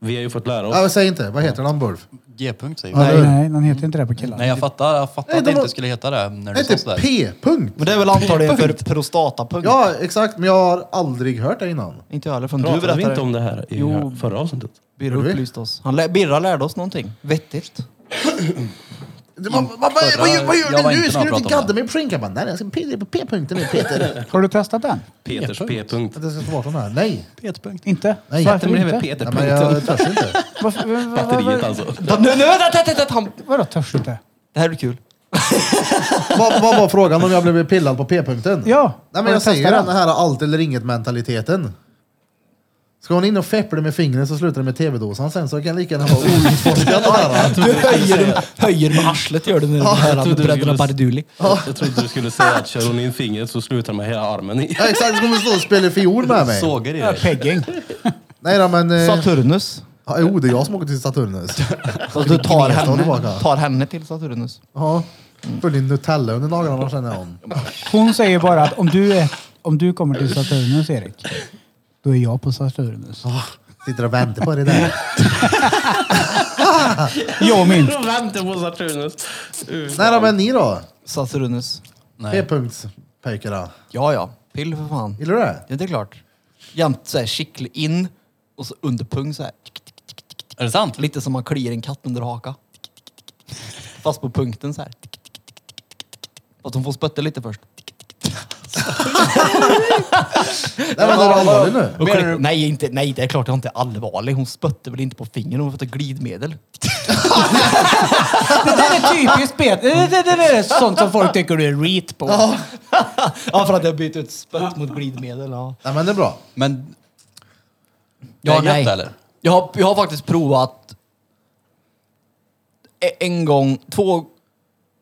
Speaker 4: Vi har ju fått lära oss.
Speaker 2: Ja, säg inte. Vad heter den, Burf?
Speaker 6: G-punkt säger vi.
Speaker 2: Eller
Speaker 1: Nej,
Speaker 2: hur?
Speaker 1: nej, den heter inte det på killar.
Speaker 6: Nej, jag fattar, jag fattar
Speaker 2: Nej,
Speaker 6: att det
Speaker 2: de har-
Speaker 6: inte skulle heta det när
Speaker 2: Nej,
Speaker 6: du sa
Speaker 2: inte
Speaker 6: sådär.
Speaker 2: P-punkt.
Speaker 5: Men det är väl antagligen för prostatapunkt?
Speaker 2: Ja, exakt. Men jag har aldrig hört det innan.
Speaker 5: Inte jag heller förrän du
Speaker 4: Pratade vi
Speaker 5: berättade.
Speaker 4: inte om det här i
Speaker 5: Jo.
Speaker 4: förra avsnittet?
Speaker 5: Birra
Speaker 2: Gjorde vi?
Speaker 5: upplyste oss. Han lä- Birra lärde oss någonting vettigt.
Speaker 2: Du, man, man, vad, vad, vad gör- vad
Speaker 6: jag var
Speaker 2: gör du nu?
Speaker 6: inte
Speaker 2: Ska
Speaker 6: med
Speaker 2: du
Speaker 6: och
Speaker 2: inte
Speaker 6: pratade om
Speaker 2: gadda mig på skinkan? Jag bara, Nej, jag ska pilla på p-punkten nu
Speaker 6: *laughs*
Speaker 2: Peter.
Speaker 1: Har du testat den?
Speaker 4: Peters P-punkt.
Speaker 2: Att jag ska ta bort den här? Nej.
Speaker 6: P-punkt.
Speaker 1: Inte?
Speaker 2: Nej,
Speaker 1: Varför
Speaker 4: Den blev
Speaker 1: inte?
Speaker 2: Nej, men jag
Speaker 4: Peter-punkten.
Speaker 2: törs inte.
Speaker 1: Varför, var,
Speaker 4: Batteriet alltså.
Speaker 5: Nu, nu, vänta, vänta, vänta, han-
Speaker 1: Vadå törs inte?
Speaker 5: Det här är kul.
Speaker 2: Vad, vad var frågan om jag blev pillad på p-punkten?
Speaker 1: Ja, har
Speaker 2: Nej, men
Speaker 1: du
Speaker 2: jag säger
Speaker 1: testat
Speaker 2: den här allt eller inget-mentaliteten. Ska hon in och feppla med fingret så slutar det med tv-dosan sen så kan lika gärna vara outforskat det här.
Speaker 6: *laughs*
Speaker 5: Du höjer, höjer med arslet gör du när du hör
Speaker 4: trodde du
Speaker 5: bröderna
Speaker 4: skulle-
Speaker 5: Barduli.
Speaker 4: Jag trodde du skulle säga att kör hon in fingret så slutar med hela armen i.
Speaker 2: Ja, exakt, så kommer hon stå och spela fiol med mig.
Speaker 6: Sågar i dig.
Speaker 1: Pegging.
Speaker 2: Nej då, men... Eh,
Speaker 5: Saturnus.
Speaker 2: ja, jo, det är jag som åker till
Speaker 6: *laughs*
Speaker 2: Saturnus.
Speaker 5: Så du tar
Speaker 2: Gneta
Speaker 5: henne,
Speaker 2: tillbaka.
Speaker 5: tar henne till Saturnus.
Speaker 2: Ja. Full i Nutella under naglarna känner jag.
Speaker 1: Hon säger bara att om du, är, om du kommer till Saturnus, Erik, Då är jag på Saturnis.
Speaker 2: Sitter och väntar på det där.
Speaker 1: Jag och min.
Speaker 4: Jag väntar på Saturnus. Uh,
Speaker 2: Nej då, men ni då?
Speaker 5: Saturnus.
Speaker 6: Nej.
Speaker 2: P-punktspöjkarna.
Speaker 5: Ja, ja. Pill för fan.
Speaker 2: Gillar du det?
Speaker 5: Ja, det är klart. Jämt såhär kittl in och så under pung såhär.
Speaker 6: Är det sant?
Speaker 5: Lite som man kliar en katt under haka. Fast på punkten såhär. Fast hon får spötta lite först.
Speaker 2: Nej men är du allvarlig nu?
Speaker 5: Menar du- Nej, inte, nej, det är klart jag är inte allvarlig. Hon spötte väl inte på fingern, hon fick glidmedel.
Speaker 1: Det där är typiskt Peter. Det, det, det, det är sånt som folk tycker du är reet på.
Speaker 5: Ja, för att jag bytte ut spött mot glidmedel. Ja,
Speaker 2: Nej men det är bra.
Speaker 6: Men... Det är gött, eller?
Speaker 5: Jag har, jag har faktiskt provat e- en gång, två,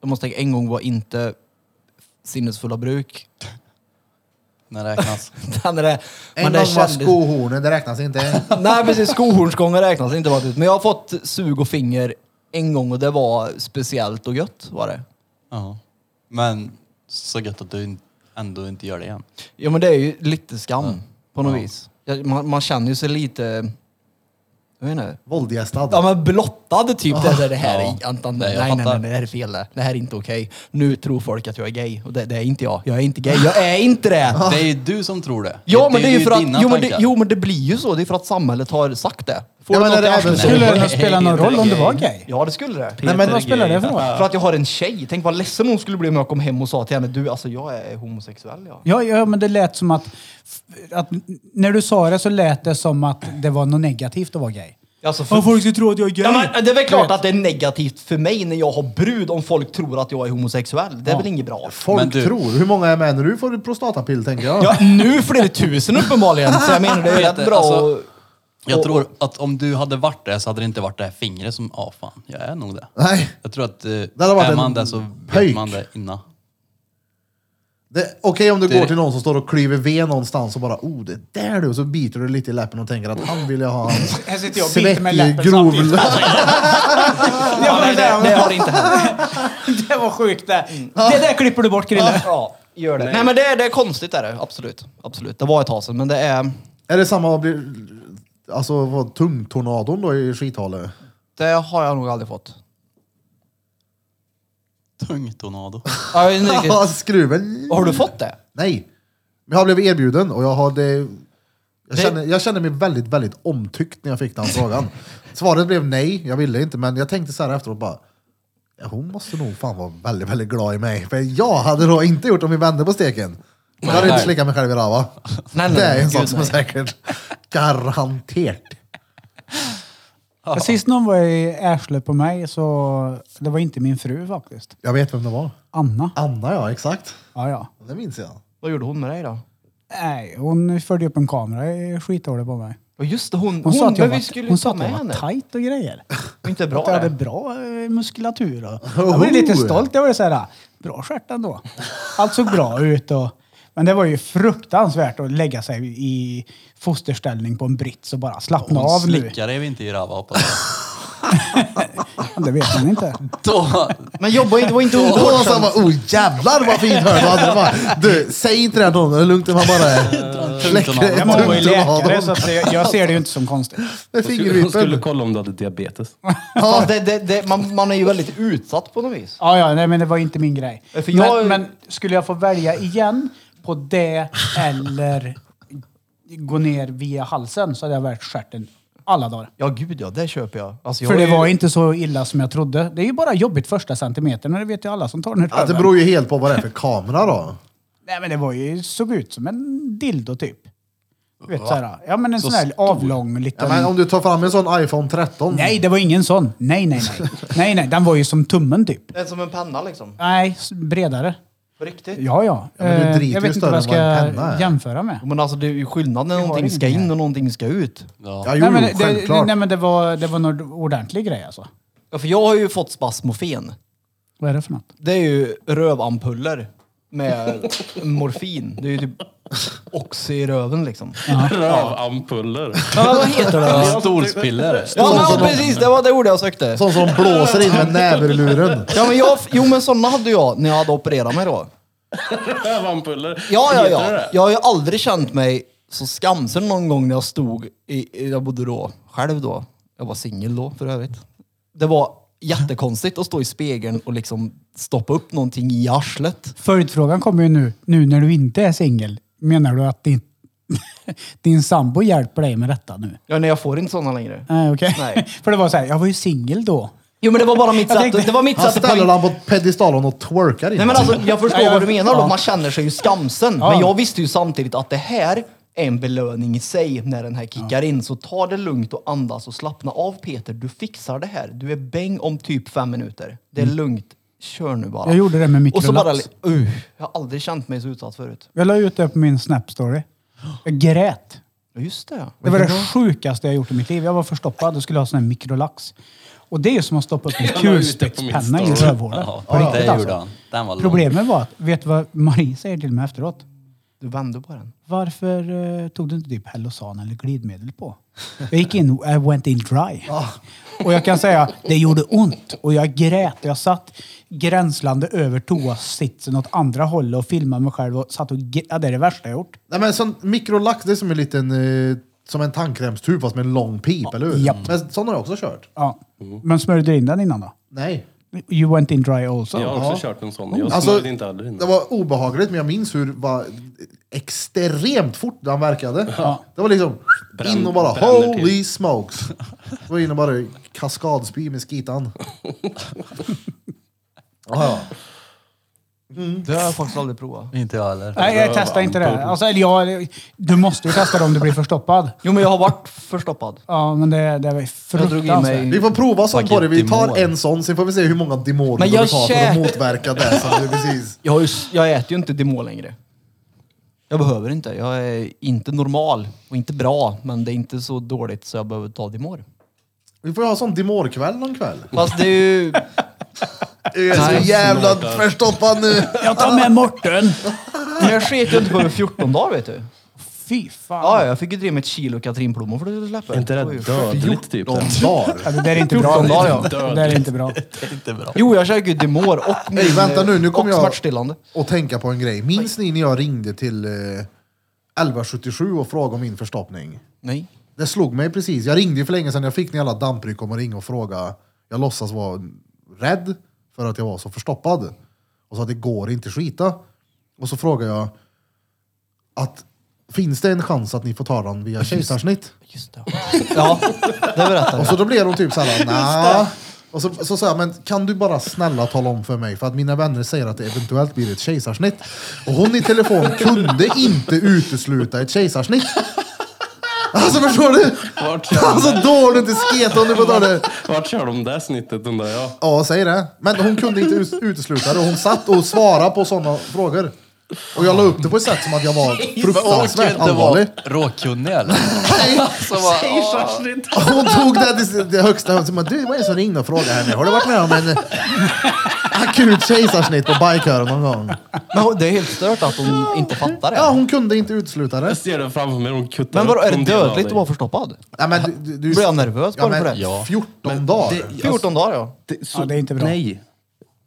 Speaker 5: jag måste tänka, en gång var inte sinnesfulla bruk.
Speaker 6: *laughs*
Speaker 5: *laughs*
Speaker 6: När räknas?
Speaker 5: Den är det,
Speaker 2: En
Speaker 5: det
Speaker 2: gång var skohornen, det räknas inte.
Speaker 5: Nej precis, skohornsgången räknas inte. Bara, men jag har fått sug och finger en gång och det var speciellt och gött var det.
Speaker 6: Ja. Men så gött att du in- ändå inte gör det igen.
Speaker 5: Ja men det är ju lite skam på något
Speaker 6: Ja.
Speaker 5: vis. Ja, Man, man känner ju sig lite... Jag vet inte.
Speaker 2: Våldgästad.
Speaker 5: Ja men blottad typ. Det, där, det här
Speaker 6: Ja.
Speaker 5: är, Anton,
Speaker 6: Nej,
Speaker 5: nej,
Speaker 6: jag
Speaker 5: nej, nej,
Speaker 6: fattar.
Speaker 5: nej, det här är fel. Det här är inte okej. Nu tror folk att jag är gay och det, det är inte jag. Jag är inte gay. Jag är inte det!
Speaker 6: Det är ju du som tror det.
Speaker 5: Ja men det är ju för att...
Speaker 6: dina
Speaker 5: Jo men, det,
Speaker 6: tankar.
Speaker 5: jo men det blir ju så. Det är för att samhället har sagt det. Får
Speaker 2: Ja,
Speaker 5: du
Speaker 2: men är
Speaker 5: något
Speaker 2: det
Speaker 5: i
Speaker 2: även
Speaker 5: arslet-
Speaker 2: så-
Speaker 1: Skulle det spela någon roll om det var gay?
Speaker 5: Ja det skulle det.
Speaker 1: Nej, men vad spelar det för roll?
Speaker 5: För att jag har en tjej. Tänk vad ledsen hon skulle bli om jag kom hem och sa till henne du alltså jag är homosexuell ja.
Speaker 1: Ja, ja, men det lät som att, att... När du sa det så lät det som att det var något negativt att vara gay.
Speaker 5: Alltså,
Speaker 1: Om folk ska tro att jag är gay.
Speaker 5: Ja, men det är väl klart att det är negativt för mig när jag har brud om folk tror att jag är homosexuell. Det är väl inget bra?
Speaker 2: Folk
Speaker 6: Men du-
Speaker 2: tror. Hur många är med när du får prostatapill tänker jag?
Speaker 5: Ja, nu flera tusen uppenbarligen, så jag menar det är
Speaker 6: Peter,
Speaker 5: rätt bra
Speaker 6: alltså-
Speaker 5: och...
Speaker 6: Jag tror att om du hade varit det så hade det inte varit det här fingret som, ja fan, jag är nog det.
Speaker 2: Nej.
Speaker 6: Jag tror att eh,
Speaker 2: hade varit
Speaker 6: är
Speaker 2: en
Speaker 6: man det så vet
Speaker 2: pöjk.
Speaker 6: man det innan.
Speaker 2: Det är Okej om du
Speaker 6: Det-
Speaker 2: går till någon som står och klyver ved någonstans och bara oh det är där du och så biter du lite i läppen och tänker att han vill jag ha en
Speaker 1: Här sitter jag och biter med
Speaker 2: svettig,
Speaker 1: läppen
Speaker 2: grov...
Speaker 1: samtidigt. *laughs*
Speaker 5: Ja, men det, det har inte hänt.
Speaker 1: Det var sjukt det. Det där klipper du bort Krille.
Speaker 5: Ja, gör det. Nej men det, är- det är konstigt är det, absolut. Absolut. Det var ett tag sedan, men det är...
Speaker 2: Är det samma, blir- alltså vad, tungtornadon då i skithalet?
Speaker 5: Det har jag nog aldrig fått.
Speaker 6: Tungtornado.
Speaker 5: Ja, Jag vet inte
Speaker 2: Ja,
Speaker 5: riktigt.
Speaker 2: skruven.
Speaker 5: Har du fått det?
Speaker 2: Nej. Men jag blev erbjuden och jag hade... Jag kände, jag kände mig väldigt, väldigt omtyckt när jag fick den frågan. Svaret blev nej, jag ville inte, men jag tänkte så här efteråt bara... ja, Hon måste nog fan vara väldigt, väldigt glad i mig. För jag hade då inte gjort om vi vände på steken. Jag hade inte slickat mig själv i rava.
Speaker 5: Nej, nej,
Speaker 2: Det är en
Speaker 5: gud,
Speaker 2: sak som är
Speaker 5: nej.
Speaker 2: säkert. Garanterat.
Speaker 1: Sist någon var i Ärsle på mig så... Det var inte min fru faktiskt.
Speaker 2: Jag vet vem det var.
Speaker 1: Anna.
Speaker 2: Anna ja, exakt.
Speaker 1: Ja, ja.
Speaker 2: Det minns jag.
Speaker 5: Vad gjorde hon med dig då?
Speaker 1: Nej, hon förde upp en kamera i skithålet på mig.
Speaker 5: Ja just det, hon...
Speaker 1: Hon, sa att jag
Speaker 5: men vi
Speaker 1: var,
Speaker 5: skulle
Speaker 1: hon
Speaker 5: ju
Speaker 1: sa
Speaker 5: ta
Speaker 1: att
Speaker 5: med
Speaker 1: jag var
Speaker 5: henne.
Speaker 1: tajt och grejer.
Speaker 5: Inte bra
Speaker 1: att jag hade
Speaker 5: det. Oh.
Speaker 1: bra eh, muskulatur.
Speaker 5: *laughs*
Speaker 1: Och jag var lite
Speaker 2: Oho.
Speaker 1: stolt. Jag var så här, ah, bra stjärt ändå. Allt såg bra ut. Och, men det var ju fruktansvärt att lägga sig i fosterställning på en brits och bara slappna
Speaker 6: Hon
Speaker 1: av nu.
Speaker 6: slickade vi inte i rava hoppas jag.
Speaker 1: Det vet man
Speaker 5: *laughs*
Speaker 1: inte.
Speaker 6: Då,
Speaker 5: Men jobba inte, var *laughs* inte
Speaker 2: Och
Speaker 5: hon
Speaker 2: då sa han bara, oh jävlar vad fint hör du hade." Bara, Du, säg inte det här till någon, det är lugnt om
Speaker 1: *laughs*
Speaker 2: han bara släcker
Speaker 6: tungt om
Speaker 1: Men hon var ju läkare
Speaker 2: tungt
Speaker 1: så
Speaker 2: om
Speaker 1: att det, jag ser det ju inte som konstigt.
Speaker 2: Med
Speaker 4: Hon skulle
Speaker 2: fingervippen.
Speaker 4: kolla om du hade diabetes.
Speaker 5: Fast det, det, det, man, man är ju väldigt utsatt på något vis.
Speaker 1: Ja, ja, nej men det var inte min grej.
Speaker 5: Nej, för jag-
Speaker 1: men, men skulle jag få välja igen på det eller gå ner via halsen så hade jag valt stjärten alla dagar.
Speaker 5: Ja gud ja, det köper jag. Alltså, jag
Speaker 1: För
Speaker 5: är
Speaker 1: det
Speaker 5: ju-
Speaker 1: var inte så illa som jag trodde. Det är ju bara jobbigt första centimetern och det vet ju alla som tar den här
Speaker 2: Ja, det
Speaker 1: röven.
Speaker 2: beror ju helt på vad det är för kamera då.
Speaker 1: Nej men det var ju, såg ut som en dildo typ. Du vet, såhär, ja men en sån här avlång
Speaker 2: Ja,
Speaker 1: liten...
Speaker 2: men om du tar fram en sån iPhone 13.
Speaker 1: Nej det var ingen sån. Nej nej
Speaker 2: *laughs*
Speaker 1: nej. nej nej, den var ju som tummen typ.
Speaker 5: Det är som en penna liksom.
Speaker 1: Nej, s- bredare.
Speaker 5: På riktigt.
Speaker 1: Ja ja.
Speaker 2: Ja, men du
Speaker 1: Eh,
Speaker 2: driter ju
Speaker 1: jag vet inte
Speaker 2: större
Speaker 1: vad jag
Speaker 2: än vad en
Speaker 1: ska
Speaker 2: penna är.
Speaker 1: jämföra med.
Speaker 5: Men alltså det är ju skillnad när någonting
Speaker 1: ingen
Speaker 5: ska
Speaker 1: här.
Speaker 5: in och någonting ska ut.
Speaker 2: Ja, jo,
Speaker 1: nej, men,
Speaker 2: jo, självklart.
Speaker 1: det, nej men det var, det var någon ordentlig grej alltså.
Speaker 5: Ja, för jag har ju fått spasmofen.
Speaker 1: Vad är det för något?
Speaker 5: Det är ju rövampuller *laughs* med morfin. Det är ju typ oxy i röven liksom.
Speaker 4: Rövampuller.
Speaker 5: *laughs* Ja, men vad heter
Speaker 4: *laughs*
Speaker 5: det?
Speaker 6: Stolspiller.
Speaker 5: Ja, men, ja precis, det var det ordet jag sökte.
Speaker 2: Sån som blåser in med näverluren.
Speaker 5: Ja, men jag, jo men sådana hade jag när jag hade opererat mig då.
Speaker 4: Rövampuller.
Speaker 5: Ja, ja,
Speaker 4: Heter
Speaker 5: ja.
Speaker 4: det?
Speaker 5: Jag har ju aldrig känt mig Så skamsen någon gång när jag stod, i, i- jag bodde då själv då, jag var singel då för övrigt. Det var jättekonstigt att stå i spegeln och liksom stoppa upp någonting i arslet.
Speaker 1: Följdfrågan kommer ju nu, nu när du inte är singel. Menar du att din, *laughs* din sambo hjälper dig med detta nu?
Speaker 5: Ja, nej jag får inte sådana längre.
Speaker 1: Nej, okej.
Speaker 5: Nej.
Speaker 1: *laughs* För det var så här, jag var ju singel då.
Speaker 5: Jo men det var bara mitt
Speaker 1: Jag
Speaker 5: sätt,
Speaker 1: tänkte-
Speaker 5: det var mitt
Speaker 2: Han
Speaker 5: sätt att
Speaker 2: ställer den på piedestalen och twerkar i
Speaker 5: Nej men
Speaker 2: den.
Speaker 5: alltså, jag förstår
Speaker 1: *laughs* Ja,
Speaker 5: vad du menar då.
Speaker 1: ja.
Speaker 5: Man känner sig ju skamsen.
Speaker 1: Ja.
Speaker 5: Men jag visste ju samtidigt att det här är en belöning i sig när den här kickar in. Så ta det lugnt och andas och slappna av Peter. Du fixar det här. Du är bäng om typ fem minuter. Det är lugnt. Kör nu bara.
Speaker 1: Mm. Jag gjorde det med
Speaker 5: Och så bara,
Speaker 1: mikrolaps.
Speaker 5: uh, jag har aldrig känt mig så utsatt förut.
Speaker 1: Jag la ut det på min Snap-story. Jag grät.
Speaker 5: Ja, Just det.
Speaker 1: Det var det sjukaste jag gjort i mitt liv. Jag var förstoppad och skulle ha sån här mikrolax. Och det är ju som att stoppa upp en
Speaker 4: Jag la ut det på min
Speaker 1: kulspetspenna i
Speaker 4: story.
Speaker 1: rövhålet.
Speaker 6: Ja,
Speaker 1: På riktigt
Speaker 6: det gjorde
Speaker 1: alltså.
Speaker 6: han. Den var lång.
Speaker 1: Problemet var att, vet du vad Marie säger till mig efteråt?
Speaker 5: Du vände på den.
Speaker 1: Varför eh, tog du inte typ Hellosan eller glidmedel på? Jag gick in, I went in dry. Och jag kan säga, det gjorde ont. Och jag grät. Jag satt gränslande över toasitsen åt andra hållet och filmade mig själv och satt och gr- ja, Det är det värsta jag gjort.
Speaker 2: Nej, men sån mikrolax, det är som en liten... Eh, som en tandkrämstub fast med en lång pip, eller hur?
Speaker 1: Japp.
Speaker 2: Men sån har jag också kört.
Speaker 1: Ja.
Speaker 5: Mm.
Speaker 1: Men smörjde du in den innan då?
Speaker 2: Nej.
Speaker 1: You went in dry also?
Speaker 4: Jag har också kört en sån. Jag
Speaker 2: Alltså,
Speaker 4: smörjde inte aldrig in.
Speaker 2: det var obehagligt, men jag minns hur va, extremt fort den verkade. Det var liksom
Speaker 4: Bränn-
Speaker 2: in och bara
Speaker 4: bränner till.
Speaker 2: holy smokes. Det var in och bara kaskadspy med skitan. Ja, ja.
Speaker 1: Mm.
Speaker 5: Det har jag faktiskt aldrig provat.
Speaker 6: Inte jag heller.
Speaker 1: Nej, jag testar inte det. Alltså, eller jag, du måste ju testa det om du blir förstoppad.
Speaker 5: Jo men jag har varit förstoppad.
Speaker 1: Ja, men det, det var ju
Speaker 5: Jag drog in
Speaker 1: fruktansvärt.
Speaker 5: mig...
Speaker 2: Vi får prova sånt
Speaker 6: Vilket
Speaker 2: på det. Vi tar
Speaker 6: demon.
Speaker 2: en sån, sen får vi se hur många demon
Speaker 5: Men
Speaker 2: vi behöver
Speaker 5: jag
Speaker 2: ta för
Speaker 5: kä-
Speaker 2: att motverka det. Som det precis.
Speaker 5: Jag, har ju, jag äter ju inte Demol längre. Jag behöver inte. Jag är inte normal och inte bra, men det är inte så dåligt så jag behöver ta Demol.
Speaker 2: Vi får ha sån demorkväll någon kväll.
Speaker 5: Fast det är ju...
Speaker 2: Jag är så
Speaker 5: Nej.
Speaker 2: jävla förstoppad nu.
Speaker 1: Jag tar med Morten!
Speaker 5: Men jag sket ju inte på det 14 dagar vet du.
Speaker 1: Fy fan.
Speaker 5: Ja, ja, jag fick ju driva med ett kilo katrinplommon för det släppte.
Speaker 4: Är inte det dödligt typ?
Speaker 2: De dagar.
Speaker 1: Ja, det där är inte
Speaker 5: 14
Speaker 1: bra.
Speaker 5: dagar, ja.
Speaker 1: Det där är inte bra.
Speaker 6: Det är inte bra.
Speaker 5: Jo, jag käkade ju
Speaker 2: *laughs*
Speaker 5: Demol och min,
Speaker 2: Hej, vänta nu, nu kommer
Speaker 5: och
Speaker 2: jag-
Speaker 5: smärtstillande.
Speaker 2: och tänka på en grej. Minns ni när jag ringde till eh, 1177 och frågade om min förstoppning?
Speaker 5: Nej.
Speaker 2: Det slog mig precis. Jag ringde ju för länge sedan. Jag fick ni alla dampryck om att ringa och fråga. Jag låtsas vara rädd för att jag var så förstoppad. Och sa att det går inte skita. Och så frågade jag att finns det en chans att ni får ta den via kejsarsnitt?
Speaker 5: Just det. Ja, det berättade
Speaker 2: Och
Speaker 5: jag.
Speaker 2: så då blev de typ såhär, nja. Och så, så sa jag, men kan du bara snälla tala om för mig, för att mina vänner säger att det eventuellt blir ett kejsarsnitt. Och hon i telefon kunde inte utesluta ett kejsarsnitt. *laughs* Alltså förstår du?
Speaker 4: Vart kör,
Speaker 2: Alltså dåligt i sketa om du får ta det.
Speaker 4: vart kör de det snittet undrar jag?
Speaker 2: Ja, säg det. Men hon kunde inte ut- utesluta det och hon satt och svarade på sådana frågor. Och jag la upp det på ett sätt som att jag var fruktansvärt allvarlig.
Speaker 6: Råkunnig eller?
Speaker 2: Hon tog det till det högsta hönset. Hon bara, Du, vad är det som ringde och frågade henne? Har du varit med om en *laughs* akut kejsarsnitt på bajkören någon gång?
Speaker 5: Men det är helt stört att hon inte fattar
Speaker 2: Ja,
Speaker 5: det.
Speaker 2: hon kunde inte utesluta det.
Speaker 4: Jag ser det framför mig. De kuttar
Speaker 5: Men vadå,
Speaker 4: upp
Speaker 5: är det
Speaker 4: en del av
Speaker 5: dödligt att
Speaker 4: dig.
Speaker 5: vara förstoppad?
Speaker 2: Ja, men, du, du, du,
Speaker 5: Blir jag nervös bara
Speaker 2: men
Speaker 5: för det?
Speaker 6: Ja.
Speaker 2: 14 dagar. Alltså,
Speaker 4: det-
Speaker 5: 14 dagar ja.
Speaker 4: Det, så,
Speaker 1: Ja, det är inte bra.
Speaker 4: Nej.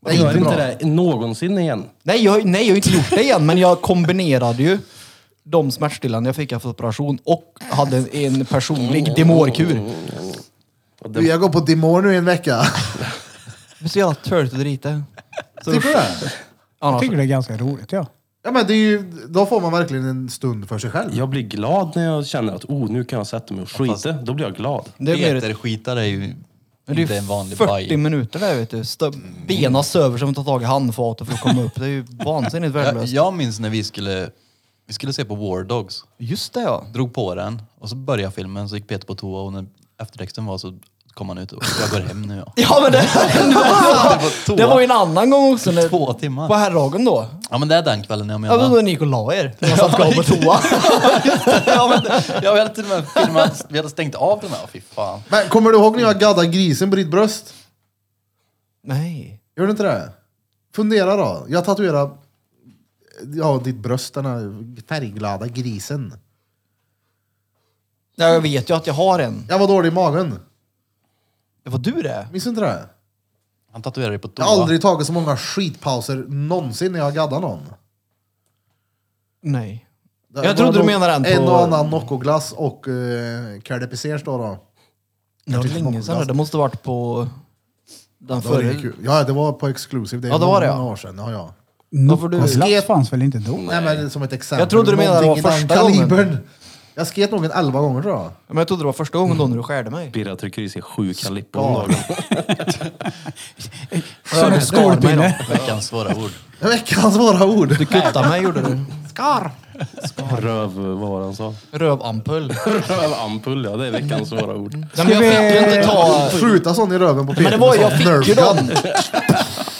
Speaker 2: Det är
Speaker 4: Gör
Speaker 2: inte
Speaker 4: inte,
Speaker 2: bra.
Speaker 4: det någonsin igen.
Speaker 5: Nej jag, nej, jag har inte gjort det igen, men jag kombinerade ju de smärtstillande jag fick efter operation och hade en, en personlig demorkur.
Speaker 4: Och
Speaker 2: Du,
Speaker 4: det,
Speaker 2: jag går på Dimor nu i en vecka.
Speaker 5: Det är så jävla törligt att drita. *laughs* Så,
Speaker 2: Tycker du det?
Speaker 1: Jag
Speaker 5: annars,
Speaker 1: tycker det är ganska roligt, ja.
Speaker 2: Typ. Ja, men det är ju, då får man verkligen en stund för sig själv.
Speaker 4: jag blir glad när jag känner att oh, nu kan jag sätta mig och skita. Då blir jag glad.
Speaker 5: *laughs* det är mer,
Speaker 6: Peter-skitare är ju
Speaker 5: men det är
Speaker 6: inte
Speaker 5: ju
Speaker 6: en vanlig
Speaker 5: 40
Speaker 6: baj.
Speaker 5: minuter där vet du. Stö, bena söver som tar tag i handfatet för att komma upp. Det är ju vansinnigt
Speaker 6: Jag,
Speaker 5: värdelöst.
Speaker 6: jag minns när vi skulle, vi skulle se på War Dogs.
Speaker 5: Just det ja.
Speaker 6: Drog på den och så började filmen, så gick Peter på toa och när eftertexten var så kom han ut och jag går hem nu. Ja.
Speaker 5: Ja
Speaker 6: *laughs*
Speaker 5: men det,
Speaker 6: På
Speaker 5: *laughs* det
Speaker 6: toa.
Speaker 5: var ju en annan gång också. När,
Speaker 6: Två
Speaker 5: På
Speaker 6: timmar.
Speaker 5: herrdagen då.
Speaker 6: Ja men det är den kvällen jag
Speaker 5: Ja men då
Speaker 6: menar.
Speaker 5: ni gick och la er. När jag satt kvar
Speaker 6: *laughs*
Speaker 5: på toa.
Speaker 6: Ja, men, jag hade till och med filmat, vi hade stängt av den här. Fy fan.
Speaker 2: Men kommer du ihåg när jag gaddade grisen på ditt bröst?
Speaker 5: Nej.
Speaker 2: Gör du inte det? Fundera då. Jag tatuerade ja, ditt bröst, den här färgglada grisen.
Speaker 5: Ja, Jag vet ju att jag har en.
Speaker 2: Jag var dålig i magen.
Speaker 5: Det var du det?
Speaker 2: Minns du inte det?
Speaker 6: Han tatuerade dig på
Speaker 2: Jag
Speaker 6: toa.
Speaker 2: har aldrig tagit så många skitpauser någonsin när jag gaddar någon.
Speaker 5: Nej.
Speaker 2: Det
Speaker 5: Jag
Speaker 2: var
Speaker 5: trodde du
Speaker 2: nog
Speaker 5: menade den på-
Speaker 2: En och annan Noccoglass och uh, Carte Pisers då. då.
Speaker 5: Det var
Speaker 2: tyckte
Speaker 5: länge
Speaker 2: Noccoglass-
Speaker 5: sedan. det. Det måste varit på den
Speaker 2: Det var
Speaker 5: förra.
Speaker 2: riktigt kul. Ja, det var på Exclusive. Det är
Speaker 5: Ja, det var det,
Speaker 2: många
Speaker 5: ja.
Speaker 2: år sedan. Ja, ja.
Speaker 5: Varför du-
Speaker 1: Något glass fanns väl inte då?
Speaker 2: Nej, men som ett exempel.
Speaker 5: Jag trodde du menade det var
Speaker 2: Någonting i den
Speaker 5: första gången.
Speaker 2: kalibern. Jag sket nog en elva gånger tror jag.
Speaker 5: Men jag trodde det var första gången då när du skärde mig.
Speaker 2: Mm.
Speaker 4: Birra trycker i sig sju Calippo om dagen.
Speaker 1: Som ett skolpinne.
Speaker 6: Veckans svåra ord.
Speaker 2: Veckans våra ord.
Speaker 5: Du kuttade mig gjorde du. Skar!
Speaker 4: Röv, vad var det han *laughs* sa?
Speaker 5: Rövampull.
Speaker 4: Rövampull, ja det är veckans svåra ord.
Speaker 5: Nej, men jag fick ju inte ta...
Speaker 2: Skjuta sån i röven på Peter.
Speaker 5: Men det var ju,
Speaker 2: med
Speaker 5: jag
Speaker 2: sån
Speaker 5: fick ju
Speaker 2: nerfgun.
Speaker 5: dem!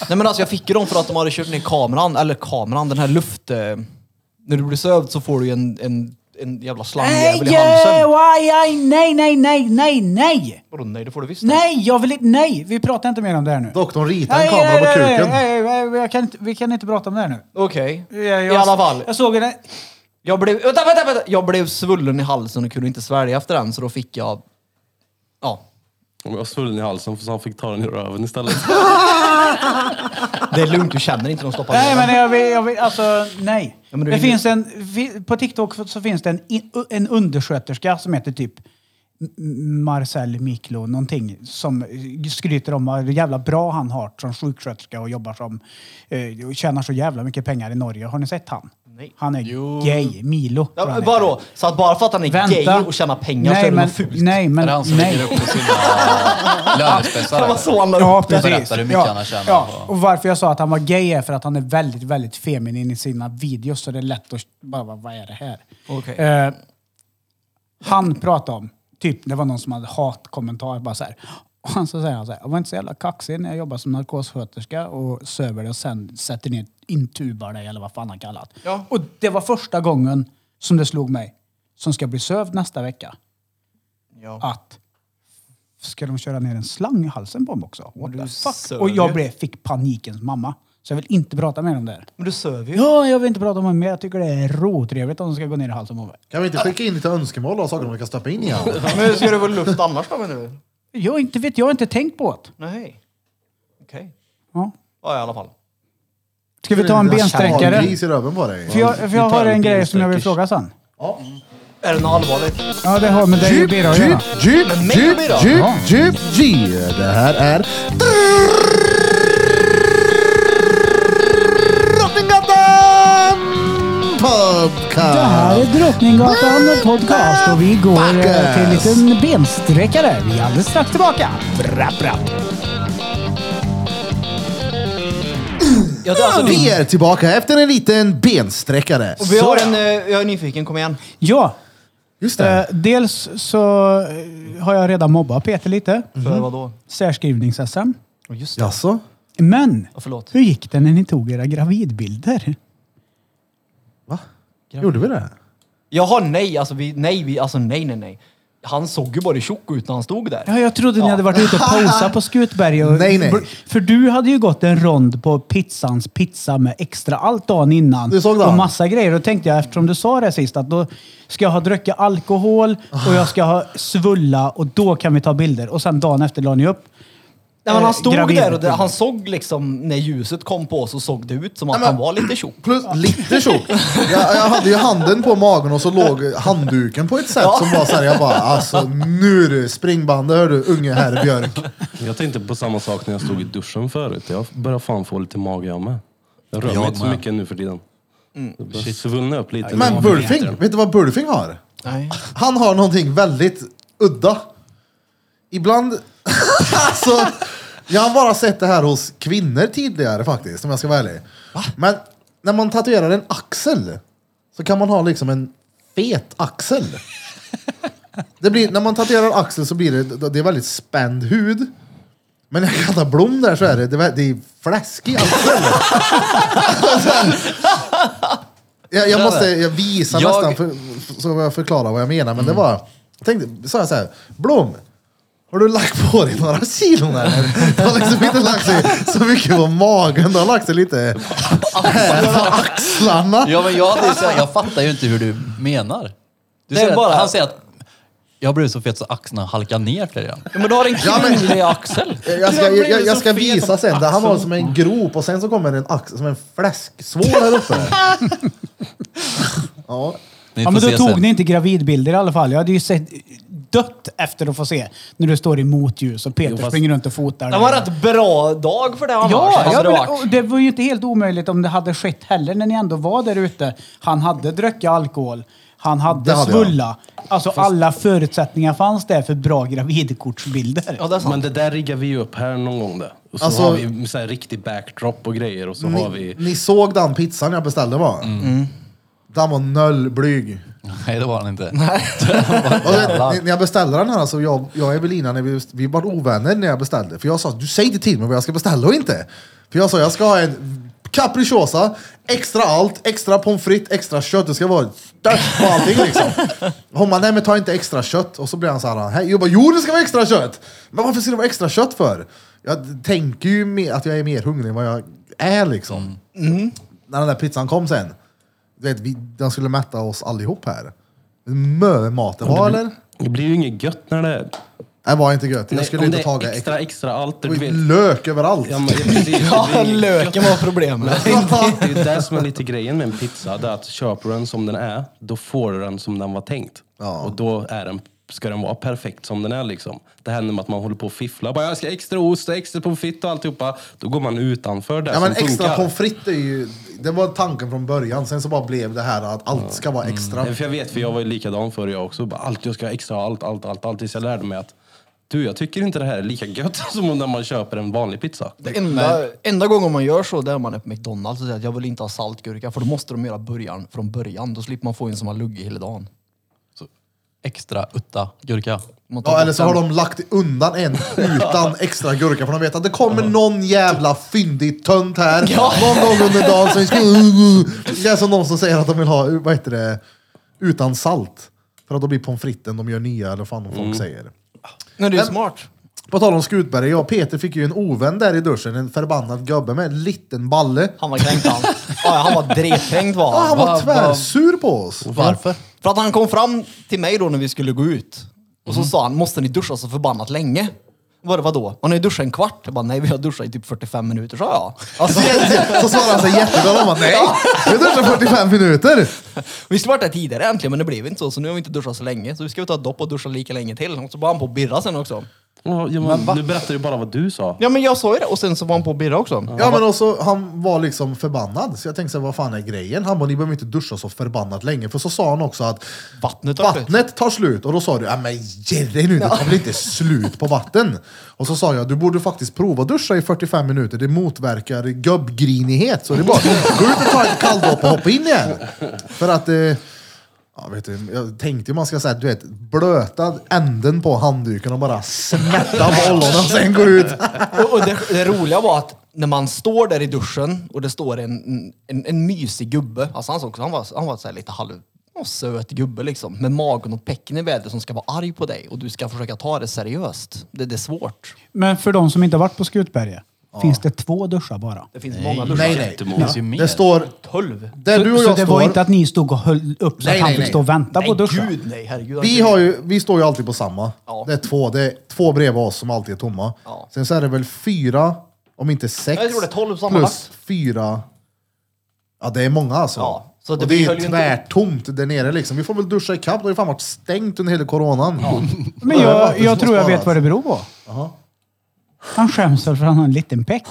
Speaker 5: Nej men alltså jag fick ju dem för att de hade kört ner kameran, eller kameran, den här luft... Eh, när du blir sövd så får du ju en, en, en jävla slangjävel i halsen.
Speaker 1: aj, aj, nej, nej, nej, nej, nej!
Speaker 5: Vadå nej, det får du visst.
Speaker 1: Nej, jag vill inte, nej! Vi pratar inte mer om det här nu.
Speaker 2: Doktorn ritade en kamera på kuken.
Speaker 1: nej, nej, nej, jag kan inte, vi kan inte prata om det här nu.
Speaker 5: Okej.
Speaker 1: Jag, jag,
Speaker 5: I alla fall.
Speaker 1: Jag såg det.
Speaker 5: Jag blev, vänta, vänta, vänta. jag blev svullen i halsen och kunde inte svälja efter den så då fick jag... Ja.
Speaker 4: Om jag var svullen i halsen så han fick ta den i röven istället.
Speaker 5: Det är lugnt, du känner inte de stoppar ner
Speaker 1: Nej,
Speaker 5: den.
Speaker 1: men jag vill, jag vill alltså nej.
Speaker 5: Ja, men du
Speaker 1: det
Speaker 5: är-
Speaker 1: finns en, fi- på TikTok så finns det en, i- en undersköterska som heter typ M- Marcel Miklo någonting som skryter om hur jävla bra han har som sjuksköterska och jobbar som eh, och tjänar så jävla mycket pengar i Norge. Har ni sett han?
Speaker 5: Nej.
Speaker 1: Han är gay, Milo. tror jag
Speaker 5: Ja,
Speaker 1: han
Speaker 5: men
Speaker 1: heter.
Speaker 5: vadå? Så att bara för att han är gay och tjänar pengar så är
Speaker 1: nej,
Speaker 5: det
Speaker 1: men,
Speaker 5: något fult?
Speaker 1: Nej, men
Speaker 6: är det han som
Speaker 1: nej.
Speaker 6: lägger upp äh, på sina
Speaker 5: *laughs*
Speaker 6: lönespecialer?
Speaker 5: Det var så han la
Speaker 1: Ja,
Speaker 5: upp det.
Speaker 1: precis.
Speaker 6: berättar hur mycket
Speaker 1: ja,
Speaker 6: han har tjänat
Speaker 1: ja.
Speaker 6: på-
Speaker 1: Och varför jag sa att han var gay är för att han är väldigt, väldigt feminin i sina videos. Så det är lätt att bara, vad vad är det här?
Speaker 5: Okej.
Speaker 1: Eh, han pratade om, typ, det var någon som hade hatkommentar bara så här. Och han så säger han så här, jag var inte så jävla kaxig när jag jobbade som narkossköterska och söver dig och sen sätter ner, intubar dig eller vad fan han kallat.
Speaker 5: Ja.
Speaker 1: Och det var första gången som det slog mig, som ska bli sövd nästa vecka,
Speaker 5: Ja.
Speaker 1: att ska de köra ner en slang i halsen på mig också? What
Speaker 5: Du
Speaker 1: the
Speaker 5: söver.
Speaker 1: fuck? Och jag blev, fick panikens mamma. Så jag vill inte prata mer om det här.
Speaker 5: Men du söver ju.
Speaker 1: Ja, jag vill inte prata om det mer. Jag tycker det är rotrevligt om de ska gå ner i halsen på mig.
Speaker 2: Kan vi inte skicka in lite önskemål och saker man kan stoppa in igen?
Speaker 5: Men hur ska du få luft annars då menar du?
Speaker 1: Jag inte vet, jag har inte tänkt på det.
Speaker 5: Nej. Okej.
Speaker 1: Ja.
Speaker 5: Ja, i alla fall.
Speaker 1: Ska vi ta en
Speaker 2: Ha en
Speaker 1: bensträckare?
Speaker 2: gris i röven på dig.
Speaker 1: För jag, för jag
Speaker 6: Vi tar
Speaker 1: har
Speaker 6: en
Speaker 1: en grej som jag vill
Speaker 6: bensträckers.
Speaker 1: fråga sen.
Speaker 5: Är det något allvarligt?
Speaker 1: Ja, det har med
Speaker 2: Typ,
Speaker 1: dig och Birra att göra.
Speaker 2: djup,
Speaker 5: Men mig
Speaker 2: djup,
Speaker 5: och mig då?
Speaker 2: djup,
Speaker 1: Ja.
Speaker 2: djup, djup. Det här är... Drottninggatan
Speaker 1: Det här är
Speaker 2: Podcast!
Speaker 1: Drottninggatan podcast och vi går eh, till en
Speaker 2: Backes.
Speaker 1: liten bensträckare. Vi är alldeles strax tillbaka. Brapp, brapp.
Speaker 5: Ja, det, är alltså,
Speaker 2: Vi är tillbaka efter en liten bensträckare.
Speaker 5: Och vi har
Speaker 2: Så,
Speaker 5: en, eh, jag är nyfiken, kom igen.
Speaker 1: Ja,
Speaker 2: Just
Speaker 1: eh,
Speaker 2: det.
Speaker 1: dels så eh, har jag redan mobbat Peter lite.
Speaker 5: För vadå?
Speaker 1: Särskrivnings-SM.
Speaker 5: Oh, just det.
Speaker 2: Jaså?
Speaker 1: Men,
Speaker 5: Ja, förlåt.
Speaker 1: hur gick det när ni tog era gravidbilder?
Speaker 2: Va? Gjorde vi det?
Speaker 5: Jaha, nej, alltså vi, nej, vi, alltså nej, nej, nej. Han såg ju bara tjock ut när han stod där.
Speaker 1: Ja, jag trodde ni hade varit ute och posat på Skutberg. Och,
Speaker 2: Nej, nej.
Speaker 1: För du hade ju gått en rond på pizzans pizza med extra allt dagen innan.
Speaker 2: Du såg det?
Speaker 1: Och massa grejer. Då tänkte jag, eftersom du sa det sist, att då ska jag ha druckit alkohol och jag ska ha svulla och då kan vi ta bilder. Och sen dagen efter la ni upp.
Speaker 5: Nej, men han stod
Speaker 1: Eh, gravid.
Speaker 5: där och det, han såg liksom, när ljuset kom på så såg det ut som att han var lite tjock.
Speaker 2: Plus lite
Speaker 5: *laughs*
Speaker 2: tjock. Jag, jag hade ju handen på magen och så låg handduken på ett sätt som var såhär, jag bara alltså nu du, springbandet hör du unge herr Björk.
Speaker 4: Jag tänkte på samma sak när jag stod i duschen förut. Jag börjar fan få lite mage jag med. Jag rör
Speaker 6: Jag
Speaker 4: mig inte så
Speaker 6: med.
Speaker 4: mycket nu för tiden. Jag börjar svullna upp lite.
Speaker 2: Men Bulfing, vet du vad Bulfing har?
Speaker 5: Nej.
Speaker 2: Han har någonting väldigt udda. Ibland, *laughs* alltså, jag har bara sett det här hos kvinnor tidigare faktiskt, om jag ska vara ärlig. Men när man tatuerar en axel så kan man ha liksom en fet axel. Det blir, när man tatuerar axel så blir det, det är väldigt spänd hud. Men när jag kallar blom där så är det, det är- det är fläsk i axeln. *laughs* jag, jag måste jag visa
Speaker 5: Jag-
Speaker 2: nästan för, för- så jag förklarar vad jag menar. Men det var, jag tänkte, sa jag så här, Blom, har du lagt på dig några kilon eller? Du har liksom inte lagt sig så mycket på magen, du har lagt sig lite här på axlarna.
Speaker 6: Ja, men jag, hade ju så här, jag fattar ju inte hur du menar. Du
Speaker 5: Det är
Speaker 6: säger
Speaker 5: bara-
Speaker 6: att, han säger att jag blev så fet så axlarna halkade ner till den.
Speaker 5: Ja, men du har en
Speaker 2: Ja, men-
Speaker 5: kvinnlig axel.
Speaker 2: Jag ska, jag, jag, jag ska visa sen. Där han har som en grop och sen så kommer en axel, som en fläsksvår här uppe. *laughs* ja.
Speaker 6: Ni
Speaker 1: ja,
Speaker 6: får
Speaker 1: men då
Speaker 6: se
Speaker 1: tog
Speaker 6: sen.
Speaker 1: ni inte gravidbilder i alla fall. Jag hade ju sett dött efter att få se när du står i motljus och Peter
Speaker 4: Jo, fast-
Speaker 1: springer runt och fotar.
Speaker 5: Det var en rätt bra dag för det Alltså, annars.
Speaker 1: Ja,
Speaker 5: hade
Speaker 1: ja
Speaker 5: det
Speaker 1: men,
Speaker 5: varit. *laughs*
Speaker 1: och det var ju inte helt omöjligt om det hade skett heller när ni ändå var där ute. Han hade druckit alkohol, han hade,
Speaker 2: Det hade jag.
Speaker 1: svulla. Alltså alla förutsättningar fanns där för bra gravidkortsbilder.
Speaker 5: Ja, det är sant.
Speaker 4: Men det där riggar vi ju upp här någon gång. Där. Och så
Speaker 2: Alltså-
Speaker 4: har vi så här riktig backdrop och grejer och så har
Speaker 2: Ni,
Speaker 4: vi... Mm.
Speaker 2: ni såg den pizzan jag beställde va? Den var noll blyg.
Speaker 6: Nej, det var han inte.
Speaker 2: Och det- ni- när jag beställde den här, alltså, jag, jag och Evelina, när vi, vi var ovänner när jag beställde. För jag sa, du säger inte till mig vad jag ska beställa och inte. För jag sa, jag ska ha en capricciosa, extra allt, extra pommes frites, extra kött. Det ska vara störst på allting liksom. Hon bara, nej men ta inte extra kött. Och så blir han så här, "Hej." jag bara, jo det ska vara extra kött! Men varför ska det vara extra kött för? Jag tänker ju mer, att jag är mer hungrig än vad jag är liksom. När den där pizzan kom sen, du vet, vi, den skulle mätta oss allihop här. Mö mat det var eller?
Speaker 4: Det blir ju inget gött när det är...
Speaker 2: Det var inte gött. Jag skulle
Speaker 4: om
Speaker 2: inte
Speaker 4: det är
Speaker 2: tagit
Speaker 4: extra, extra allt. Du
Speaker 2: Det var
Speaker 4: vet.
Speaker 2: ju lök överallt.
Speaker 4: Ja, men, ja, precis. Det
Speaker 5: Ja,
Speaker 4: blir-
Speaker 5: löken var problemet.
Speaker 4: Det är ju det som är lite grejen med en pizza. Det är att köper du den som den är, då får du den som den var tänkt.
Speaker 2: Ja.
Speaker 4: Och då är den, ska den vara perfekt som den är. Liksom. Det händer med att man håller på och fifflar. Bara, jag ska ha extra ost, extra pommes frites och alltihopa. Då går man utanför det
Speaker 2: Ja, men
Speaker 4: som
Speaker 2: extra
Speaker 4: funkar.
Speaker 2: pommes frites är ju... Det var tanken från början. Sen så bara blev det här att allt ska
Speaker 4: Mm.
Speaker 2: vara extra.
Speaker 4: Nej, För jag vet, för jag var ju likadan förr jag också. Bara, allt, jag ska ha extra allt, allt, allt, allt. Tills jag lärde mig att du, jag tycker inte det här är lika gött *laughs* som när man köper en vanlig pizza.
Speaker 5: *laughs* Det enda, enda gången man gör så det är om man är på McDonalds och säger att jag vill inte ha saltgurka för då måste de göra början från början. Då slipper man få en som har luggit hela dagen.
Speaker 6: Extra utta gurka.
Speaker 5: Man tar
Speaker 2: Ja,
Speaker 5: bort
Speaker 2: eller så
Speaker 5: den.
Speaker 2: har de lagt undan
Speaker 4: *laughs*
Speaker 2: en utan extra gurka för de vet att det kommer någon jävla fyndig tönt här *laughs* någon gång under dagen. Som ska, det är som någon som säger att de vill ha vad heter det, utan salt. För att då blir pommes fritesen de gör nya eller vad fan
Speaker 4: Mm.
Speaker 2: folk säger.
Speaker 5: Nej, det är ju smart.
Speaker 2: På tal om Skutberg, jag och Peter fick ju en ovän där i duschen. En förbannad gubbe med en liten balle.
Speaker 5: Han var kränkt han. Ja, han var dretkränkt var
Speaker 2: Ja, Ah, han
Speaker 5: han.
Speaker 2: var
Speaker 6: vad-
Speaker 2: tvärsur på oss.
Speaker 6: Varför?
Speaker 5: För att han kom fram till mig då när vi skulle gå ut. Och så sa han, måste ni duscha så förbannat länge? Vad vadå? Man har ju duschat en kvart. Jag bara, nej vi har duschat i typ 45 minuter, sa jag. Alltså,
Speaker 2: Så svarade han sig jätteglad. Han bara, nej, vi duschar 45 minuter.
Speaker 5: vi skulle varit där tidigare äntligen, men det blev inte så. Så nu har vi inte duschat så länge. Så vi ska ta ett dopp och duscha lika länge till. Och så var han på att birra sen också.
Speaker 4: Ja, ja, men, du berättar ju bara vad du sa.
Speaker 5: Ja men jag sa ju det. Och sen så var han på att birra också.
Speaker 2: Ja men också, han var liksom förbannad. Så jag tänkte, så här, vad fan är grejen? Han bara, ni behöver inte duscha så förbannat länge. För så sa han också att
Speaker 5: Vattnet har slut.
Speaker 2: vattnet tar slut. Och då sa du, ja men ge dig nu, det tar väl inte slut på vatten? Och så sa jag, du borde faktiskt prova att duscha i 45 minuter. Det motverkar gubbgrinighet. Så det är bara, gå ut och ta ett kalldopp och hoppa in igen. För att... Eh, Ja, vet du, jag tänkte ju man ska säga, du vet, blöta änden på handduken och bara smärta på ollonen och sen gå ut.
Speaker 5: Och, och det, det roliga var att när man står där i duschen och det står en, en, en mysig gubbe, alltså han, såg, han var, han var så här lite halv och söt gubbe liksom, med magen och pecken i vädret som ska vara arg på dig och du ska försöka ta det seriöst. Det, det är svårt.
Speaker 1: Men för de som inte har varit på Skutberget, finns det två duschar bara?
Speaker 5: Det finns många duschar.
Speaker 2: Nej, nej.
Speaker 6: Det finns ju mer.
Speaker 2: Det står,
Speaker 5: Tolv?
Speaker 2: där du och
Speaker 1: så
Speaker 2: jag
Speaker 1: det
Speaker 2: står,
Speaker 1: var inte att ni stod och höll upp så
Speaker 2: Nej,
Speaker 1: att han
Speaker 2: nej,
Speaker 1: fick
Speaker 2: nej.
Speaker 1: stå och vänta på
Speaker 5: Nej,
Speaker 1: att duscha?
Speaker 5: gud nej, herregud.
Speaker 2: vi, har ju, vi står ju alltid på samma.
Speaker 5: Ja.
Speaker 2: Det är två, det är två bredvid oss som alltid är tomma.
Speaker 5: Ja.
Speaker 2: Sen så är det väl fyra, om inte sex,
Speaker 5: Jag tror det är tolv sammanlagt.
Speaker 2: plus fyra. Ja, det är många alltså.
Speaker 5: Ja, så det-
Speaker 2: och det
Speaker 5: vi
Speaker 2: är
Speaker 5: höll
Speaker 2: ju
Speaker 5: ju inte-
Speaker 2: tvärtomt där nere liksom. Vi får väl duscha ikapp, det har ju fan varit stängt under hela coronan.
Speaker 1: Men
Speaker 2: Det är
Speaker 1: jag,
Speaker 2: vatten
Speaker 1: jag
Speaker 2: som
Speaker 1: tror jag
Speaker 2: sparas.
Speaker 1: vet vad det beror
Speaker 5: alltså.
Speaker 1: på. Han skäms väl för att han har en liten peck.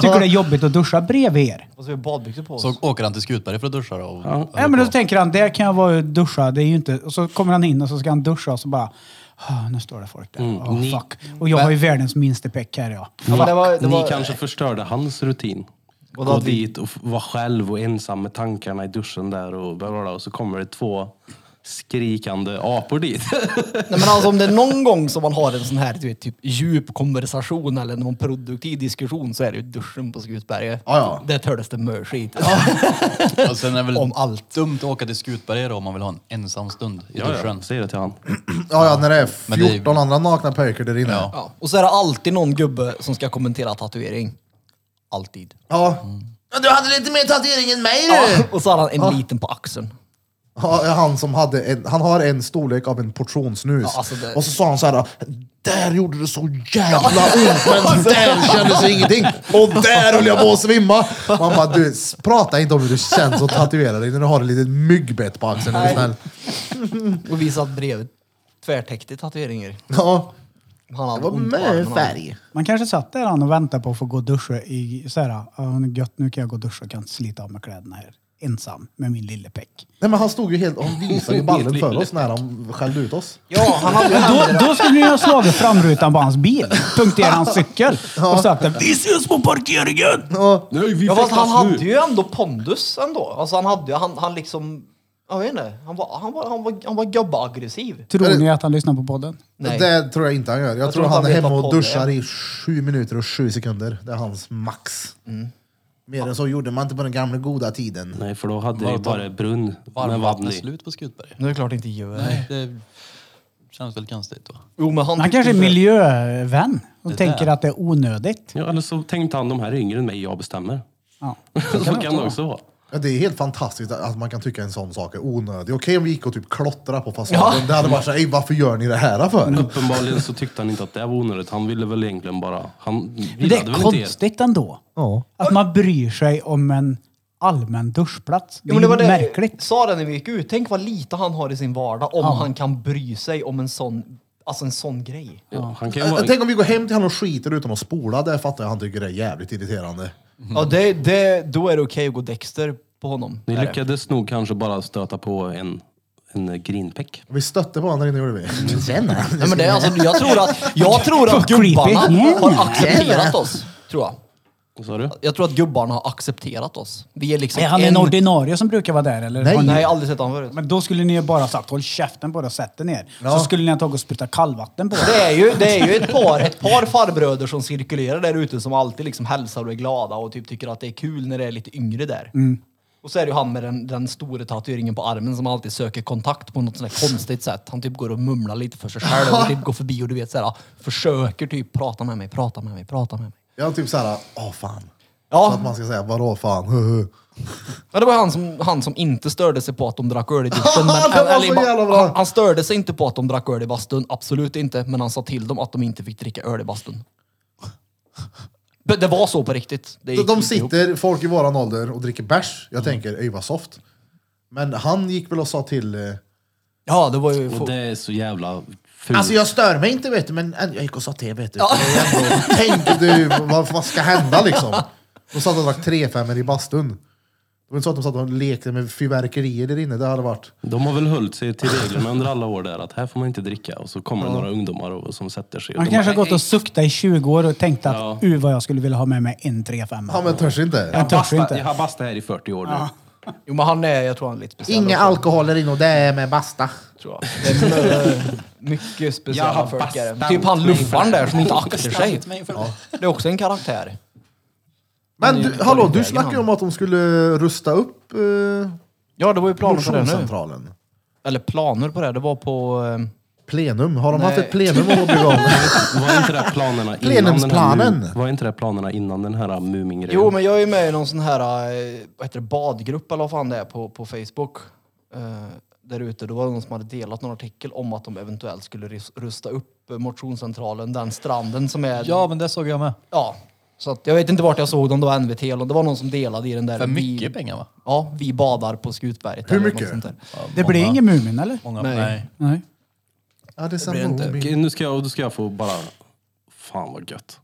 Speaker 1: Tycker det är jobbigt att duscha bredvid er.
Speaker 5: Och så har vi badbyxor på oss.
Speaker 6: Så åker han till Skutberg för att duscha då? Och,
Speaker 1: Ja, men då tänker han, där kan jag vara och duscha. Det är ju inte... Och så kommer han in och så ska han duscha och så bara... "Ah, nu står det folk där. Ah, fuck. Och jag har ju världens minsta peck här ja.
Speaker 5: Mm, ja, men det var, det var,
Speaker 4: Ni kanske förstörde hans rutin.
Speaker 5: Och då
Speaker 4: Gå
Speaker 5: att vi-
Speaker 4: dit och f- vara själv och ensam med tankarna i duschen där och bla bla bla. Och så kommer det två skrikande apor dit.
Speaker 5: Nej, men alltså, om det är någon gång som man har en sån här du vet, typ, djup konversation eller någon produktiv diskussion så är det ju duschen på Skutberget.
Speaker 2: Ja, ja.
Speaker 5: Där tördes det mörskit.
Speaker 6: *laughs* och sen är det väl
Speaker 5: Om allt.
Speaker 6: dumt att åka till Skutberg då om man vill ha en ensam stund i
Speaker 4: *laughs* Ja,
Speaker 6: duschen.
Speaker 4: ja, säger det till han.
Speaker 2: Ja, ja, när det är
Speaker 6: Men det är ju-
Speaker 2: 14 andra nakna pojkar där inne. Ja.
Speaker 5: *laughs* Ja. Och så är det alltid någon gubbe som ska kommentera tatuering. Alltid.
Speaker 2: Men Du hade lite mer tatuering än mig
Speaker 5: Ja. Och så har han en liten på axeln.
Speaker 2: Ja, Han som hade en, han har en storlek av en portionsnus.
Speaker 5: Ja, alltså det-
Speaker 2: Och så sa han så här, där gjorde det så jävla ont,
Speaker 5: *laughs*
Speaker 2: men
Speaker 5: Alltså.
Speaker 2: där kändes det ingenting. Och där höll jag på att svimma. Man bara, du s- prata inte om hur det känns att tatuera dig när du har ett litet myggbett på axeln. Är du snäll.
Speaker 5: Och vi satt bredvid. Tvärtäckt i tatueringar.
Speaker 2: Ja,
Speaker 5: Han hade
Speaker 2: det var
Speaker 5: ont på armen.
Speaker 2: med färg.
Speaker 1: Man kanske satt där han och väntade på att få gå och duscha i så här, "Ah, nu gött, nu kan jag gå och duscha och kan slita av mig kläderna här ensam med min lille peck.
Speaker 2: Nej men han stod ju helt, han visade ju ballen för oss när han skällde ut oss.
Speaker 5: Ja, han hade ju
Speaker 1: Då,
Speaker 5: händerna.
Speaker 1: då skulle ni ha slagit framrutan på hans bil, punkterat hans cykel och sagt att vi ses på parkeringen!
Speaker 2: Ja,
Speaker 4: Nej, vi
Speaker 5: Ja, fast han
Speaker 4: fäktas nu.
Speaker 5: hade ju ändå pondus ändå. Alltså han hade ju, han, han liksom... Jag vet inte. Han var, han var, han var, han var gubbeaggressiv.
Speaker 1: Tror ni att han lyssnar på podden?
Speaker 5: Nej.
Speaker 2: Det tror jag inte han gör. Jag, tror,
Speaker 5: tror
Speaker 2: han
Speaker 5: han
Speaker 2: är
Speaker 5: vet
Speaker 2: hemma
Speaker 5: vad
Speaker 2: och
Speaker 5: podd
Speaker 2: duschar
Speaker 5: är.
Speaker 2: i sju minuter och sju sekunder. Det är hans max.
Speaker 5: Mm.
Speaker 2: Mer än så gjorde man inte på den gamla goda tiden.
Speaker 4: Nej, för då hade jag ju bara brunn med vatten
Speaker 6: Varmvattnet
Speaker 4: i.
Speaker 6: slut på Skutberg.
Speaker 5: Nu är det klart inte gör.
Speaker 6: Nej, det känns väl konstigt då.
Speaker 5: Jo, men han,
Speaker 1: Han
Speaker 5: tyckte
Speaker 1: kanske är
Speaker 5: inte-
Speaker 1: miljövän och
Speaker 6: Det
Speaker 1: tänker
Speaker 6: där.
Speaker 1: att det är onödigt.
Speaker 4: Ja, eller så tänkte han de här är yngre än mig, jag *laughs* bestämmer.
Speaker 1: Ja.
Speaker 4: Så kan det också vara.
Speaker 2: Ja, det är helt fantastiskt att- att man kan tycka en sån sak är onödig. Okej om vi gick och typ klottrade på fasaden. Det hade varit såhär, "Ey, varför gör ni det här
Speaker 5: Mm.
Speaker 2: för?
Speaker 4: Uppenbarligen så tyckte han inte att det var onödigt. Han ville väl egentligen bara... Han
Speaker 1: Men det
Speaker 4: gillade
Speaker 1: är
Speaker 4: väl inte er.
Speaker 1: konstigt ändå.
Speaker 2: Ja.
Speaker 1: Att man bryr sig om en allmän duschplats. Det
Speaker 5: Ja,
Speaker 1: är
Speaker 5: men det var det
Speaker 1: märkligt.
Speaker 5: sa det när vi gick ut. Tänk vad lite han har i sin vardag om han kan bry sig om en sån, alltså en sån grej.
Speaker 4: Ja, han kan ju
Speaker 2: Äh,
Speaker 4: vara...
Speaker 2: Tänk om vi går hem till honom och skiter utan att spola. Det fattar jag han tycker det är jävligt irriterande.
Speaker 5: Ja, det, det, då är det okej att gå Dexter på honom.
Speaker 4: Mm. Ni
Speaker 5: Är det.
Speaker 4: lyckades nog kanske bara stöta på en, en grinpäck.
Speaker 2: Vi stötte på varandra innan gjorde vi. Tjena! *laughs*
Speaker 5: Nej, men det är alltså, jag tror att,
Speaker 1: *laughs*
Speaker 5: jag tror att
Speaker 1: Vad creepy.
Speaker 5: gubbarna
Speaker 1: Yeah.
Speaker 5: har accepterat oss. Tror jag.
Speaker 4: Vad sa du?
Speaker 5: jag tror att gubbarna har accepterat oss. Vi är liksom
Speaker 1: Är han en
Speaker 5: en...
Speaker 1: ordinarie som brukar vara där eller?
Speaker 2: Nej.
Speaker 1: Har ni-
Speaker 5: Nej, jag har aldrig sett honom förut.
Speaker 1: Men då skulle ni ju bara sagt håll käften på det och sätt er ner. Så skulle ni ha tagit och sprutat kallvatten på
Speaker 5: Det
Speaker 1: det.
Speaker 5: är ju, det är ju ett, par, ett par farbröder som cirkulerar där ute som alltid liksom hälsar och är glada och typ tycker att det är kul när det är lite yngre där. Och så är det ju han med den, den stora tatueringen på armen som alltid söker kontakt på något sånt här konstigt sätt. Han typ går och mumlar lite för sig själv och typ går förbi och du vet såhär, försöker typ prata med mig, prata med mig, prata med mig.
Speaker 2: Jag är typ såhär, åh fan. Så
Speaker 5: Ja,
Speaker 2: att man ska säga, vadå
Speaker 5: *laughs*
Speaker 2: fan?
Speaker 5: ja, det var han som, han som inte störde sig på att de drack öl
Speaker 2: *laughs*
Speaker 5: i duschen. men-
Speaker 2: Det var
Speaker 5: eller i
Speaker 2: så
Speaker 5: ba-
Speaker 2: jävla bra.
Speaker 5: han, han störde sig inte på att de drack öl i bastun, absolut inte. Men han sa till dem att de inte fick dricka öl i bastun. Men Det var så på riktigt. Det
Speaker 2: De,
Speaker 5: gick
Speaker 2: de
Speaker 5: inte ihop.
Speaker 2: sitter, folk i våran ålder, och dricker bärs. Jag tänker, ey vad soft. Men han gick väl och sa till... eh,
Speaker 5: Ja, det var ju...
Speaker 4: Och
Speaker 5: få-
Speaker 4: det är så jävla fult.
Speaker 2: Alltså jag stör mig inte vet du, men äh, jag gick och sa till vet du. Det är ändå-
Speaker 5: *laughs*
Speaker 2: Tänk du, vad, vad ska hända liksom? De satt och drack 3-5 i bastun. Det var inte så att de satt och lekte med fyrverkerier där inne, det hade varit...
Speaker 4: De har väl hållit sig till reglerna under alla år där att här får man inte dricka och så kommer det några ungdomar och, som sätter sig. och
Speaker 1: Han
Speaker 4: de
Speaker 1: kanske har
Speaker 4: bara,
Speaker 1: gått och suktat i 20 år och tänkt att
Speaker 4: Ja.
Speaker 1: uh vad jag skulle vilja ha med mig en 3 5
Speaker 2: Ja men törs inte.
Speaker 1: Han
Speaker 4: "Jag har
Speaker 1: törs ju
Speaker 4: bastat- Jag
Speaker 1: inte.
Speaker 4: har bastat här i 40 år nu.
Speaker 5: Jo, men han är... Jag tror han är lite speciell.
Speaker 2: Inga
Speaker 5: också,
Speaker 2: alkoholer in och det är med basta.
Speaker 5: tror jag. Det är mycket- mycket
Speaker 4: Jag
Speaker 5: speciella
Speaker 4: har
Speaker 5: folk är det.
Speaker 4: bastat
Speaker 5: Typ han luffaren där som inte aktar sig.
Speaker 6: Stadigt mig för det.
Speaker 5: Det är också en karaktär.
Speaker 2: Men du, hallå, du
Speaker 5: vägen,
Speaker 2: snackade ju
Speaker 5: han.
Speaker 2: om att de skulle rusta upp eh,
Speaker 5: Ja, det var ju planer på det nu.
Speaker 2: motionscentralen.
Speaker 5: Eller planer på det. Det var på... eh,
Speaker 2: Plenum, har de haft
Speaker 5: Nej.
Speaker 2: ett plenum att bygga om?
Speaker 4: Var inte det här planerna innan den här,
Speaker 2: Plenumsplanen.
Speaker 4: mu- var inte det här planerna innan den här mumingrejen?
Speaker 5: Jo, men jag är ju med i någon sån här eh, vad heter det, badgrupp eller vad fan det är på, på Facebook. Eh, där ute, då var det någon som hade delat någon artikel om att de eventuellt skulle ris- rusta upp eh, motionscentralen, den stranden som är...
Speaker 6: Ja, men det såg jag med.
Speaker 5: Ja. Så att, jag vet inte vart jag såg dem, det var NVT eller det var någon som delade i den där...
Speaker 6: För mycket
Speaker 5: Vi,
Speaker 6: pengar va?
Speaker 5: ja, vi badar på Skutberget.
Speaker 2: Hur
Speaker 5: eller något
Speaker 2: mycket?
Speaker 5: sånt där.
Speaker 6: Ja,
Speaker 1: Det
Speaker 6: många-
Speaker 1: blir ingen Mumin eller?
Speaker 6: Många,
Speaker 5: Nej.
Speaker 6: nej.
Speaker 1: Nej.
Speaker 2: ja, det är
Speaker 5: blir inte.
Speaker 2: samma
Speaker 4: Okej, nu ska jag, då ska jag få bara... Fan vad gött.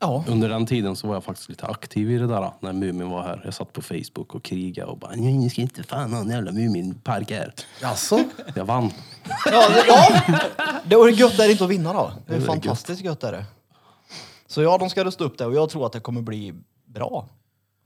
Speaker 5: Ja.
Speaker 4: Under den tiden så var jag faktiskt lite aktiv i det där när Mumin var här. Jag satt på Facebook och krigade och bara "Nej, ni ska inte fan ha en jävla Muminpark här.
Speaker 2: Jaså?
Speaker 4: Jag vann.
Speaker 5: Ja, det, ja. det var gött är det inte att vinna då. Det är fantastiskt gött är det. Så ja, de ska rusta upp det och jag tror att det kommer bli bra.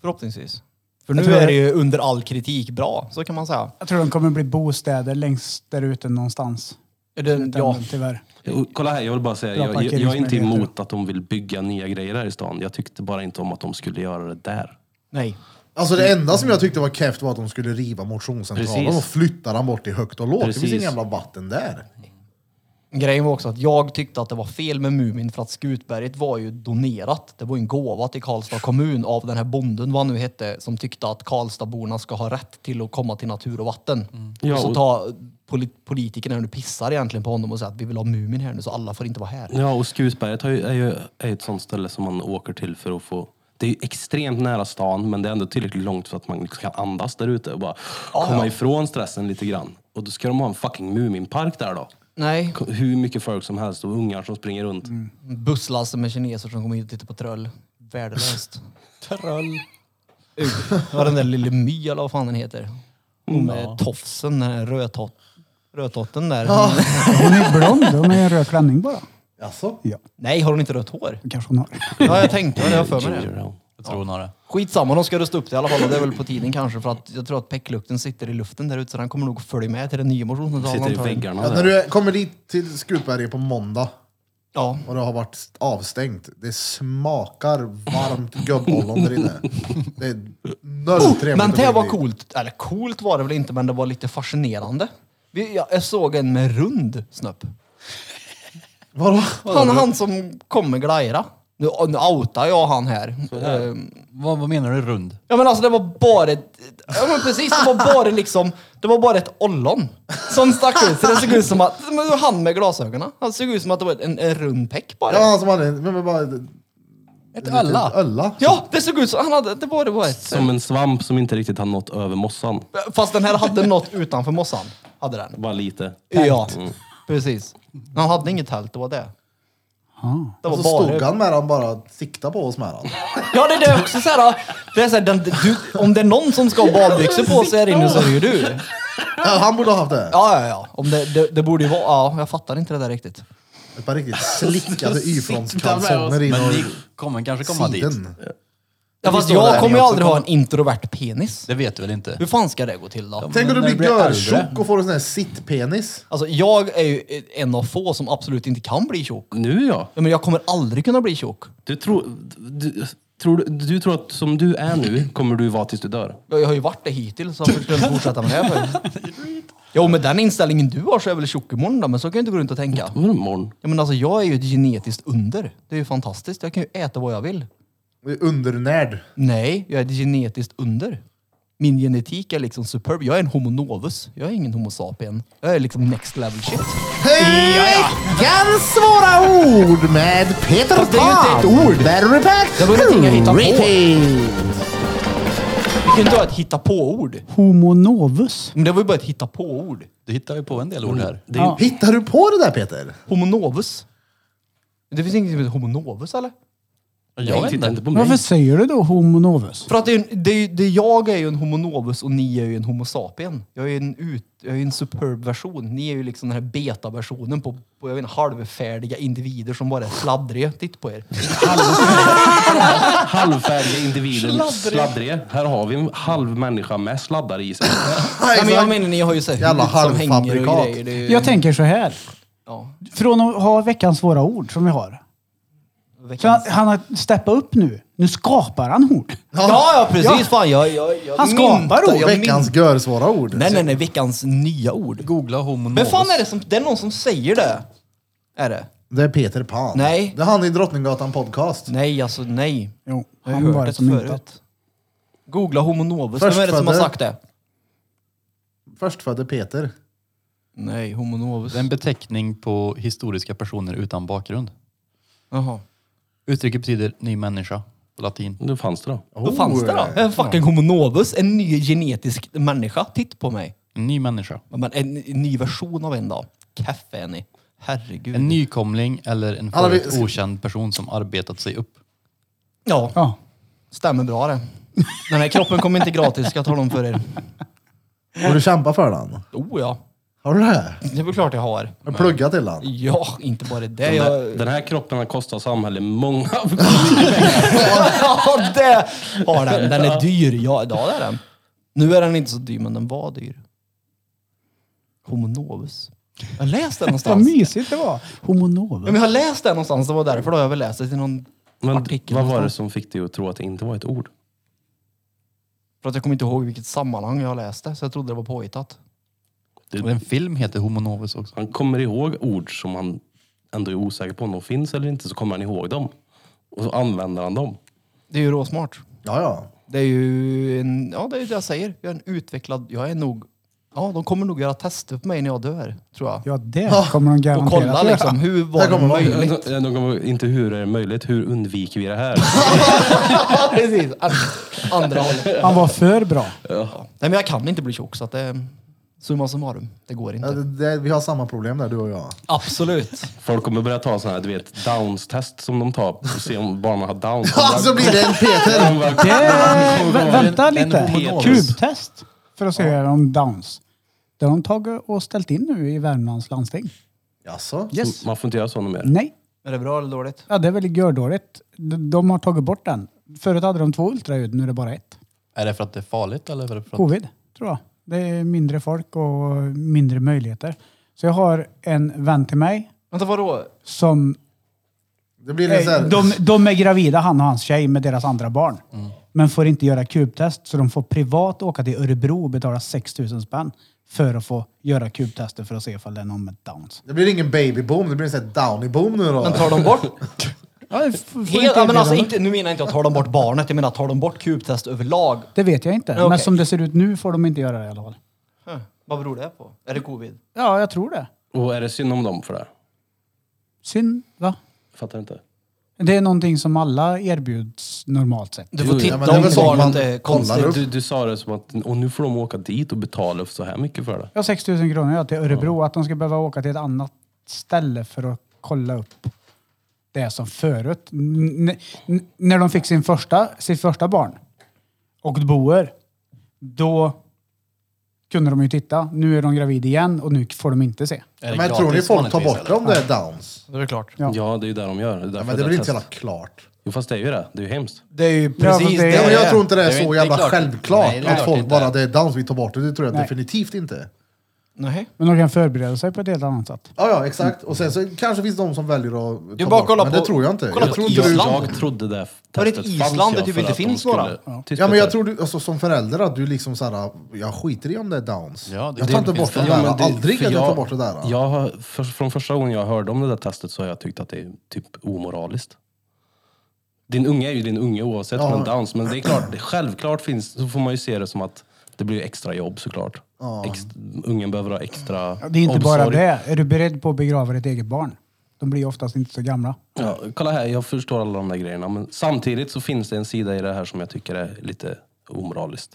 Speaker 5: Förhoppningsvis. För nu
Speaker 1: tror
Speaker 5: är
Speaker 1: jag-
Speaker 5: det ju under all kritik bra, så kan man säga.
Speaker 1: Jag tror de kommer bli bostäder längst där ute någonstans.
Speaker 5: Är det, ja.
Speaker 1: Ja. Tyvärr.
Speaker 4: Och Kolla här, jag vill bara säga,
Speaker 1: Bra
Speaker 4: jag, jag, jag är inte
Speaker 1: parkeringsmöjligheter.
Speaker 4: emot att de vill bygga nya grejer här i stan. Jag tyckte bara inte om att de skulle göra det där.
Speaker 5: Nej.
Speaker 2: Alltså det enda som jag tyckte var keft var att de skulle riva motionscentralen
Speaker 4: Precis.
Speaker 2: och flytta den bort i högt och lågt. Det
Speaker 4: Precis.
Speaker 2: finns inga jävla vatten där.
Speaker 5: Grejen var också att jag tyckte att det var fel med Mumin för att Skutberget var ju donerat. Det var ju en gåva till Karlstad kommun av den här bonden, vad han nu hette, som tyckte att Karlstadborna ska ha rätt till att komma till natur och vatten.
Speaker 4: Ja,
Speaker 5: och så
Speaker 4: och-
Speaker 5: ta polit- politikerna nu pissar egentligen på honom och säger att vi vill ha Mumin här nu så alla får inte vara här.
Speaker 4: Ja, och Skusberget har ju, är ju är ett sånt ställe som man åker till för att få... Det är ju extremt nära stan, men det är ändå tillräckligt långt för att man liksom kan andas där ute och bara komma ifrån stressen lite grann. Och då ska de ha en fucking Muminpark där då.
Speaker 5: Nej,
Speaker 4: K- Hur mycket folk som helst och ungar som springer runt.
Speaker 5: busslaster med kineser som kommer hit och tittar på tröll. Värdelöst.
Speaker 4: *laughs*
Speaker 5: tröll. Vad den där lille My eller vad fan den heter. Hon med tofsen, den här rödtott- rödtotten där.
Speaker 1: Hon är blond och med en röd klänning bara.
Speaker 2: Jaså?
Speaker 1: Ja,
Speaker 5: *laughs* Nej, har hon inte rött hår?
Speaker 1: det kanske hon har.
Speaker 5: Ja, jag tänkte det. Jag har för mig
Speaker 4: Ginger
Speaker 5: det.
Speaker 4: ale.
Speaker 6: Jag tror hon har det.
Speaker 5: Skitsamma, de ska rusta upp det i alla fall. Och det är väl på tiden kanske för att jag tror att päcklukten sitter i luften där ute så den kommer nog följa med till den nya motionen.
Speaker 4: Sitter i väggarna
Speaker 2: Ja, när
Speaker 4: där.
Speaker 2: du är- kommer dit till Skutberget på måndag
Speaker 5: Ja,
Speaker 2: och det har varit avstängt, det smakar varmt gubbhallon där inne. Det är noll
Speaker 6: Oh,
Speaker 2: trevligt
Speaker 5: Men
Speaker 2: att gå
Speaker 5: det
Speaker 2: in
Speaker 5: var
Speaker 2: dit.
Speaker 5: coolt. Eller coolt var det väl inte, men det var lite fascinerande. Vi, jag, jag såg en med rund snopp.
Speaker 2: Vadå?
Speaker 5: Han, han som kom med glajra. Nu, nu outar jag han här. Eh,
Speaker 6: Vad, vad menar du rund?
Speaker 5: Ja men alltså det var bara ett... Ja men precis, det var bara liksom... Det var bara ett ollon som stack ut. Så det såg ut som att... Men det var han med glasögonen. Han såg ut som att det var en, en rund peck bara.
Speaker 2: Ja,
Speaker 5: Ja.
Speaker 2: han som hade en... men- men bara-
Speaker 6: Ett
Speaker 2: en liten
Speaker 6: ölla?
Speaker 2: Ölla?
Speaker 5: det såg ut som... Han hade... Det var, det var ett...
Speaker 4: Som en svamp som inte riktigt har nått över mossan.
Speaker 5: Fast den här hade något utanför mossan. Hade den.
Speaker 4: Bara lite.
Speaker 5: Ja, precis. Han hade inget tält, det var det. Det
Speaker 2: Ah. Och
Speaker 5: var
Speaker 2: så stod
Speaker 5: bara...
Speaker 2: han med den bara sikta på oss med den.
Speaker 5: Ja, det, det är också så här... Det är så här den, du, om det är någon som ska ha badbyxor på sig här inne så är det ju du.
Speaker 2: Ja, han borde ha haft det.
Speaker 5: Ja, ja, ja. Om det, det, det borde ju vara... Ja, jag fattar inte det där riktigt.
Speaker 2: Ett par riktigt
Speaker 6: *laughs*
Speaker 2: slickade
Speaker 6: Sikta med
Speaker 2: Y-frontskalsonger
Speaker 6: oss.
Speaker 2: in
Speaker 6: Men ni
Speaker 2: och
Speaker 6: kommer kanske komma dit.
Speaker 2: siden.
Speaker 5: Ja, fast
Speaker 2: står där
Speaker 5: jag kommer ju
Speaker 2: också.
Speaker 5: aldrig ha en introvert penis.
Speaker 6: Det vet du väl inte?
Speaker 5: Hur fan ska det gå till då?
Speaker 2: Tänk om du
Speaker 6: Men när
Speaker 2: blir
Speaker 6: du blir äldre-
Speaker 2: görtjock och får en sån här sittpenis.
Speaker 5: Alltså, jag är ju en av få som absolut inte kan bli tjock.
Speaker 4: Nu ja.
Speaker 5: Ja, Men jag kommer aldrig kunna bli tjock.
Speaker 4: Du tror... Du, tror du, du tror att som du är nu kommer du vara tills du dör.
Speaker 5: Jag jag har ju varit det hittills, så varför skulle jag inte fortsätta med det? För? Jo, med den inställningen du har så är jag väl tjock imorgon då, men så kan jag inte gå runt och tänka.
Speaker 4: Kommer du imorgon?
Speaker 5: Ja, men alltså, jag är ju ett genetiskt under. Det är ju fantastiskt. Jag kan ju äta vad jag vill.
Speaker 2: Undernärd.
Speaker 5: Nej, jag är ett genetiskt under. Min genetik är liksom superb. Jag är en homo novus. Jag är ingen homo sapien. Jag är liksom next level shit.
Speaker 2: Eh, Veckans svåra ord med Peter
Speaker 5: Fast det är ju inte ett
Speaker 2: ord. Battery pack.
Speaker 5: Det var någonting jag hittade på. Det kan ju inte vara ett hitta på-ord.
Speaker 1: Homo novus.
Speaker 5: Men det var ju bara ett hitta på-ord.
Speaker 6: Du hittar ju på en del ord här.
Speaker 4: Det är,
Speaker 2: Hittar du på det där Peter?
Speaker 5: Homo novus. Det finns inget som heter homo novus eller?
Speaker 4: jag tittar inte på mig.
Speaker 1: Varför säger du då homo novus?
Speaker 5: För att det är, en, det är, ju- det är jag är ju en homo novus och ni är ju en homo sapien. Jag är ju en, ut, jag är ju en superb version. Ni är ju liksom den här beta-versionen på, på jag vet inte, halvfärdiga individer som bara är sladdriga. Titta på er.
Speaker 4: Halvfärdiga individer, sladdriga. Här har vi en halv människa med sladdar i sig.
Speaker 5: Nej, men jag menar ni har ju så här
Speaker 2: Jävla
Speaker 5: hud som hänger och
Speaker 2: halvfabrikat.
Speaker 5: grejer. Det är ju,
Speaker 1: Jag tänker så här.
Speaker 5: Eh. ja,
Speaker 1: Från att ha veckans svåra ord som vi har. Så han,
Speaker 5: veckans-
Speaker 1: han har steppat upp nu. Nu skapar han ord.
Speaker 5: ja, ja precis. Fan, jag, jag, jag
Speaker 1: Han skapar
Speaker 5: myntar-
Speaker 1: ord.
Speaker 5: jag
Speaker 2: Veckans
Speaker 5: mynt-
Speaker 2: görsvåra ord.
Speaker 5: Nej, nej, nej. Veckans nya ord.
Speaker 6: Googla homo
Speaker 5: Men fan
Speaker 6: novus.
Speaker 5: är det som, det är någon som säger det. Är det?
Speaker 2: Det är Peter Pan.
Speaker 5: Nej.
Speaker 2: Det är han i Drottninggatan podcast.
Speaker 5: Nej, alltså nej.
Speaker 1: Jo,
Speaker 5: Jag har
Speaker 1: han var
Speaker 5: hört
Speaker 1: det
Speaker 5: det
Speaker 1: som
Speaker 5: förut.
Speaker 1: inte.
Speaker 5: Googla homo novus. Vem
Speaker 2: Först
Speaker 5: är det som har
Speaker 2: födde-
Speaker 5: sagt det?
Speaker 2: Förstfödde Peter.
Speaker 5: Nej, homo novus.
Speaker 6: Det är en beteckning på historiska personer utan bakgrund.
Speaker 5: Jaha.
Speaker 6: Uttrycket betyder ny människa på latin.
Speaker 4: Då fanns det då.
Speaker 5: Då fanns det då. En fucking homo novus. En ny genetisk människa. Titt på mig.
Speaker 6: En ny människa.
Speaker 5: Ja, Men en ny version av en dag. Kaffe är ni. Herregud.
Speaker 6: En nykomling eller en
Speaker 2: Alla vi-
Speaker 6: förut okänd person som arbetat sig upp.
Speaker 5: Ja,
Speaker 1: Ja.
Speaker 5: stämmer bra det. Den här kroppen kommer inte gratis, ska jag tala om för er.
Speaker 2: Har du kämpat för den?
Speaker 5: Oh ja,
Speaker 2: Har du det?
Speaker 5: det är väl klart jag har.
Speaker 2: Har du pluggat till den?
Speaker 5: Ja, inte bara det.
Speaker 4: Den,
Speaker 5: Jag...
Speaker 4: där, den här kroppen har kostat samhället många... *laughs*
Speaker 5: Ja, det har den. Den är dyr. Ja, ja, det är den. Nu är den inte så dyr, men den var dyr. Homo novus. Jag läste det
Speaker 1: Vad
Speaker 5: någonstans.
Speaker 1: mysigt det var. Homo
Speaker 5: Ja,
Speaker 1: novus.
Speaker 5: men jag läste det någonstans, det var därför då har jag väl läst det i någon
Speaker 4: Men
Speaker 5: artikel.
Speaker 4: vad var det
Speaker 5: någonstans.
Speaker 4: som fick dig att tro att det inte var ett ord?
Speaker 5: För att jag kommer inte ihåg vilket sammanhang jag läste, så jag trodde det var påhittat.
Speaker 6: Och en film heter Homo Novus också.
Speaker 4: Han kommer ihåg ord som han ändå är osäker på om de finns eller inte, så kommer han ihåg dem. Och så använder han dem.
Speaker 5: Det är ju råsmart.
Speaker 2: Ja, ja.
Speaker 5: Det är ju en, ja, det är ju det jag säger. Jag är en utvecklad, jag är nog, ja de kommer nog göra tester på mig när jag dör, tror jag.
Speaker 1: Ja, det kommer de
Speaker 5: och
Speaker 1: garanterat
Speaker 5: kolla liksom, hur var
Speaker 2: Där
Speaker 5: det
Speaker 2: kommer de.
Speaker 5: möjligt? *laughs*
Speaker 4: De, de kommer, inte hur är det möjligt, hur undviker vi det här?
Speaker 5: Ja, precis. An- Andra
Speaker 2: *laughs*
Speaker 5: hållet.
Speaker 1: Han var för bra.
Speaker 5: Ja. Nej men jag kan inte bli tjock så att det, summa summarum, det går
Speaker 2: Ja,
Speaker 5: inte.
Speaker 2: det, det, vi har samma problem där du och jag.
Speaker 5: Absolut.
Speaker 4: Folk kommer börja ta sådana här, du vet, downs-test som de tar och se om barnen har downs.
Speaker 2: Ja, så blir det en Peter!
Speaker 4: De bara,
Speaker 1: Det, Eh,
Speaker 4: *laughs*
Speaker 6: *laughs*
Speaker 1: vä- vänta
Speaker 6: en
Speaker 1: lite.
Speaker 6: homonovus.
Speaker 1: Kubtest. För att se om Downs. Det har de tagit och ställt in nu i Värmlands landsting.
Speaker 2: Jaså?
Speaker 1: Yes.
Speaker 4: Man får inte göra sådana mer.
Speaker 1: Nej.
Speaker 5: Är det bra eller dåligt?
Speaker 1: Ja, det är väl gördåligt. De de har tagit bort den. Förut hade de två ultraljud, nu är det bara ett.
Speaker 6: *laughs* Är det för att det är farligt eller är det för att...
Speaker 1: Covid, tror jag. Det är mindre folk och mindre möjligheter. Så jag har en vän till mig
Speaker 5: Vänta vadå?
Speaker 1: som
Speaker 2: Det blir lite såhär...
Speaker 1: De, de är gravida, han och hans tjej, med deras andra barn.
Speaker 5: Mm.
Speaker 1: Men får inte göra kubtest, så de får privat åka till Örebro och betala 6 000 spänn för att få göra kubtester för att se ifall det är någon med downs.
Speaker 2: Det blir ingen babyboom, det blir en sån här downy-boom nu då.
Speaker 5: Men tar de bort?
Speaker 1: Ja, f- får inte
Speaker 5: *laughs* Helt, ja, men alltså,
Speaker 1: erbjudande.
Speaker 5: inte, nu menar jag inte att tar de bort barnet, jag menar tar de bort kubtest överlag?
Speaker 1: Det vet jag inte,
Speaker 5: Okej.
Speaker 1: men som det ser ut nu får de inte göra det i alla fall.
Speaker 5: Huh. Vad beror det på? Är det covid?
Speaker 1: Ja, jag tror det.
Speaker 4: Och är det synd om dem för det?
Speaker 1: Synd, va?
Speaker 4: Fattar inte.
Speaker 1: Det är någonting som alla erbjuds normalt sett.
Speaker 5: Du får titta
Speaker 2: ja, men det är
Speaker 5: om
Speaker 2: väl så
Speaker 5: barnet
Speaker 2: man
Speaker 5: är
Speaker 2: kollar
Speaker 5: konstigt.
Speaker 2: upp.
Speaker 4: Du, du sa det som att, och nu får de åka dit och betala så här mycket för det.
Speaker 1: Ja, 6 000 kronor ja, till Örebro. Att de ska behöva åka till ett annat ställe för att kolla upp det som förut. N- n- när de fick sin första, sitt första barn och boer, då kunde de ju titta. Nu är de gravid igen och nu får de inte se.
Speaker 6: Är det
Speaker 2: Men tror ni
Speaker 6: gratis
Speaker 2: folk tar
Speaker 6: vanligtvis,
Speaker 2: bort
Speaker 6: eller?
Speaker 2: dem det är downs?
Speaker 5: Det är klart.
Speaker 1: Ja.
Speaker 4: Ja, det är ju det de gör. Det är
Speaker 2: Ja,
Speaker 4: därför
Speaker 2: men det blir inte så
Speaker 4: test.
Speaker 2: jävla klart.
Speaker 4: Jo, fast det är ju det. Det är ju hemskt.
Speaker 5: Det är ju
Speaker 1: Ja,
Speaker 5: precis
Speaker 1: men
Speaker 5: det.
Speaker 1: det-
Speaker 2: Ja, men jag tror inte det
Speaker 6: Det är
Speaker 2: är så
Speaker 6: inte
Speaker 2: jävla
Speaker 6: klart.
Speaker 2: självklart
Speaker 6: Nej, det är
Speaker 2: att
Speaker 6: klart
Speaker 2: folk
Speaker 6: inte.
Speaker 2: bara, det är downs vi tar bort det. Det tror jag
Speaker 1: Nej.
Speaker 2: definitivt inte.
Speaker 5: Nej.
Speaker 1: Men de kan förbereda sig på ett helt annat sätt.
Speaker 2: Ja, ja, exakt. Och sen så kanske finns de som väljer att ta
Speaker 5: bara
Speaker 2: bort,
Speaker 5: kolla
Speaker 2: men
Speaker 5: på-
Speaker 2: det tror jag inte.
Speaker 5: kolla
Speaker 2: jag
Speaker 5: på
Speaker 2: tror
Speaker 5: Island.
Speaker 4: Jag trodde det
Speaker 5: Var det ett
Speaker 4: testet
Speaker 5: Island
Speaker 4: fanns,
Speaker 5: där
Speaker 4: ja,
Speaker 5: typ
Speaker 4: för
Speaker 5: inte
Speaker 4: att de
Speaker 5: finns
Speaker 4: skulle
Speaker 5: några?
Speaker 4: tysta
Speaker 2: Ja, men
Speaker 4: det.
Speaker 2: jag tror du, alltså, som förälder att du liksom såhär, jag skiter i om det är downs.
Speaker 6: Ja, det-
Speaker 2: jag
Speaker 6: det
Speaker 2: tar inte bort
Speaker 6: finns det.
Speaker 2: det,
Speaker 4: Ja,
Speaker 2: där.
Speaker 4: men det-
Speaker 2: Aldrig
Speaker 4: för
Speaker 2: kan jag ta bort det där.
Speaker 4: Jag, har- för, från första gången jag hörde om det där testet så har jag tyckt att det är typ omoraliskt. Din unge är ju din unge oavsett
Speaker 2: Ja.
Speaker 4: men downs. Men det är klart, det självklart finns, så får man ju se det som att det blir extra jobb såklart. Ex, ungen behöver ha extra
Speaker 1: Det är inte bara
Speaker 4: omsorg.
Speaker 1: det. Är du beredd på att begrava ditt eget barn? De blir oftast inte så gamla.
Speaker 4: Ja, kolla här, jag förstår alla de där grejerna. Men samtidigt så finns det en sida i det här som jag tycker är lite omoraliskt.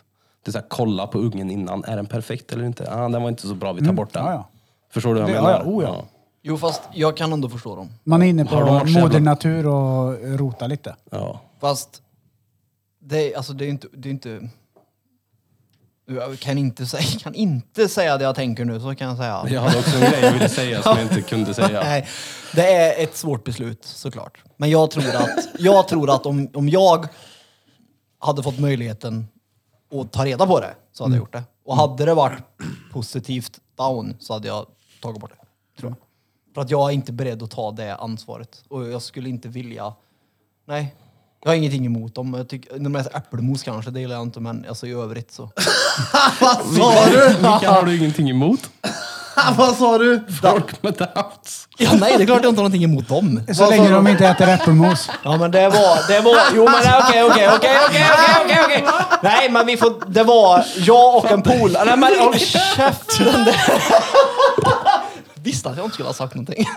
Speaker 4: Det är så här, kolla på ungen innan. Är den perfekt eller inte? Ah, den var inte så bra, vi tar bort den.
Speaker 1: Mm. ja, ja.
Speaker 4: Förstår du vad jag
Speaker 1: Det- ja,
Speaker 4: menar?
Speaker 1: ja, oh, ja.
Speaker 5: Jo fast jag kan ändå förstå dem.
Speaker 1: Man är inne på
Speaker 4: Har de varit så
Speaker 1: moder
Speaker 4: jävla-
Speaker 1: natur och rotar lite.
Speaker 4: Ja. Ja.
Speaker 5: Fast det, är- alltså, det är ju inte, det är inte... *laughs* Jag kan inte, säga, kan inte säga det jag tänker nu, så kan jag säga.
Speaker 4: Jag hade också en grej jag ville säga som jag inte kunde säga.
Speaker 5: *laughs* Nej, det är ett svårt beslut såklart. Men jag tror att, jag tror att om, om jag hade fått möjligheten att ta reda på det så hade jag gjort det. Och hade det varit positivt down så hade jag tagit bort det. Tror jag. För att jag är inte beredd att ta det ansvaret. Och jag skulle inte vilja... Nej. Jag har ingenting emot dem. Jag tycker, när man äter äppelmos kanske, det gillar jag inte. Men alltså, i övrigt så...
Speaker 2: Vad sa du?
Speaker 4: Vilka har du ingenting emot?
Speaker 2: *laughs* Vad sa du?
Speaker 4: Folk med downs.
Speaker 5: Ja, nej, det är klart jag inte har någonting emot dem.
Speaker 1: Så länge de inte äter äppelmos.
Speaker 5: Ja men det var, det var, jo men okej okej okej okej okej okej okej. Nej men vi får, det var jag och en polare. Nej men håll käften. Det- Visste att jag inte skulle ha sagt någonting. *laughs*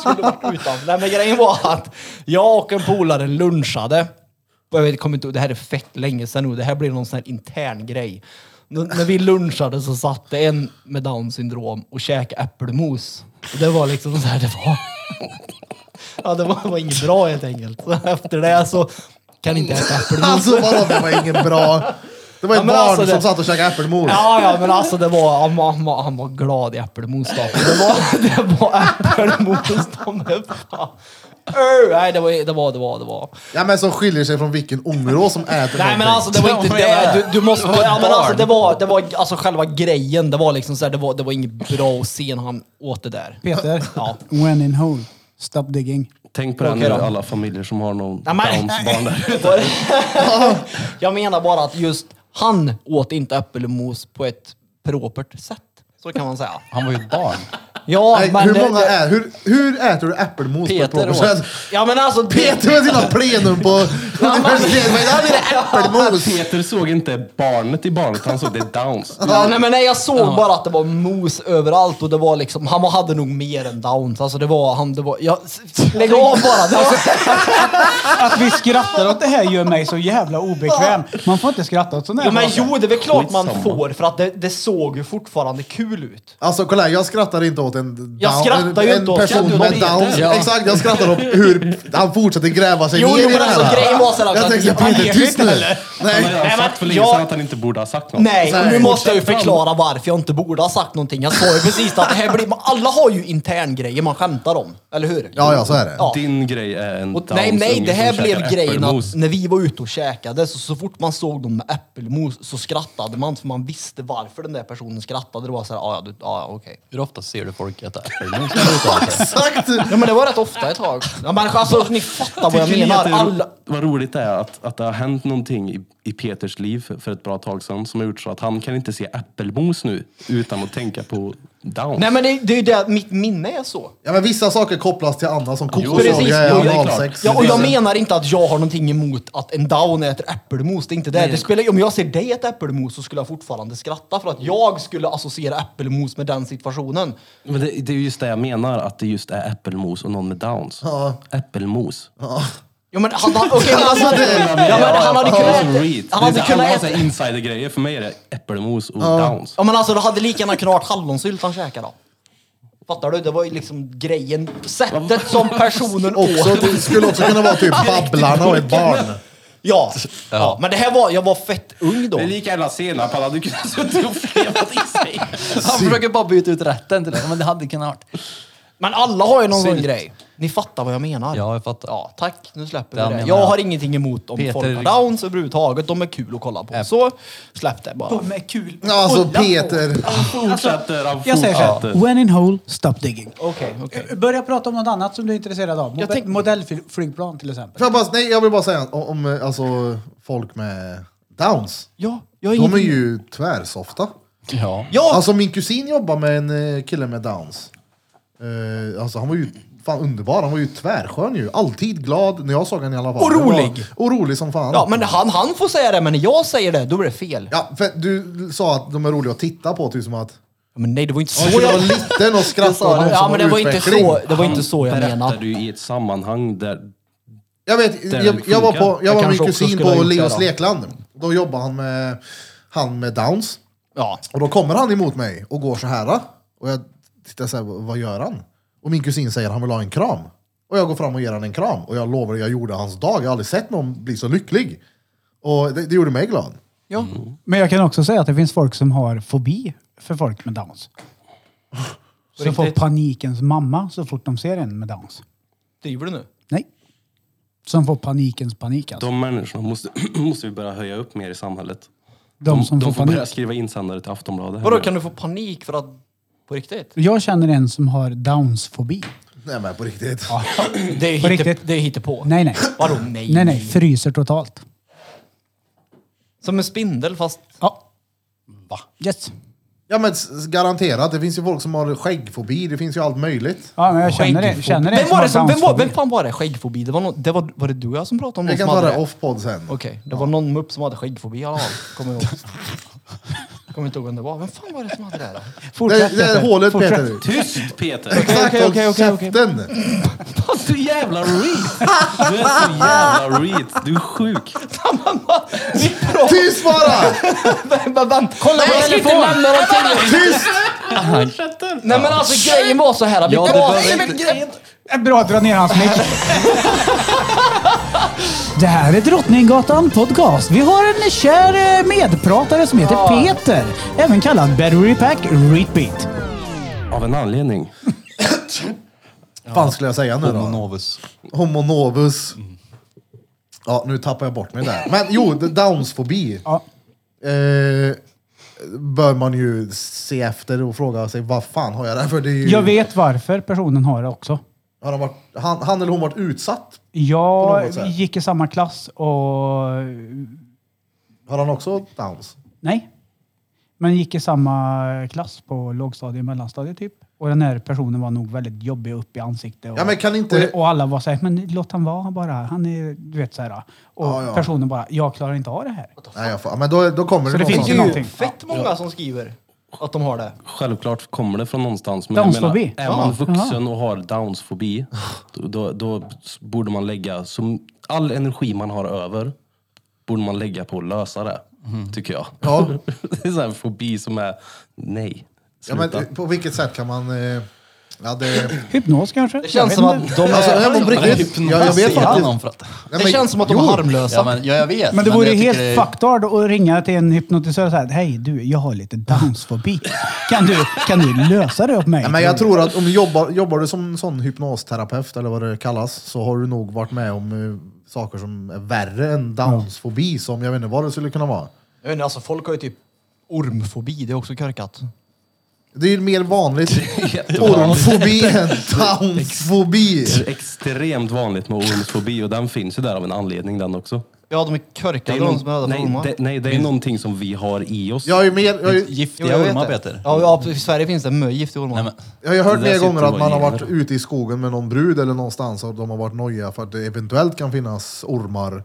Speaker 5: Skulle varit utanför. Nej men grejen var att jag och en polare lunchade. Jag vet, kommer inte, ihåg, det här är fett länge sedan nu. Det här blir någon sån här intern grej. N- när vi lunchade så satt det en med down syndrom och käkade äppelmos. Och det var liksom så här det var. *laughs* Ja, det var, var inget bra helt enkelt. Så efter det så kan inte äta äppelmos.
Speaker 2: Alltså vadå, det var ingen bra... Det var ett
Speaker 5: Ja, men
Speaker 2: barn
Speaker 5: alltså, det-
Speaker 2: som satt och käkade äppelmos.
Speaker 5: Ja, ja, men alltså det var, han, var, han, var, han var glad i äppelmos då. Det var, det var äppelmos de är fan. Öh, Nej, det var, det var, det var, det var.
Speaker 2: Ja men som skiljer sig från vilken ungdom som äter
Speaker 5: Nej
Speaker 2: någonting.
Speaker 5: men alltså det var inte det. Du, du måste, ja, men alltså, det var, det var alltså själva grejen. Det var liksom så här, det var, det var inget bra att se när han åt det där.
Speaker 1: Peter, when in hole, stop digging.
Speaker 4: Tänk på det här nu,
Speaker 5: Okej då.
Speaker 4: alla familjer som har någon
Speaker 5: Nej, men-
Speaker 4: downs-barn
Speaker 5: *laughs*
Speaker 4: där.
Speaker 5: Jag menar bara att just han åt inte äppelmos på ett propert sätt. Så kan man säga.
Speaker 6: Han var ju ett barn.
Speaker 5: Ja,
Speaker 2: Nej,
Speaker 5: men...
Speaker 2: hur, många
Speaker 5: det,
Speaker 2: är, hur, hur äter du äppelmos på ett
Speaker 6: Peter
Speaker 2: plåt?
Speaker 6: åt.
Speaker 2: Känns-
Speaker 5: Ja, men alltså... det-
Speaker 2: Peter med sina plenum på *laughs* universitetet. Men där blir det äppelmos.
Speaker 4: Peter såg inte barnet i barnet, han såg det downs.
Speaker 5: Ja, nej, men nej, jag såg bara att det var mos överallt och det var liksom, han hade nog mer än downs. Alltså det var, han, det var, jag, lägg
Speaker 2: *laughs*
Speaker 5: av bara! Alltså, Det var,
Speaker 1: Att vi skrattar åt det här gör mig så jävla obekväm. Man får inte skratta åt sådana här
Speaker 5: jo, men
Speaker 1: saker.
Speaker 5: jo, det är väl klart man
Speaker 4: Skitsamma.
Speaker 5: får för att det, det såg ju fortfarande kul ut.
Speaker 2: Alltså kolla här, jag skrattar inte åt en, down,
Speaker 5: Jag skrattar
Speaker 2: en,
Speaker 5: ju
Speaker 2: en
Speaker 5: inte åt-
Speaker 2: person
Speaker 6: Skrattar
Speaker 2: med
Speaker 6: du åt
Speaker 2: downs.
Speaker 6: Peter? Ja.
Speaker 2: Exakt, jag skrattar åt hur han fortsätter gräva sig
Speaker 5: Jo,
Speaker 2: ner
Speaker 5: jo,
Speaker 2: i
Speaker 5: men
Speaker 2: det här.
Speaker 5: alltså, grejen var så här
Speaker 2: jag
Speaker 5: att-
Speaker 2: tänkte,
Speaker 5: Han
Speaker 2: Peter
Speaker 5: lever
Speaker 2: tyst nu.
Speaker 4: Han
Speaker 2: Nej,
Speaker 4: har
Speaker 5: men
Speaker 4: sagt för länge
Speaker 5: jag-
Speaker 4: sedan att han inte borde ha sagt något.
Speaker 5: Nej,
Speaker 2: Nej,
Speaker 5: och nu måste jag ju
Speaker 4: fortsätt.
Speaker 5: förklara varför jag inte borde ha sagt någonting. Jag sa ju precis att det här blir, alla har ju interngrejer man skämtar om, eller hur?
Speaker 2: ja, ja, så är det.
Speaker 5: Ja.
Speaker 4: Din grej är en
Speaker 5: Och,
Speaker 4: downs
Speaker 5: nej, nej,
Speaker 4: unge
Speaker 5: det här
Speaker 4: som
Speaker 5: blev
Speaker 4: käkar
Speaker 5: grejen
Speaker 4: äppelmos.
Speaker 5: att när vi var ute och käkade så, så fort man såg dem med äppelmos så skrattade man för man visste varför den där personen skrattade. Det var så här, "Ah, ja, du, ah, ja, okej.
Speaker 6: Hur ofta ser du
Speaker 2: *laughs*
Speaker 6: folk äta äppelmos? när du är ute och
Speaker 5: *laughs*
Speaker 6: äter?
Speaker 2: Exakt!
Speaker 5: Ja, men det var rätt ofta ett tag. Ja, men alltså, ni fattar vad jag
Speaker 4: Tycker ni att
Speaker 5: menar.
Speaker 4: det är ro-
Speaker 5: Alla...
Speaker 4: Vad roligt det är att, att det har hänt någonting i, i Peters liv för- för ett bra tag sedan som har gjort så att han kan inte se äppelmos nu utan att tänka på downs.
Speaker 5: Nej, men det, det är ju det att mitt minne är så.
Speaker 2: Ja, men vissa saker kopplas till andra som
Speaker 5: Precis,
Speaker 2: kokosåga,
Speaker 5: jo, det är
Speaker 2: analsex.
Speaker 5: Ja, och jag menar inte att jag har någonting emot att en down äter äppelmos. Det är inte det. det spelar, om jag ser dig äta äppelmos så skulle jag fortfarande skratta för att jag skulle associera äppelmos med den situationen.
Speaker 4: Men det, det är just det jag menar, att det just är äppelmos och någon med downs.
Speaker 2: Ja.
Speaker 4: Äppelmos.
Speaker 5: Jo men han, han, okej, men alltså, det, ja, men han hade
Speaker 4: Det är
Speaker 5: kunnat
Speaker 4: som reet.
Speaker 5: äta... Han
Speaker 4: alltså, Det alltså,
Speaker 5: hade
Speaker 4: är så- alla
Speaker 5: kunnat
Speaker 4: har så
Speaker 5: äta...
Speaker 4: här insidergrejer. För mig är det äppelmos och downs.
Speaker 5: Ja men alltså det hade lika gärna kunnat varit hallonsylt han käkade. Fattar du? Det var ju liksom grejen, sättet som personen
Speaker 2: Också,
Speaker 5: åt.
Speaker 2: det skulle också kunna vara
Speaker 5: *laughs*
Speaker 2: typ Babblarna och ett barn.
Speaker 5: Ja. ja, men det här var, jag var fett ung då.
Speaker 4: Det är lika gärna senap, han hade kunnat suttit och flevat i sig.
Speaker 6: Han försöker bara byta ut rätten till det. Men det hade kunnat varit.
Speaker 5: Men alla har ju någon sån
Speaker 6: Sylt.
Speaker 5: grej. Ni fattar vad jag menar.
Speaker 6: Ja, jag fattar.
Speaker 5: Ja, tack. Nu släpper
Speaker 6: Där
Speaker 5: vi det.
Speaker 6: menar
Speaker 5: Jag
Speaker 6: jag.
Speaker 5: har ingenting emot om
Speaker 6: Peter-
Speaker 5: folk har downs överhuvudtaget. De är kul att kolla på. Så släpp det bara. Ah,
Speaker 1: De är kul.
Speaker 2: Alltså
Speaker 1: Kolla på.
Speaker 2: Peter.
Speaker 4: Fortsätter, han
Speaker 1: Jag säger så här.
Speaker 4: fortsätter.
Speaker 1: When in hole, stop digging.
Speaker 5: Okej, okej.
Speaker 1: Börja prata om något annat som du är intresserad av.
Speaker 5: Jag
Speaker 1: Mobe-
Speaker 5: tänkte-
Speaker 1: Modellflygplan till exempel.
Speaker 2: Får jag, bara, nej, jag vill bara säga om, om eh, alltså, folk med downs.
Speaker 5: Ja, jag är
Speaker 2: De är
Speaker 5: ingenting...
Speaker 2: ju tvärsofta.
Speaker 6: Ja.
Speaker 5: Ja,
Speaker 2: Alltså min kusin jobbar med en eh, kille med downs. Eh, alltså han var ju fan underbar, han var ju tvärskön ju. Alltid glad när jag såg honom i alla fall.
Speaker 5: Och
Speaker 2: Det var-
Speaker 5: rolig.
Speaker 2: Och rolig som fan.
Speaker 5: ja, men han, han får säga det, men när jag säger det, då blir det fel.
Speaker 2: Ja, för du sa att de är roliga att titta på, typ som att...
Speaker 5: Men nej, det var inte så
Speaker 2: Oj, jag var
Speaker 5: jag... *laughs*
Speaker 2: liten och
Speaker 5: jag
Speaker 2: skrattade
Speaker 5: sa
Speaker 2: åt
Speaker 5: det.
Speaker 2: någon
Speaker 5: Ja,
Speaker 2: som
Speaker 5: men det var inte
Speaker 2: utveckling.
Speaker 5: så, det var inte så jag
Speaker 4: Berättar
Speaker 5: menade.
Speaker 4: du i ett sammanhang där...
Speaker 2: Jag vet,
Speaker 4: Där
Speaker 2: jag, jag var, på, jag
Speaker 5: Jag
Speaker 2: var med min
Speaker 5: kanske också
Speaker 2: kusin
Speaker 5: skulle ha
Speaker 2: på
Speaker 5: gjort det
Speaker 2: Leos
Speaker 5: då.
Speaker 2: Lekland. Då jobbar han med, han med Downs.
Speaker 5: Ja.
Speaker 2: Och då kommer han emot mig och går så här. Och jag tittar så här, vad gör han? Och min kusin säger han vill ha en kram. Och jag går fram och ger han en kram. Och jag lovar, jag gjorde hans dag. Jag har aldrig sett någon bli så lycklig. Och det, det gjorde mig glad.
Speaker 5: ja.
Speaker 1: Men jag kan också säga att det finns folk som har fobi för folk med downs. Som får panikens mamma så fort de ser en med downs.
Speaker 5: Driver du nu?
Speaker 1: Nej. Som får panikens panik alltså.
Speaker 4: De människorna måste, *clears throat* måste vi börja höja upp mer i samhället.
Speaker 1: De, som
Speaker 4: de
Speaker 1: får
Speaker 4: får börja
Speaker 1: panik.
Speaker 4: skriva insändare till Aftonbladet. här
Speaker 5: Vadå,
Speaker 4: nu.
Speaker 5: kan du få panik för att... På riktigt?
Speaker 1: Jag känner en som har downsfobi.
Speaker 2: Nej men på riktigt.
Speaker 5: Det är,
Speaker 1: På
Speaker 5: hitte,
Speaker 1: riktigt?
Speaker 5: det är hittepå.
Speaker 1: Nej, nej.
Speaker 5: Vadå nej?
Speaker 1: Nej, nej. Fryser totalt.
Speaker 5: Som en spindel fast...
Speaker 1: Ja. Va? Yes.
Speaker 2: Ja men s- s- garanterat, det finns ju folk som har skäggfobi. Det finns ju allt möjligt.
Speaker 1: Ja, men jag känner det.
Speaker 5: Skäggfobi.
Speaker 1: Känner det
Speaker 5: vem, var det som, vem, var,
Speaker 1: downsfobi.
Speaker 5: vem fan var det? Skäggfobi? Det var, någon, det var, var det du och jag som pratade om någon
Speaker 2: Jag kan
Speaker 5: som
Speaker 2: ta
Speaker 5: hade
Speaker 2: det off-podd sen.
Speaker 5: Okej, det var någon mupp som hade skäggfobi i alla fall. Kommer jag ihåg. Kommer inte ihåg vem det var. Vem fan var det som hade det? här?
Speaker 2: Det,
Speaker 1: Fortsätt.
Speaker 2: det är
Speaker 1: Peter.
Speaker 2: hålet
Speaker 1: Fortsätt.
Speaker 2: Peter.
Speaker 4: Tyst Peter!
Speaker 2: Exakt,
Speaker 5: okej,
Speaker 2: håll
Speaker 5: okej, okej, okej.
Speaker 2: käften!
Speaker 4: Fast du jävla reet! Du är så jävla reet. Du är sjuk.
Speaker 2: Tyst bara!
Speaker 5: *laughs* Vem- vem- Kolla på telefonen!
Speaker 2: Tyst!
Speaker 5: Nej men alltså grejen var så här. Vi
Speaker 6: Ja, det
Speaker 5: pratade...
Speaker 6: behöver
Speaker 5: Men
Speaker 6: inte-
Speaker 5: grejen-
Speaker 1: Det är Bra att dra ner hans mick. Det här är Drottninggatan Podcast. Vi har en kär eh, medpratare som heter Peter, även kallad Battery Pack Repeat.
Speaker 4: Av en anledning.
Speaker 2: fan skulle jag säga nu
Speaker 6: Homo
Speaker 2: då?
Speaker 6: novus.
Speaker 2: Homo novus.
Speaker 1: Mm.
Speaker 2: Ja, nu tappar jag bort mig där. Men jo, d- downsfobi.
Speaker 1: Ja.
Speaker 2: Eh, bör man ju se efter och fråga sig vad fan har jag där för? Det är ju,
Speaker 5: Mm.
Speaker 1: Jag vet varför personen har det också.
Speaker 2: Har han, varit, han, han eller hon varit utsatt? På
Speaker 1: Jag
Speaker 2: något sätt.
Speaker 1: gick i samma klass och...
Speaker 2: Har han också downs?
Speaker 1: Nej. Men gick i samma klass på lågstadiet och mellanstadiet typ. Och den här personen var nog väldigt jobbig upp i ansiktet. Och,
Speaker 2: Ja, men kan inte-
Speaker 1: och, och alla var såhär, men låt han vara bara. Han är, du vet såhär. Och
Speaker 2: Ja, ja.
Speaker 1: personen bara, jag klarar inte av det här.
Speaker 2: Nej, jag, fa- men då, då kommer
Speaker 1: Så det
Speaker 2: någon
Speaker 1: finns
Speaker 2: sån-
Speaker 1: ju någonting.
Speaker 5: Fett många som skriver att de har det.
Speaker 4: Självklart kommer det från någonstans. Men
Speaker 1: Downsfobi?
Speaker 4: jag menar, är man vuxen och har downsfobi, då, då, då borde man lägga så, all energi man har över borde man lägga på att lösa det,
Speaker 5: Mm.
Speaker 4: tycker jag.
Speaker 2: Ja.
Speaker 4: *laughs* det är så här en fobi som är nej.
Speaker 2: Ja,
Speaker 4: Sluta.
Speaker 2: men eh, på vilket sätt kan man... Eh, ja,
Speaker 1: *clears throat*
Speaker 2: det,
Speaker 1: Hypnos kanske?
Speaker 5: Det känns som att de
Speaker 2: Alltså,
Speaker 5: är...
Speaker 2: jag mår
Speaker 6: Men
Speaker 2: riktigt. Jag, jag vet
Speaker 6: hypnotiserar
Speaker 2: faktiskt...
Speaker 6: någon för att...
Speaker 2: Ja,
Speaker 5: Det
Speaker 2: men-
Speaker 5: känns som att de är
Speaker 2: jo.
Speaker 5: harmlösa.
Speaker 6: Ja, men, ja, jag vet.
Speaker 1: Men det vore
Speaker 6: jag
Speaker 1: ju helt
Speaker 6: tycker det-
Speaker 1: fucked att ringa till en hypnotisör och säga hej du, jag har lite downsfobi. Kan du, kan du lösa det åt mig?
Speaker 2: Ja, men jag tror att om du jobbar, jobbar du som sån hypnosterapeut, eller vad det kallas, så har du nog varit med om eh, saker som är värre än downsfobi, som jag vet inte vad det skulle kunna vara.
Speaker 5: Jag vet inte, alltså folk har ju typ ormfobi, det är också korkat.
Speaker 2: Det är ju mer vanligt ormfobi än downsfobi.
Speaker 4: Det är extremt vanligt med ormfobi och den finns ju där av en anledning den också.
Speaker 5: Ja, de är
Speaker 4: Det
Speaker 5: korkade
Speaker 4: är
Speaker 5: de
Speaker 4: någon-
Speaker 5: som är rädda för
Speaker 4: nej,
Speaker 5: ormar.
Speaker 4: det, nej, det är någonting som vi har i oss.
Speaker 2: Jag har ju mer, jag har ju,
Speaker 5: Jo,
Speaker 6: Giftiga
Speaker 5: jag vet
Speaker 6: ormar,
Speaker 5: det.
Speaker 6: Peter.
Speaker 5: Ja, ja, i Sverige finns det mycket giftiga ormar.
Speaker 6: Nej, men,
Speaker 2: jag har ju hört
Speaker 4: Det där
Speaker 2: mer gånger
Speaker 4: sitter
Speaker 2: att man har
Speaker 4: bara i
Speaker 2: varit
Speaker 4: gener.
Speaker 2: ute i skogen med någon brud eller någonstans och de har varit nojiga för att det eventuellt kan finnas ormar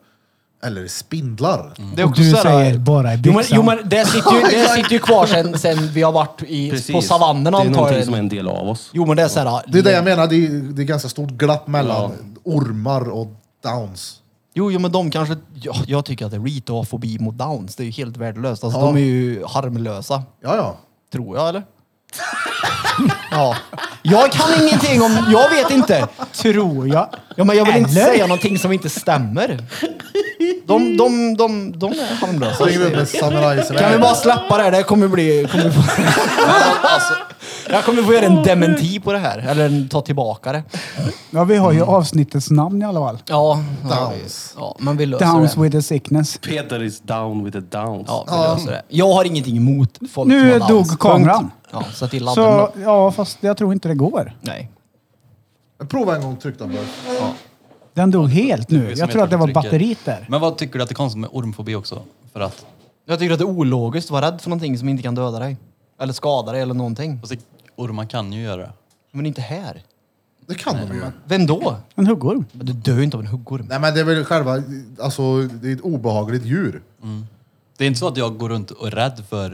Speaker 2: eller spindlar.
Speaker 5: Det
Speaker 1: Och du
Speaker 5: så här-
Speaker 1: säger bara i
Speaker 5: Jo men,
Speaker 1: byxan.
Speaker 5: jo, men det, sitter ju, det sitter ju kvar sen, sen vi har varit i, på savannen
Speaker 4: det är någonting som är
Speaker 5: antagligen.
Speaker 4: en del av oss.
Speaker 5: Jo men det är såhär...
Speaker 2: Det är det jag menar, det är, det är ganska stort glapp mellan ormar och downs.
Speaker 5: Jo, jo men de kanske... Ja, jag tycker att det är reet att ha fobi mot downs. Det är ju helt värdelöst. Alltså
Speaker 2: Ja.
Speaker 5: de är ju harmlösa.
Speaker 2: Ja, ja.
Speaker 5: Tror jag eller? *laughs* ja. Jag kan ingenting om... Jag vet inte.
Speaker 1: tror jag.
Speaker 5: Ja, men jag vill inte
Speaker 1: Eller?
Speaker 5: säga någonting som inte stämmer. De, de, de, de är harmlösa.
Speaker 2: Slänger ut med samurajsvärd.
Speaker 5: Kan vi bara släppa det här? Det här kommer bli... Kommer få... *laughs* alltså, jag kommer få göra en dementi på det här. Eller en- ta tillbaka det.
Speaker 1: Ja, vi har ju avsnittets namn i alla fall.
Speaker 5: Ja, ja,
Speaker 2: Downs.
Speaker 5: ja men vi löser
Speaker 1: Downs
Speaker 5: det.
Speaker 1: with a sickness.
Speaker 4: Peter is down with the downs.
Speaker 5: Ja, vi löser det. Jag har ingenting emot folk
Speaker 1: Nu
Speaker 5: som har downs.
Speaker 1: dog kameran.
Speaker 5: Punkt. Ja, sätt i ladden
Speaker 1: Så,
Speaker 5: då.
Speaker 1: ja, fast jag tror inte det går.
Speaker 5: Nej.
Speaker 2: Prova en gång tryck den bör.
Speaker 1: Den dog helt nu.
Speaker 6: som
Speaker 1: Jag tror att det var
Speaker 6: trycker.
Speaker 1: batteriet där.
Speaker 6: Men vad tycker du att det är konstigt med ormfobi också? För att...
Speaker 5: Jag tycker att det är ologiskt att vara rädd för någonting som inte kan döda dig. Eller skada dig eller någonting.
Speaker 6: Fast det, ormar kan ju göra det.
Speaker 5: Men inte här.
Speaker 2: Det kan de ju.
Speaker 5: Vem då?
Speaker 1: En huggorm.
Speaker 5: Du dör ju inte av en huggorm.
Speaker 2: Nej men det är väl själva, alltså det är ett obehagligt djur.
Speaker 6: Det är inte så att jag går runt och är rädd för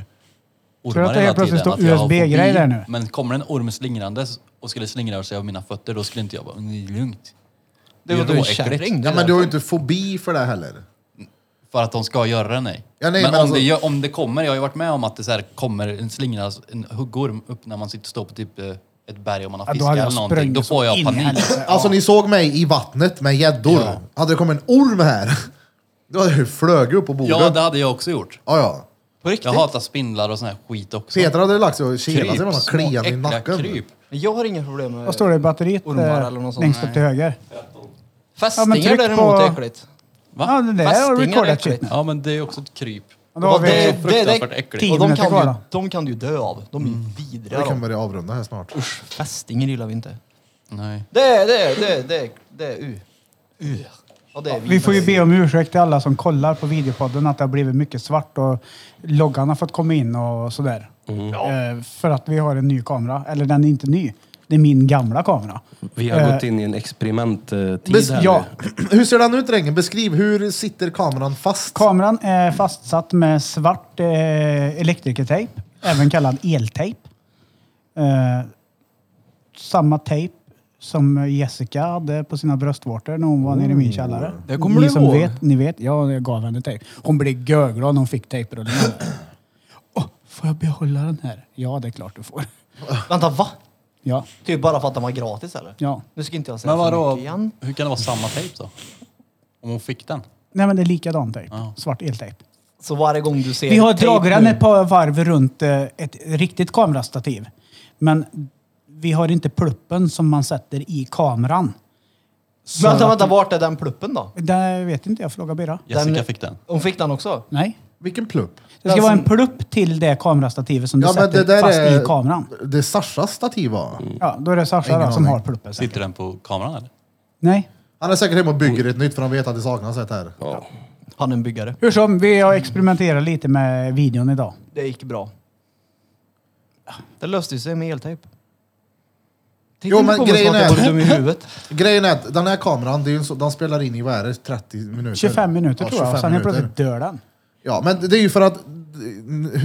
Speaker 6: ormar
Speaker 1: Tror du att det
Speaker 6: hela
Speaker 1: helt plötsligt
Speaker 6: tiden,
Speaker 1: står
Speaker 6: att jag har
Speaker 1: USB -grej
Speaker 6: fobi.
Speaker 1: där nu?
Speaker 6: Men kommer en orm slingrandes och skulle slingra sig av mina fötter, då skulle inte jag bara, "Nej, lugnt.
Speaker 5: Det var
Speaker 6: Det
Speaker 5: du
Speaker 6: är
Speaker 5: en
Speaker 6: råäckligt.
Speaker 5: kärring. det
Speaker 2: Ja
Speaker 5: där.
Speaker 2: men du har ju inte fobi för det heller.
Speaker 6: För att de ska göra det, nej.
Speaker 2: Ja, nej,
Speaker 6: men
Speaker 2: men
Speaker 6: om,
Speaker 2: alltså-
Speaker 6: det, gör- om det kommer, jag har ju varit med om att det så här kommer en slingra, en huggorm upp när man sitter och står på typ eh, ett berg och man
Speaker 1: Ja, då
Speaker 6: har fiskat
Speaker 1: hade jag
Speaker 6: eller någonting. Då
Speaker 1: sprungit
Speaker 6: får
Speaker 1: så
Speaker 6: jag
Speaker 1: in i
Speaker 6: panik.
Speaker 1: helvete.
Speaker 2: Alltså ni såg mig i vattnet med gäddor. Hade det kommit en orm här, *laughs* då hade jag ju flög upp på bordet.
Speaker 6: Ja, det hade jag också gjort.
Speaker 2: ja, ja.
Speaker 5: På riktigt?
Speaker 6: Jag hatar spindlar och sån här skit också.
Speaker 2: Peter hade lagt sig och
Speaker 6: Kryp,
Speaker 2: kilat sig med någon
Speaker 6: små
Speaker 2: kliande i
Speaker 6: äckliga
Speaker 2: nacken.
Speaker 6: kryp.
Speaker 5: Jag har inga problem med...
Speaker 1: Vad står det i batteriet
Speaker 5: Ormar
Speaker 1: eh,
Speaker 5: eller något sånt.
Speaker 1: längst upp till höger? Ja, men
Speaker 5: Fästingar
Speaker 1: tryck
Speaker 5: däremot
Speaker 1: på-
Speaker 5: är äckligt.
Speaker 6: Va?
Speaker 1: Ja, det där
Speaker 5: Fästingar
Speaker 1: har
Speaker 5: är
Speaker 1: recordat
Speaker 5: äckligt.
Speaker 1: shit nu.
Speaker 6: Ja, men det är också ett kryp.
Speaker 1: Då har
Speaker 5: Och det-
Speaker 1: vi
Speaker 5: det-
Speaker 6: Fruktansvärt
Speaker 5: det-
Speaker 6: äckligt.
Speaker 1: Tio
Speaker 5: Och de
Speaker 1: minuter
Speaker 5: kan,
Speaker 1: kvar
Speaker 5: du,
Speaker 1: då.
Speaker 5: de kan du ju dö av. De är ju vidriga.
Speaker 2: Vi kan
Speaker 5: de.
Speaker 2: börja avrunda här snart.
Speaker 5: Usch, fästingar gillar vi inte.
Speaker 6: Nej.
Speaker 5: Det, det, det, det, det är u. U. Ja, det är
Speaker 1: Vi får ju be om ursäkt till alla som kollar på videopodden att det har blivit mycket svart och loggan har fått komma in och sådär.
Speaker 6: Mm.
Speaker 1: Eh, För att vi har en ny kamera. Eller den är inte ny. Det är min gamla kamera.
Speaker 4: Vi har
Speaker 1: Eh,
Speaker 4: gått in i en experimenttid
Speaker 2: Bes-
Speaker 4: här
Speaker 1: ja.
Speaker 2: *clears throat* Hur ser den ut drängen? Beskriv, hur sitter kameran fast?
Speaker 1: Kameran är fastsatt med svart eh, elektrikertejp, även kallad eltejp. Eh, samma tejp som Jessica hade på sina bröstvårtor när hon var nere i min källare.
Speaker 5: Det kommer
Speaker 1: ni
Speaker 5: du
Speaker 1: som
Speaker 5: ihåg.
Speaker 1: vet, ni vet. Ja, jag gav henne tejp. Hon blev görglad när hon fick
Speaker 5: *clears throat*
Speaker 1: tejprullen. Åh, får jag behålla den här? Ja, det är klart du får.
Speaker 5: Vänta, va?
Speaker 1: Ja,
Speaker 5: Typ bara för att den var gratis eller?
Speaker 1: ja.
Speaker 5: Nu ska inte jag säga
Speaker 6: Men
Speaker 5: för
Speaker 6: vadå,
Speaker 5: mycket igen.
Speaker 6: hur kan det vara samma tejp då? Om hon fick den?
Speaker 1: Nej, men det är likadan tejp.
Speaker 6: Ja.
Speaker 1: Svart eltejp.
Speaker 5: Så varje gång du ser
Speaker 1: Vi har
Speaker 5: tejp
Speaker 1: dragit den
Speaker 5: nu-
Speaker 1: ett par varv runt eh, ett riktigt kamerastativ. Men vi har inte pluppen som man sätter i kameran. Så
Speaker 5: Vänta,
Speaker 1: att-
Speaker 5: vänta, vart är den pluppen då?
Speaker 1: Det vet inte jag. Fråga Birra.
Speaker 6: Jessica
Speaker 5: Den-
Speaker 6: fick den.
Speaker 5: Hon fick den också?
Speaker 1: Nej.
Speaker 2: Vilken plupp?
Speaker 1: Det ska
Speaker 5: Den
Speaker 1: vara
Speaker 5: som-
Speaker 1: en plupp till det kamerastativet som du
Speaker 2: Alltså- Ja, men
Speaker 1: sätter
Speaker 2: det där
Speaker 1: fast
Speaker 2: är-
Speaker 1: i kameran.
Speaker 2: Det är Sashas stativ va?
Speaker 6: Mm.
Speaker 1: Ja, då är det Sasha
Speaker 2: Ingen
Speaker 1: då, som
Speaker 2: aning.
Speaker 1: har pluppen. säkert.
Speaker 6: Sitter den på kameran eller?
Speaker 1: Nej.
Speaker 2: Han är säkert hemma och bygger ett nytt för han vet att det saknas ett här.
Speaker 5: Han är en byggare.
Speaker 1: Hur som, vi har experimenterat lite med videon idag.
Speaker 5: Det gick bra. Det löste ju sig med eltejp. Titta
Speaker 2: Jo,
Speaker 5: inte
Speaker 2: men
Speaker 5: på mig som
Speaker 2: grejen
Speaker 5: att jag
Speaker 2: är-
Speaker 5: vore
Speaker 2: *laughs*
Speaker 5: dum i huvudet.
Speaker 2: Grejen är att den här kameran, det är ju en så, den spelar in i vad är det, 30 minuter?
Speaker 1: 25 minuter
Speaker 2: Ja,
Speaker 1: tror jag,
Speaker 2: 25
Speaker 1: sen helt
Speaker 2: minuter.
Speaker 1: plötsligt dör den.
Speaker 2: Ja, men det är ju för att...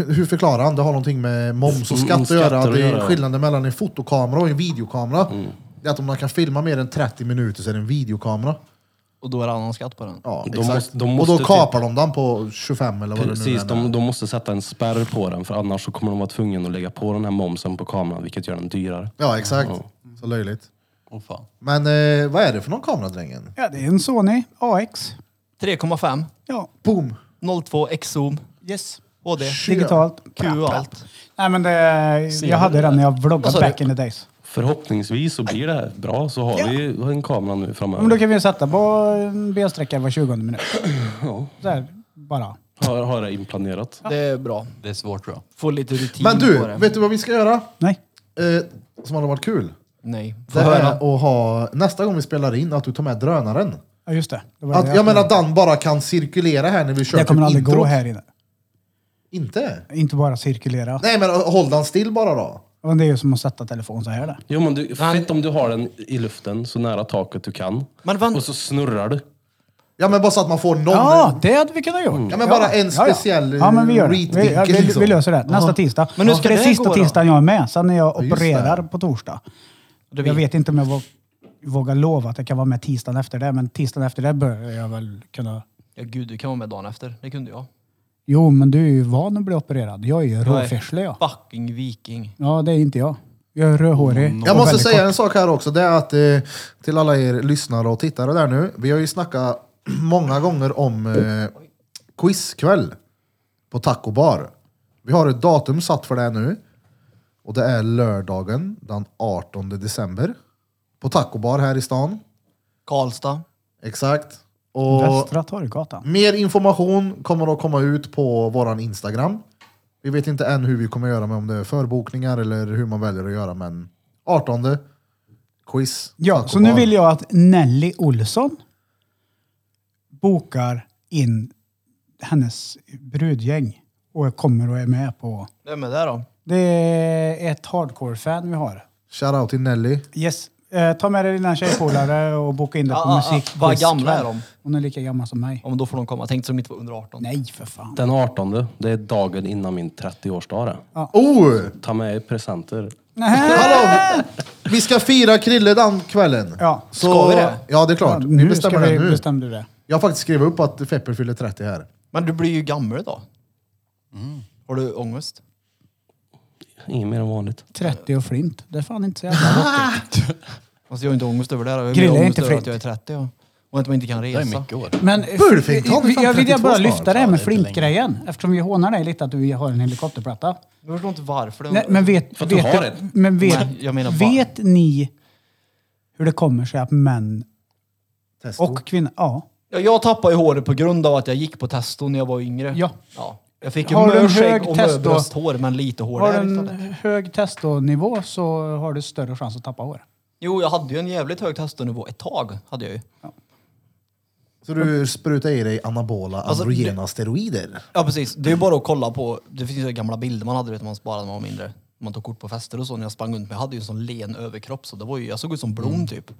Speaker 2: Hur förklarar han? Det har någonting med moms och
Speaker 4: Mm,
Speaker 2: skatt att
Speaker 4: skatter
Speaker 2: göra.
Speaker 4: att
Speaker 2: Det är
Speaker 4: göra. Mm.
Speaker 2: skillnaden mellan en fotokamera och en videokamera. Det är att om man kan filma mer än 30 minuter så är det en videokamera.
Speaker 5: Och då är det annan skatt på den.
Speaker 2: Ja,
Speaker 4: De
Speaker 2: exakt.
Speaker 4: måste- de
Speaker 2: och
Speaker 4: måste
Speaker 2: då
Speaker 4: typ-
Speaker 2: kapar de den på 25 eller vad
Speaker 4: Precis,
Speaker 2: det nu är.
Speaker 4: de, de måste sätta en spärr på den för annars så kommer de vara tvungna att lägga på den här momsen på kameran vilket gör den dyrare.
Speaker 2: Ja, exakt. Så löjligt.
Speaker 6: Åh fan.
Speaker 2: Men eh, vad är det för någon kamera, drängen?
Speaker 1: Ja, det är en Sony AX.
Speaker 5: 3,5,
Speaker 1: Ja,
Speaker 2: Boom!
Speaker 5: 02 X-zoom,
Speaker 1: yes.
Speaker 5: HD,
Speaker 1: Digitalt.
Speaker 5: Q och allt.
Speaker 1: Nej men det, jag hade den när jag
Speaker 5: Vad
Speaker 1: vloggade
Speaker 5: sa du?
Speaker 1: back in the days.
Speaker 4: Förhoppningsvis så blir det här bra så har vi en kamera nu
Speaker 1: Men då
Speaker 4: framöver.
Speaker 1: kan vi ju sätta på en bensträckare var 20
Speaker 2: *clears throat*
Speaker 1: minut. Så här, bara.
Speaker 4: Har, har det inplanerat.
Speaker 5: Det är bra.
Speaker 6: Det är svårt tror jag.
Speaker 5: Få lite rutin
Speaker 2: Men
Speaker 5: på
Speaker 2: du,
Speaker 5: det.
Speaker 2: vet du vad vi ska göra?
Speaker 1: Nej.
Speaker 2: Eh, som hade varit kul?
Speaker 5: Nej. Få
Speaker 2: Det är
Speaker 5: höra.
Speaker 2: att ha, nästa gång vi spelar in, att du tar med drönaren.
Speaker 1: Ja just det. det var det
Speaker 2: Att, jag menar att den bara kan cirkulera här när vi kör
Speaker 1: jag kommer
Speaker 2: typ
Speaker 1: aldrig gå
Speaker 2: introt.
Speaker 1: här inne.
Speaker 2: Inte?
Speaker 1: Inte bara cirkulera.
Speaker 2: Nej men håll den still bara då.
Speaker 1: Men det är ju som att sätta telefon så här. Där.
Speaker 4: Jo men du, fett om du har den i luften så nära taket du kan.
Speaker 5: Men vänta.
Speaker 4: Och så snurrar du.
Speaker 2: Ja men bara så att man får någon...
Speaker 1: Ja, det hade vi kunnat gjort.
Speaker 2: Ja, men bara en speciell,
Speaker 1: Ja, ja. ja men vi gör det. Vi, ja,
Speaker 2: readvinkel,
Speaker 1: vi,
Speaker 2: liksom.
Speaker 1: vi löser det. Nästa tisdag.
Speaker 5: Men hur ska
Speaker 1: det är
Speaker 5: det
Speaker 1: sista
Speaker 5: gå då?
Speaker 1: tisdagen jag är med. Sen när jag
Speaker 2: Ja, just det.
Speaker 1: opererar på torsdag. Jag vet inte om jag vå- vågar lova att jag kan vara med tisdagen efter det. Men tisdagen efter det bör jag väl kunna...
Speaker 5: Ja, gud, du kan vara med dagen efter. Det kunde jag.
Speaker 1: Jo, men du är ju van att bli opererad. Jag är ju råfärslig jag.
Speaker 5: Fucking viking.
Speaker 1: Ja, det är inte jag. Jag är rödhårig.
Speaker 2: Mm, Jag
Speaker 1: och
Speaker 2: måste
Speaker 1: väldigt
Speaker 2: säga
Speaker 1: kort.
Speaker 2: en sak här också. Det är att eh, till alla er lyssnare och tittare där nu. Vi har ju snackat många gånger om eh, quizkväll på Taco Bar. Vi har ett datum satt för det nu. Och det är lördagen den 18 december. På Taco Bar här i stan.
Speaker 5: Karlstad.
Speaker 2: Exakt. Och
Speaker 1: Västra Torggatan.
Speaker 2: Mer information kommer att komma ut på våran Instagram. Vi vet inte än hur vi kommer göra med om det är förbokningar eller hur man väljer att göra, men 18 quiz.
Speaker 1: Ja,
Speaker 2: Taco
Speaker 1: så nu
Speaker 2: Bar.
Speaker 1: vill jag att Nelly Olsson bokar in hennes brudgäng och kommer och är med på.
Speaker 5: Vem är det då?
Speaker 1: Det är ett hardcore-fan vi har.
Speaker 2: Shoutout till Nelly.
Speaker 1: Yes. Eh, ta med dig dina tjejpolare och boka in det på
Speaker 5: Ah, ah, ah.
Speaker 1: musik.
Speaker 5: Vad gamla är de?
Speaker 1: Hon är lika gammal som mig.
Speaker 5: Ja, men då får de komma. Tänkte som inte var under 18.
Speaker 1: Nej, för fan.
Speaker 4: Den 18, det är dagen innan min 30-årsdag det.
Speaker 2: Oh!
Speaker 4: Ta med er presenter.
Speaker 2: Hallå! Vi ska fira Krille den kvällen.
Speaker 1: Ja.
Speaker 2: så,
Speaker 5: Ska vi det?
Speaker 2: Ja, det är klart.
Speaker 1: Ja,
Speaker 2: vi bestämmer
Speaker 1: ska
Speaker 2: det
Speaker 1: vi-
Speaker 2: nu.
Speaker 1: bestämde det.
Speaker 2: Jag har faktiskt skrivit upp att Fepper fyller 30 här.
Speaker 5: Men du blir ju gammal då.
Speaker 1: Mm.
Speaker 5: Har du ångest?
Speaker 4: Inget mer än vanligt.
Speaker 1: 30 och flint. Det är fan inte så
Speaker 5: *laughs*
Speaker 1: jävla rockigt.
Speaker 5: Alltså jag har inte ångest över det. här. Jag har
Speaker 1: Grilla
Speaker 5: mer
Speaker 1: är
Speaker 5: ångest
Speaker 1: inte
Speaker 5: över
Speaker 1: fritt.
Speaker 5: att jag är 30 och, och att man inte kan
Speaker 6: Det är
Speaker 5: resa.
Speaker 6: mycket år.
Speaker 1: Men eh,
Speaker 2: Burfing, ta mig fan
Speaker 1: jag vill
Speaker 2: 32
Speaker 1: jag bara
Speaker 2: snart.
Speaker 1: lyfta det här
Speaker 6: Ja,
Speaker 1: med
Speaker 6: det är inte
Speaker 1: flintgrejen. Eftersom vi hånar dig lite att du har en helikopterplatta.
Speaker 5: Jag förstår inte varför. Det
Speaker 1: Nej, men vet,
Speaker 4: För att du
Speaker 1: vet,
Speaker 4: har en.
Speaker 1: men vet,
Speaker 5: Nej, jag menar bara-
Speaker 1: vet ni hur det kommer sig att män
Speaker 2: Testo.
Speaker 1: och kvinnor... Ja.
Speaker 5: Ja, jag tappade ju håret på grund av att jag gick på testo när jag var yngre.
Speaker 1: Ja.
Speaker 5: Jag fick ju
Speaker 1: Har du en
Speaker 5: mörskägg
Speaker 1: hög
Speaker 5: och mö-
Speaker 1: testo-
Speaker 5: brösthår, men lite hår
Speaker 1: Har
Speaker 5: där
Speaker 1: du en
Speaker 5: istället.
Speaker 1: hög testonivå så har du större chans att tappa hår.
Speaker 5: Jo, jag hade ju en jävligt hög testonivå ett tag. Hade jag ju.
Speaker 2: Så du sprutar i dig anabola
Speaker 5: Alltså,
Speaker 2: androgena steroider.
Speaker 5: Ja, precis. Det är ju bara att kolla på. Det finns ju gamla bilder man hade, du vet, man sparade när man var mindre. Man tog kort på fester och så när jag sprang runt. Men jag hade ju en sån len överkropp så det var ju, jag såg ut som Blom
Speaker 1: Mm.
Speaker 5: typ.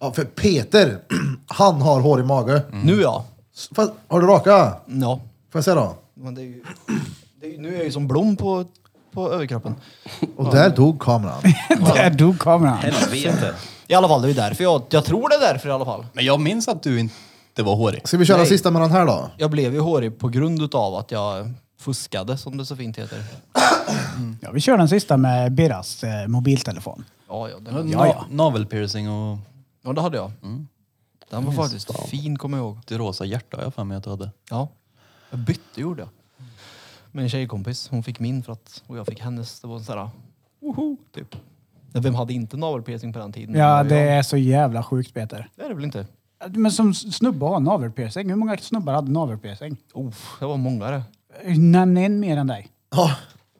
Speaker 2: Ja, för Peter, *clears throat* han har hår i mage.
Speaker 5: Nu ja.
Speaker 2: Fast, har du raka?
Speaker 5: Mm. Ja.
Speaker 2: Får jag se då?
Speaker 5: Men det är ju, det är, ju- nu är jag ju som Blom på, på överkroppen.
Speaker 2: Och där dog kameran.
Speaker 1: *laughs* Där dog kameran.
Speaker 4: Helvete!
Speaker 5: I alla fall, det är ju därför jag, jag tror det är därför i alla fall.
Speaker 6: Men jag minns att du inte var hårig.
Speaker 2: Ska vi köra
Speaker 5: Nej.
Speaker 2: sista med den här då?
Speaker 5: Jag blev ju hårig på grund utav att jag fuskade, som det så fint heter.
Speaker 1: Ja, vi kör den sista med Birras eh, mobiltelefon.
Speaker 5: Ja, ja, den,
Speaker 6: Ja, ja. Navelpiercing och
Speaker 5: ja det hade jag. Den var faktiskt fin, kommer jag ihåg.
Speaker 6: det rosa hjärta har jag för mig att du hade.
Speaker 5: Ja. Jag bytte gjorde jag. Med en tjejkompis. Hon fick min för att, och jag fick hennes. Det var en sån här... Woho! Typ. Men Vem hade inte navelpiercing på den tiden?
Speaker 1: Ja,
Speaker 5: var
Speaker 1: det
Speaker 5: jag.
Speaker 1: är så jävla sjukt Peter.
Speaker 5: det är det väl inte?
Speaker 1: Men som snubbe har navelpiercing. Hur många snubbar hade navelpiercing?
Speaker 5: Oh, det var många det.
Speaker 1: Nämn en mer än dig.
Speaker 2: Ja,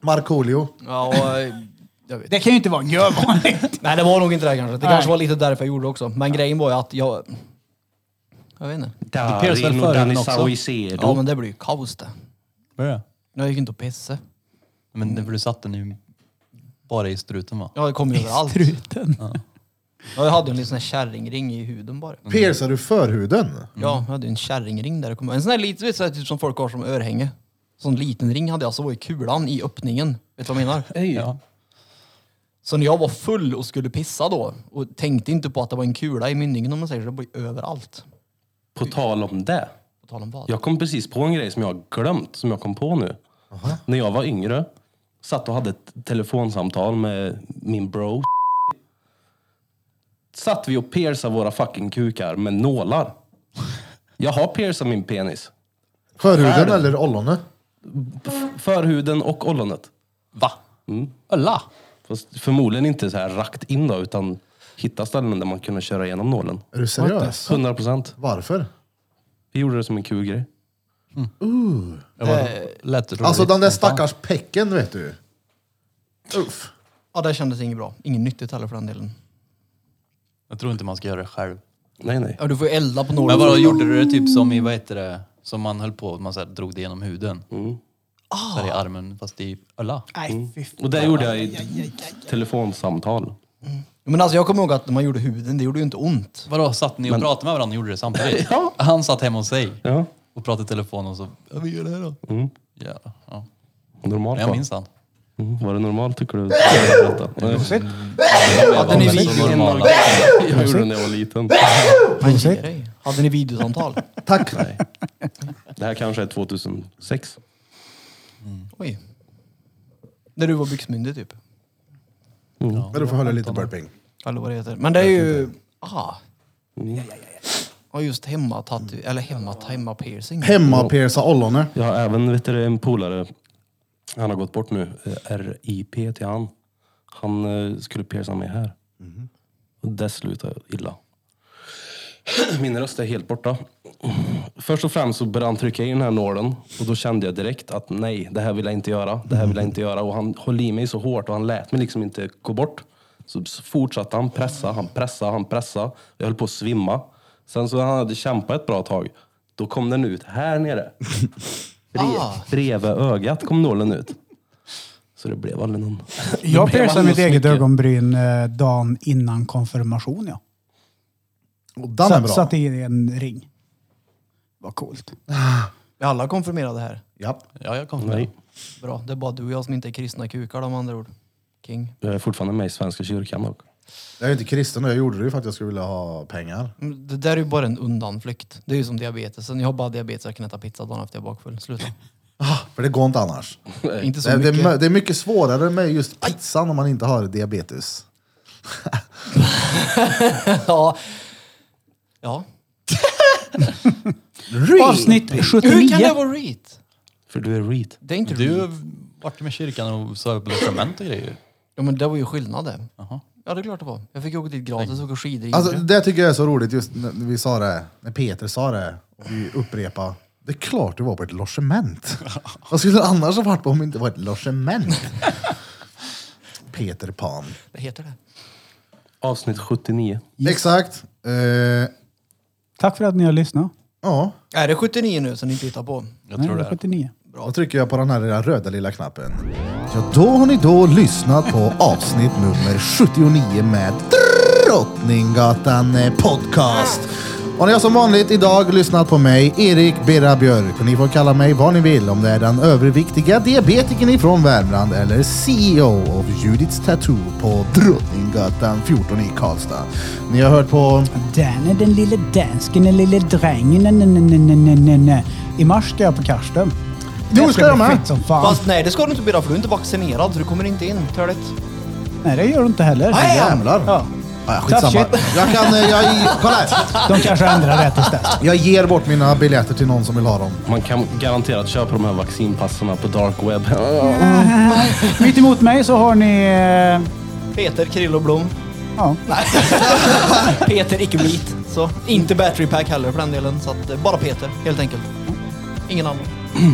Speaker 2: Markoolio.
Speaker 5: Ja, och, eh, jag vet.
Speaker 1: Det kan ju inte vara görvanligt.
Speaker 5: Nej, det var nog inte det kanske. Det
Speaker 1: Nej.
Speaker 5: kanske var lite därför jag gjorde det också. Men grejen var ju att jag... Jag vet inte.
Speaker 4: Det
Speaker 6: pierce väl förhuden också?
Speaker 5: Ja, men det blir ju kaos det.
Speaker 6: Var det?
Speaker 5: Jag gick inte och pissade.
Speaker 6: Men det- för du satte den ju Bara i struten va?
Speaker 5: Ja, det kom ju överallt.
Speaker 1: Struten.
Speaker 5: Ja, Mm. jag hade en liten sån här kärringring i huden bara.
Speaker 2: Piercar du förhuden?
Speaker 5: Ja, jag hade en kärringring där. det kom- En sån här liten, så här, typ som folk har som örhänge. Sån liten ring hade jag, så var ju kulan i öppningen. Vet du vad jag *laughs* menar?
Speaker 6: Ja.
Speaker 5: Så när jag var full och skulle pissa då och tänkte inte på att det var en kula i mynningen om man säger så, det var ju överallt.
Speaker 4: På tal om det.
Speaker 5: På tal om vad?
Speaker 4: Jag kom precis på en grej som jag har glömt, som jag kom på nu. När jag var yngre, satt och hade ett telefonsamtal med min bro. Satt vi och piercade våra fucking kukar med nålar. Jag har piercat min penis.
Speaker 2: Förhuden eller ollonet?
Speaker 4: Förhuden och ollonet. Mm.
Speaker 6: Va? Ölla?
Speaker 4: Fast förmodligen inte så här rakt in då, utan hitta ställen där man kunde köra igenom nålen.
Speaker 2: Är du seriös?
Speaker 4: 100 procent.
Speaker 2: Varför?
Speaker 4: Vi gjorde det som en kul grej.
Speaker 6: Det var lätt roligt.
Speaker 2: Alltså den där stackars pecken vet du. Uff.
Speaker 5: Ja, det kändes inget bra. Inget nyttigt heller för den delen.
Speaker 6: Jag tror inte man ska göra det själv.
Speaker 4: Nej, nej.
Speaker 5: Ja, du får ju elda på några.
Speaker 6: Men vadå, gjorde du det typ som i, vad heter det, som man höll på, man så här, drog det genom huden? Så här i armen, fast i ölla.
Speaker 1: Nej, fy fan.
Speaker 4: Och det gjorde jag i ett telefonsamtal.
Speaker 5: Men alltså jag kommer ihåg att när man gjorde huden, det gjorde ju inte ont.
Speaker 6: Vadå, satt ni och pratade med varandra och gjorde det samtidigt?
Speaker 4: *laughs* Ja.
Speaker 6: Han satt hemma hos sig
Speaker 4: Ja,
Speaker 6: och pratade i telefon och så, ja vi gör det här då.
Speaker 4: Mm.
Speaker 6: Ja, ja.
Speaker 4: normalt
Speaker 6: Jag
Speaker 4: va?
Speaker 6: minns han.
Speaker 4: Mm, var det normalt tycker du? Berätta. Nej.
Speaker 5: Hade ni,
Speaker 6: Men
Speaker 5: vi-
Speaker 6: så normala.
Speaker 4: Jag gjorde det när jag var liten.
Speaker 5: hade ni videosamtal?
Speaker 2: Tack.
Speaker 4: Det här kanske är 2006.
Speaker 5: Oj. När du var byxmyndig typ.
Speaker 2: Men du får höra lite burping.
Speaker 5: Eller vad det heter. Men det är ju... Ah. Ja just hemma tatu... Eller hemma, hemma piercing.
Speaker 2: Hemma pierca ollonet.
Speaker 4: Jag har även vet du, en polare, han har gått bort nu, eh, RIP till han. Han eh, skulle pierca mig här. Och det slutade illa. *clears throat* Min röst är helt borta. Först och främst så började han trycka i den här nålen och då kände jag direkt att nej, det här vill jag inte göra. Det här vill jag inte göra. Och han höll i mig så hårt och han lät mig liksom inte gå bort. Så fortsatte han pressa, han pressa, han pressa. Jag höll på att svimma. Sen så när han hade kämpat ett bra tag, då kom den ut här nere. Bre- Bredvid ögat kom nålen ut. Så det blev aldrig någon...
Speaker 1: *laughs*
Speaker 4: Det
Speaker 1: Jag
Speaker 4: blev
Speaker 1: piercade
Speaker 4: aldrig
Speaker 1: mitt
Speaker 4: så
Speaker 1: eget
Speaker 4: mycket.
Speaker 1: ögonbryn eh, dagen innan konfirmation. Ja.
Speaker 2: Och Den är
Speaker 1: Satt,
Speaker 2: bra.
Speaker 1: satt i en ring. Vad coolt.
Speaker 5: Vi alla konfirmerade här.
Speaker 2: Ja.
Speaker 6: Ja, jag kom
Speaker 4: Nej,
Speaker 6: med.
Speaker 5: Bra, det är bara du och jag som inte är kristna kukar de andra ord. King.
Speaker 4: jag är eh, fortfarande med i Svenska kyrkan dock.
Speaker 2: Jag är inte kristen och jag gjorde det ju för att jag skulle vilja ha pengar.
Speaker 5: Men Mm, Det där är ju bara en undanflykt. Det är ju som diabetesen. Jag har bara diabetes så jag kan äta pizza dagen efter jag är bakfull. Sluta.
Speaker 2: För det går inte annars.
Speaker 5: inte
Speaker 2: Det,
Speaker 5: så
Speaker 2: det, är,
Speaker 5: mycket.
Speaker 2: mö- det är mycket svårare med just pizzan om man inte har diabetes.
Speaker 5: ja. ja.
Speaker 1: Avsnitt
Speaker 5: Hur kan det
Speaker 1: 79.
Speaker 5: vara reet?
Speaker 4: För du är reet.
Speaker 5: Det är inte
Speaker 6: Du
Speaker 5: reet.
Speaker 6: har varit med kyrkan och sa upp sakrament och grejer.
Speaker 5: Ja men det var ju skillnad det.
Speaker 6: Jaha.
Speaker 5: Ja det är klart det var. Jag fick åka dit gratis och åka skidor. i
Speaker 2: Alltså,
Speaker 5: Idre.
Speaker 2: det tycker jag är så roligt just när vi sa det, när Peter sa det och vi upprepade. Det är klart du var på ett logement. Vad skulle du annars ha varit på om det inte var ett logement? Peter Pan.
Speaker 5: Vad heter det?
Speaker 4: Avsnitt 79.
Speaker 2: Exakt. Eh,
Speaker 1: Tack för att ni har lyssnat.
Speaker 2: ja,
Speaker 5: Är det 79 nu som ni inte hittar på?
Speaker 6: Jag tror
Speaker 1: Nej,
Speaker 6: det
Speaker 1: var
Speaker 6: är.
Speaker 1: 79.
Speaker 2: då trycker jag på den här lilla röda lilla knappen. Ja, då har ni då lyssnat på avsnitt nummer 79 med Drottninggatan eh, Podcast. Och ni har som vanligt idag lyssnat på mig, Erik Berra Björk. Och ni får kalla mig vad ni vill, om det är den överviktiga diabetikern ifrån Värmland eller CEO of Judiths Tattoo på Drottninggatan 14 i Karlstad. Ni har hört på...
Speaker 1: Dan är den lille dansken, den lille drängen. Nej, nej, nej, nej, nej, nej, nej. I mars ska jag på Karsten.
Speaker 2: Jo, ska jag
Speaker 1: bli
Speaker 2: med.
Speaker 1: fett Som fan.
Speaker 5: Fast nej det ska du inte bli för du är inte vaccinerad så du kommer inte in. Törligt.
Speaker 1: Nej, det gör du inte heller.
Speaker 2: Jävlar!
Speaker 1: Ja.
Speaker 2: Ah, ja, skitsamma.
Speaker 1: Tough
Speaker 2: Jag kan... eh, Jag, kolla här!
Speaker 1: De kanske ändrar det tills dess.
Speaker 2: Jag ger bort mina biljetter till någon som vill ha dem.
Speaker 4: Man kan garanterat köpa de här vaccinpasserna på dark web.
Speaker 1: Mitt emot mig så har ni... eh,
Speaker 5: Peter Krilloblom.
Speaker 1: Ja.
Speaker 5: *laughs* Peter icke blit. Så inte battery pack heller för den delen. Så att, eh, bara Peter helt enkelt. Ingen annan.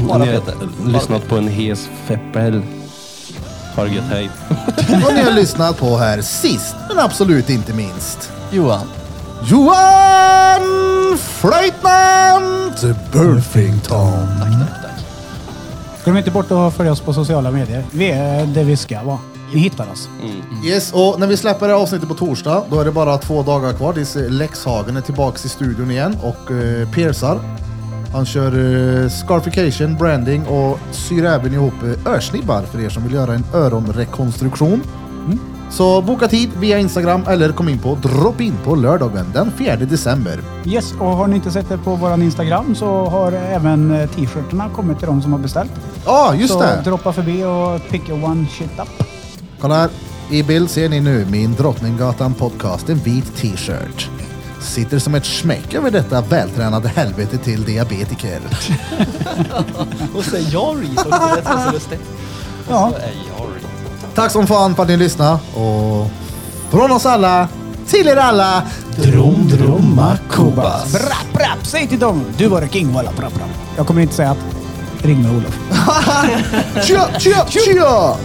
Speaker 5: Bara
Speaker 4: Ni har
Speaker 5: Peter.
Speaker 4: lyssnat på en hes feppel. Ha det gött, hej.
Speaker 2: Vad ni har lyssnat på här sist, men absolut inte minst.
Speaker 6: Johan.
Speaker 2: Johan Flöjtnant Burfington.
Speaker 5: Tack, tack, tack.
Speaker 1: Glöm inte bort att följa oss på sociala medier. Vi är eh, det vi ska vara. Ni hittar oss.
Speaker 2: Yes, och när vi släpper det här avsnittet på torsdag, då är det bara två dagar kvar tills eh, Lexhagen är tillbaks i studion igen och eh, piercar. Han kör eh, scarification, branding och syr även ihop eh, örsnibbar för er som vill göra en öronrekonstruktion. Mm. Så boka tid via Instagram eller kom in på Drop-In på lördagen den 4 december.
Speaker 1: Yes, och har ni inte sett det på våran Instagram så har även eh, t-shirtarna kommit till de som har beställt.
Speaker 2: Ja, ah, just
Speaker 1: så
Speaker 2: det!
Speaker 1: droppa förbi och pick your one shit up.
Speaker 2: Kolla här. I bild ser ni nu min Drottninggatan podcast, en vit t-shirt. Sitter som ett smäck över detta vältränade helvete till diabetiker.
Speaker 5: Och säger jag reason på det som så lustigt.
Speaker 1: Ja,
Speaker 2: Tack som fan för att ni lyssnade och från oss alla till er alla. Drum, drum, makubas.
Speaker 1: brapp, brapp, säg till dem. Du var king, walla, brapp, brapp. Jag kommer inte säga att ring med Olof.
Speaker 2: Tja, tja, tja!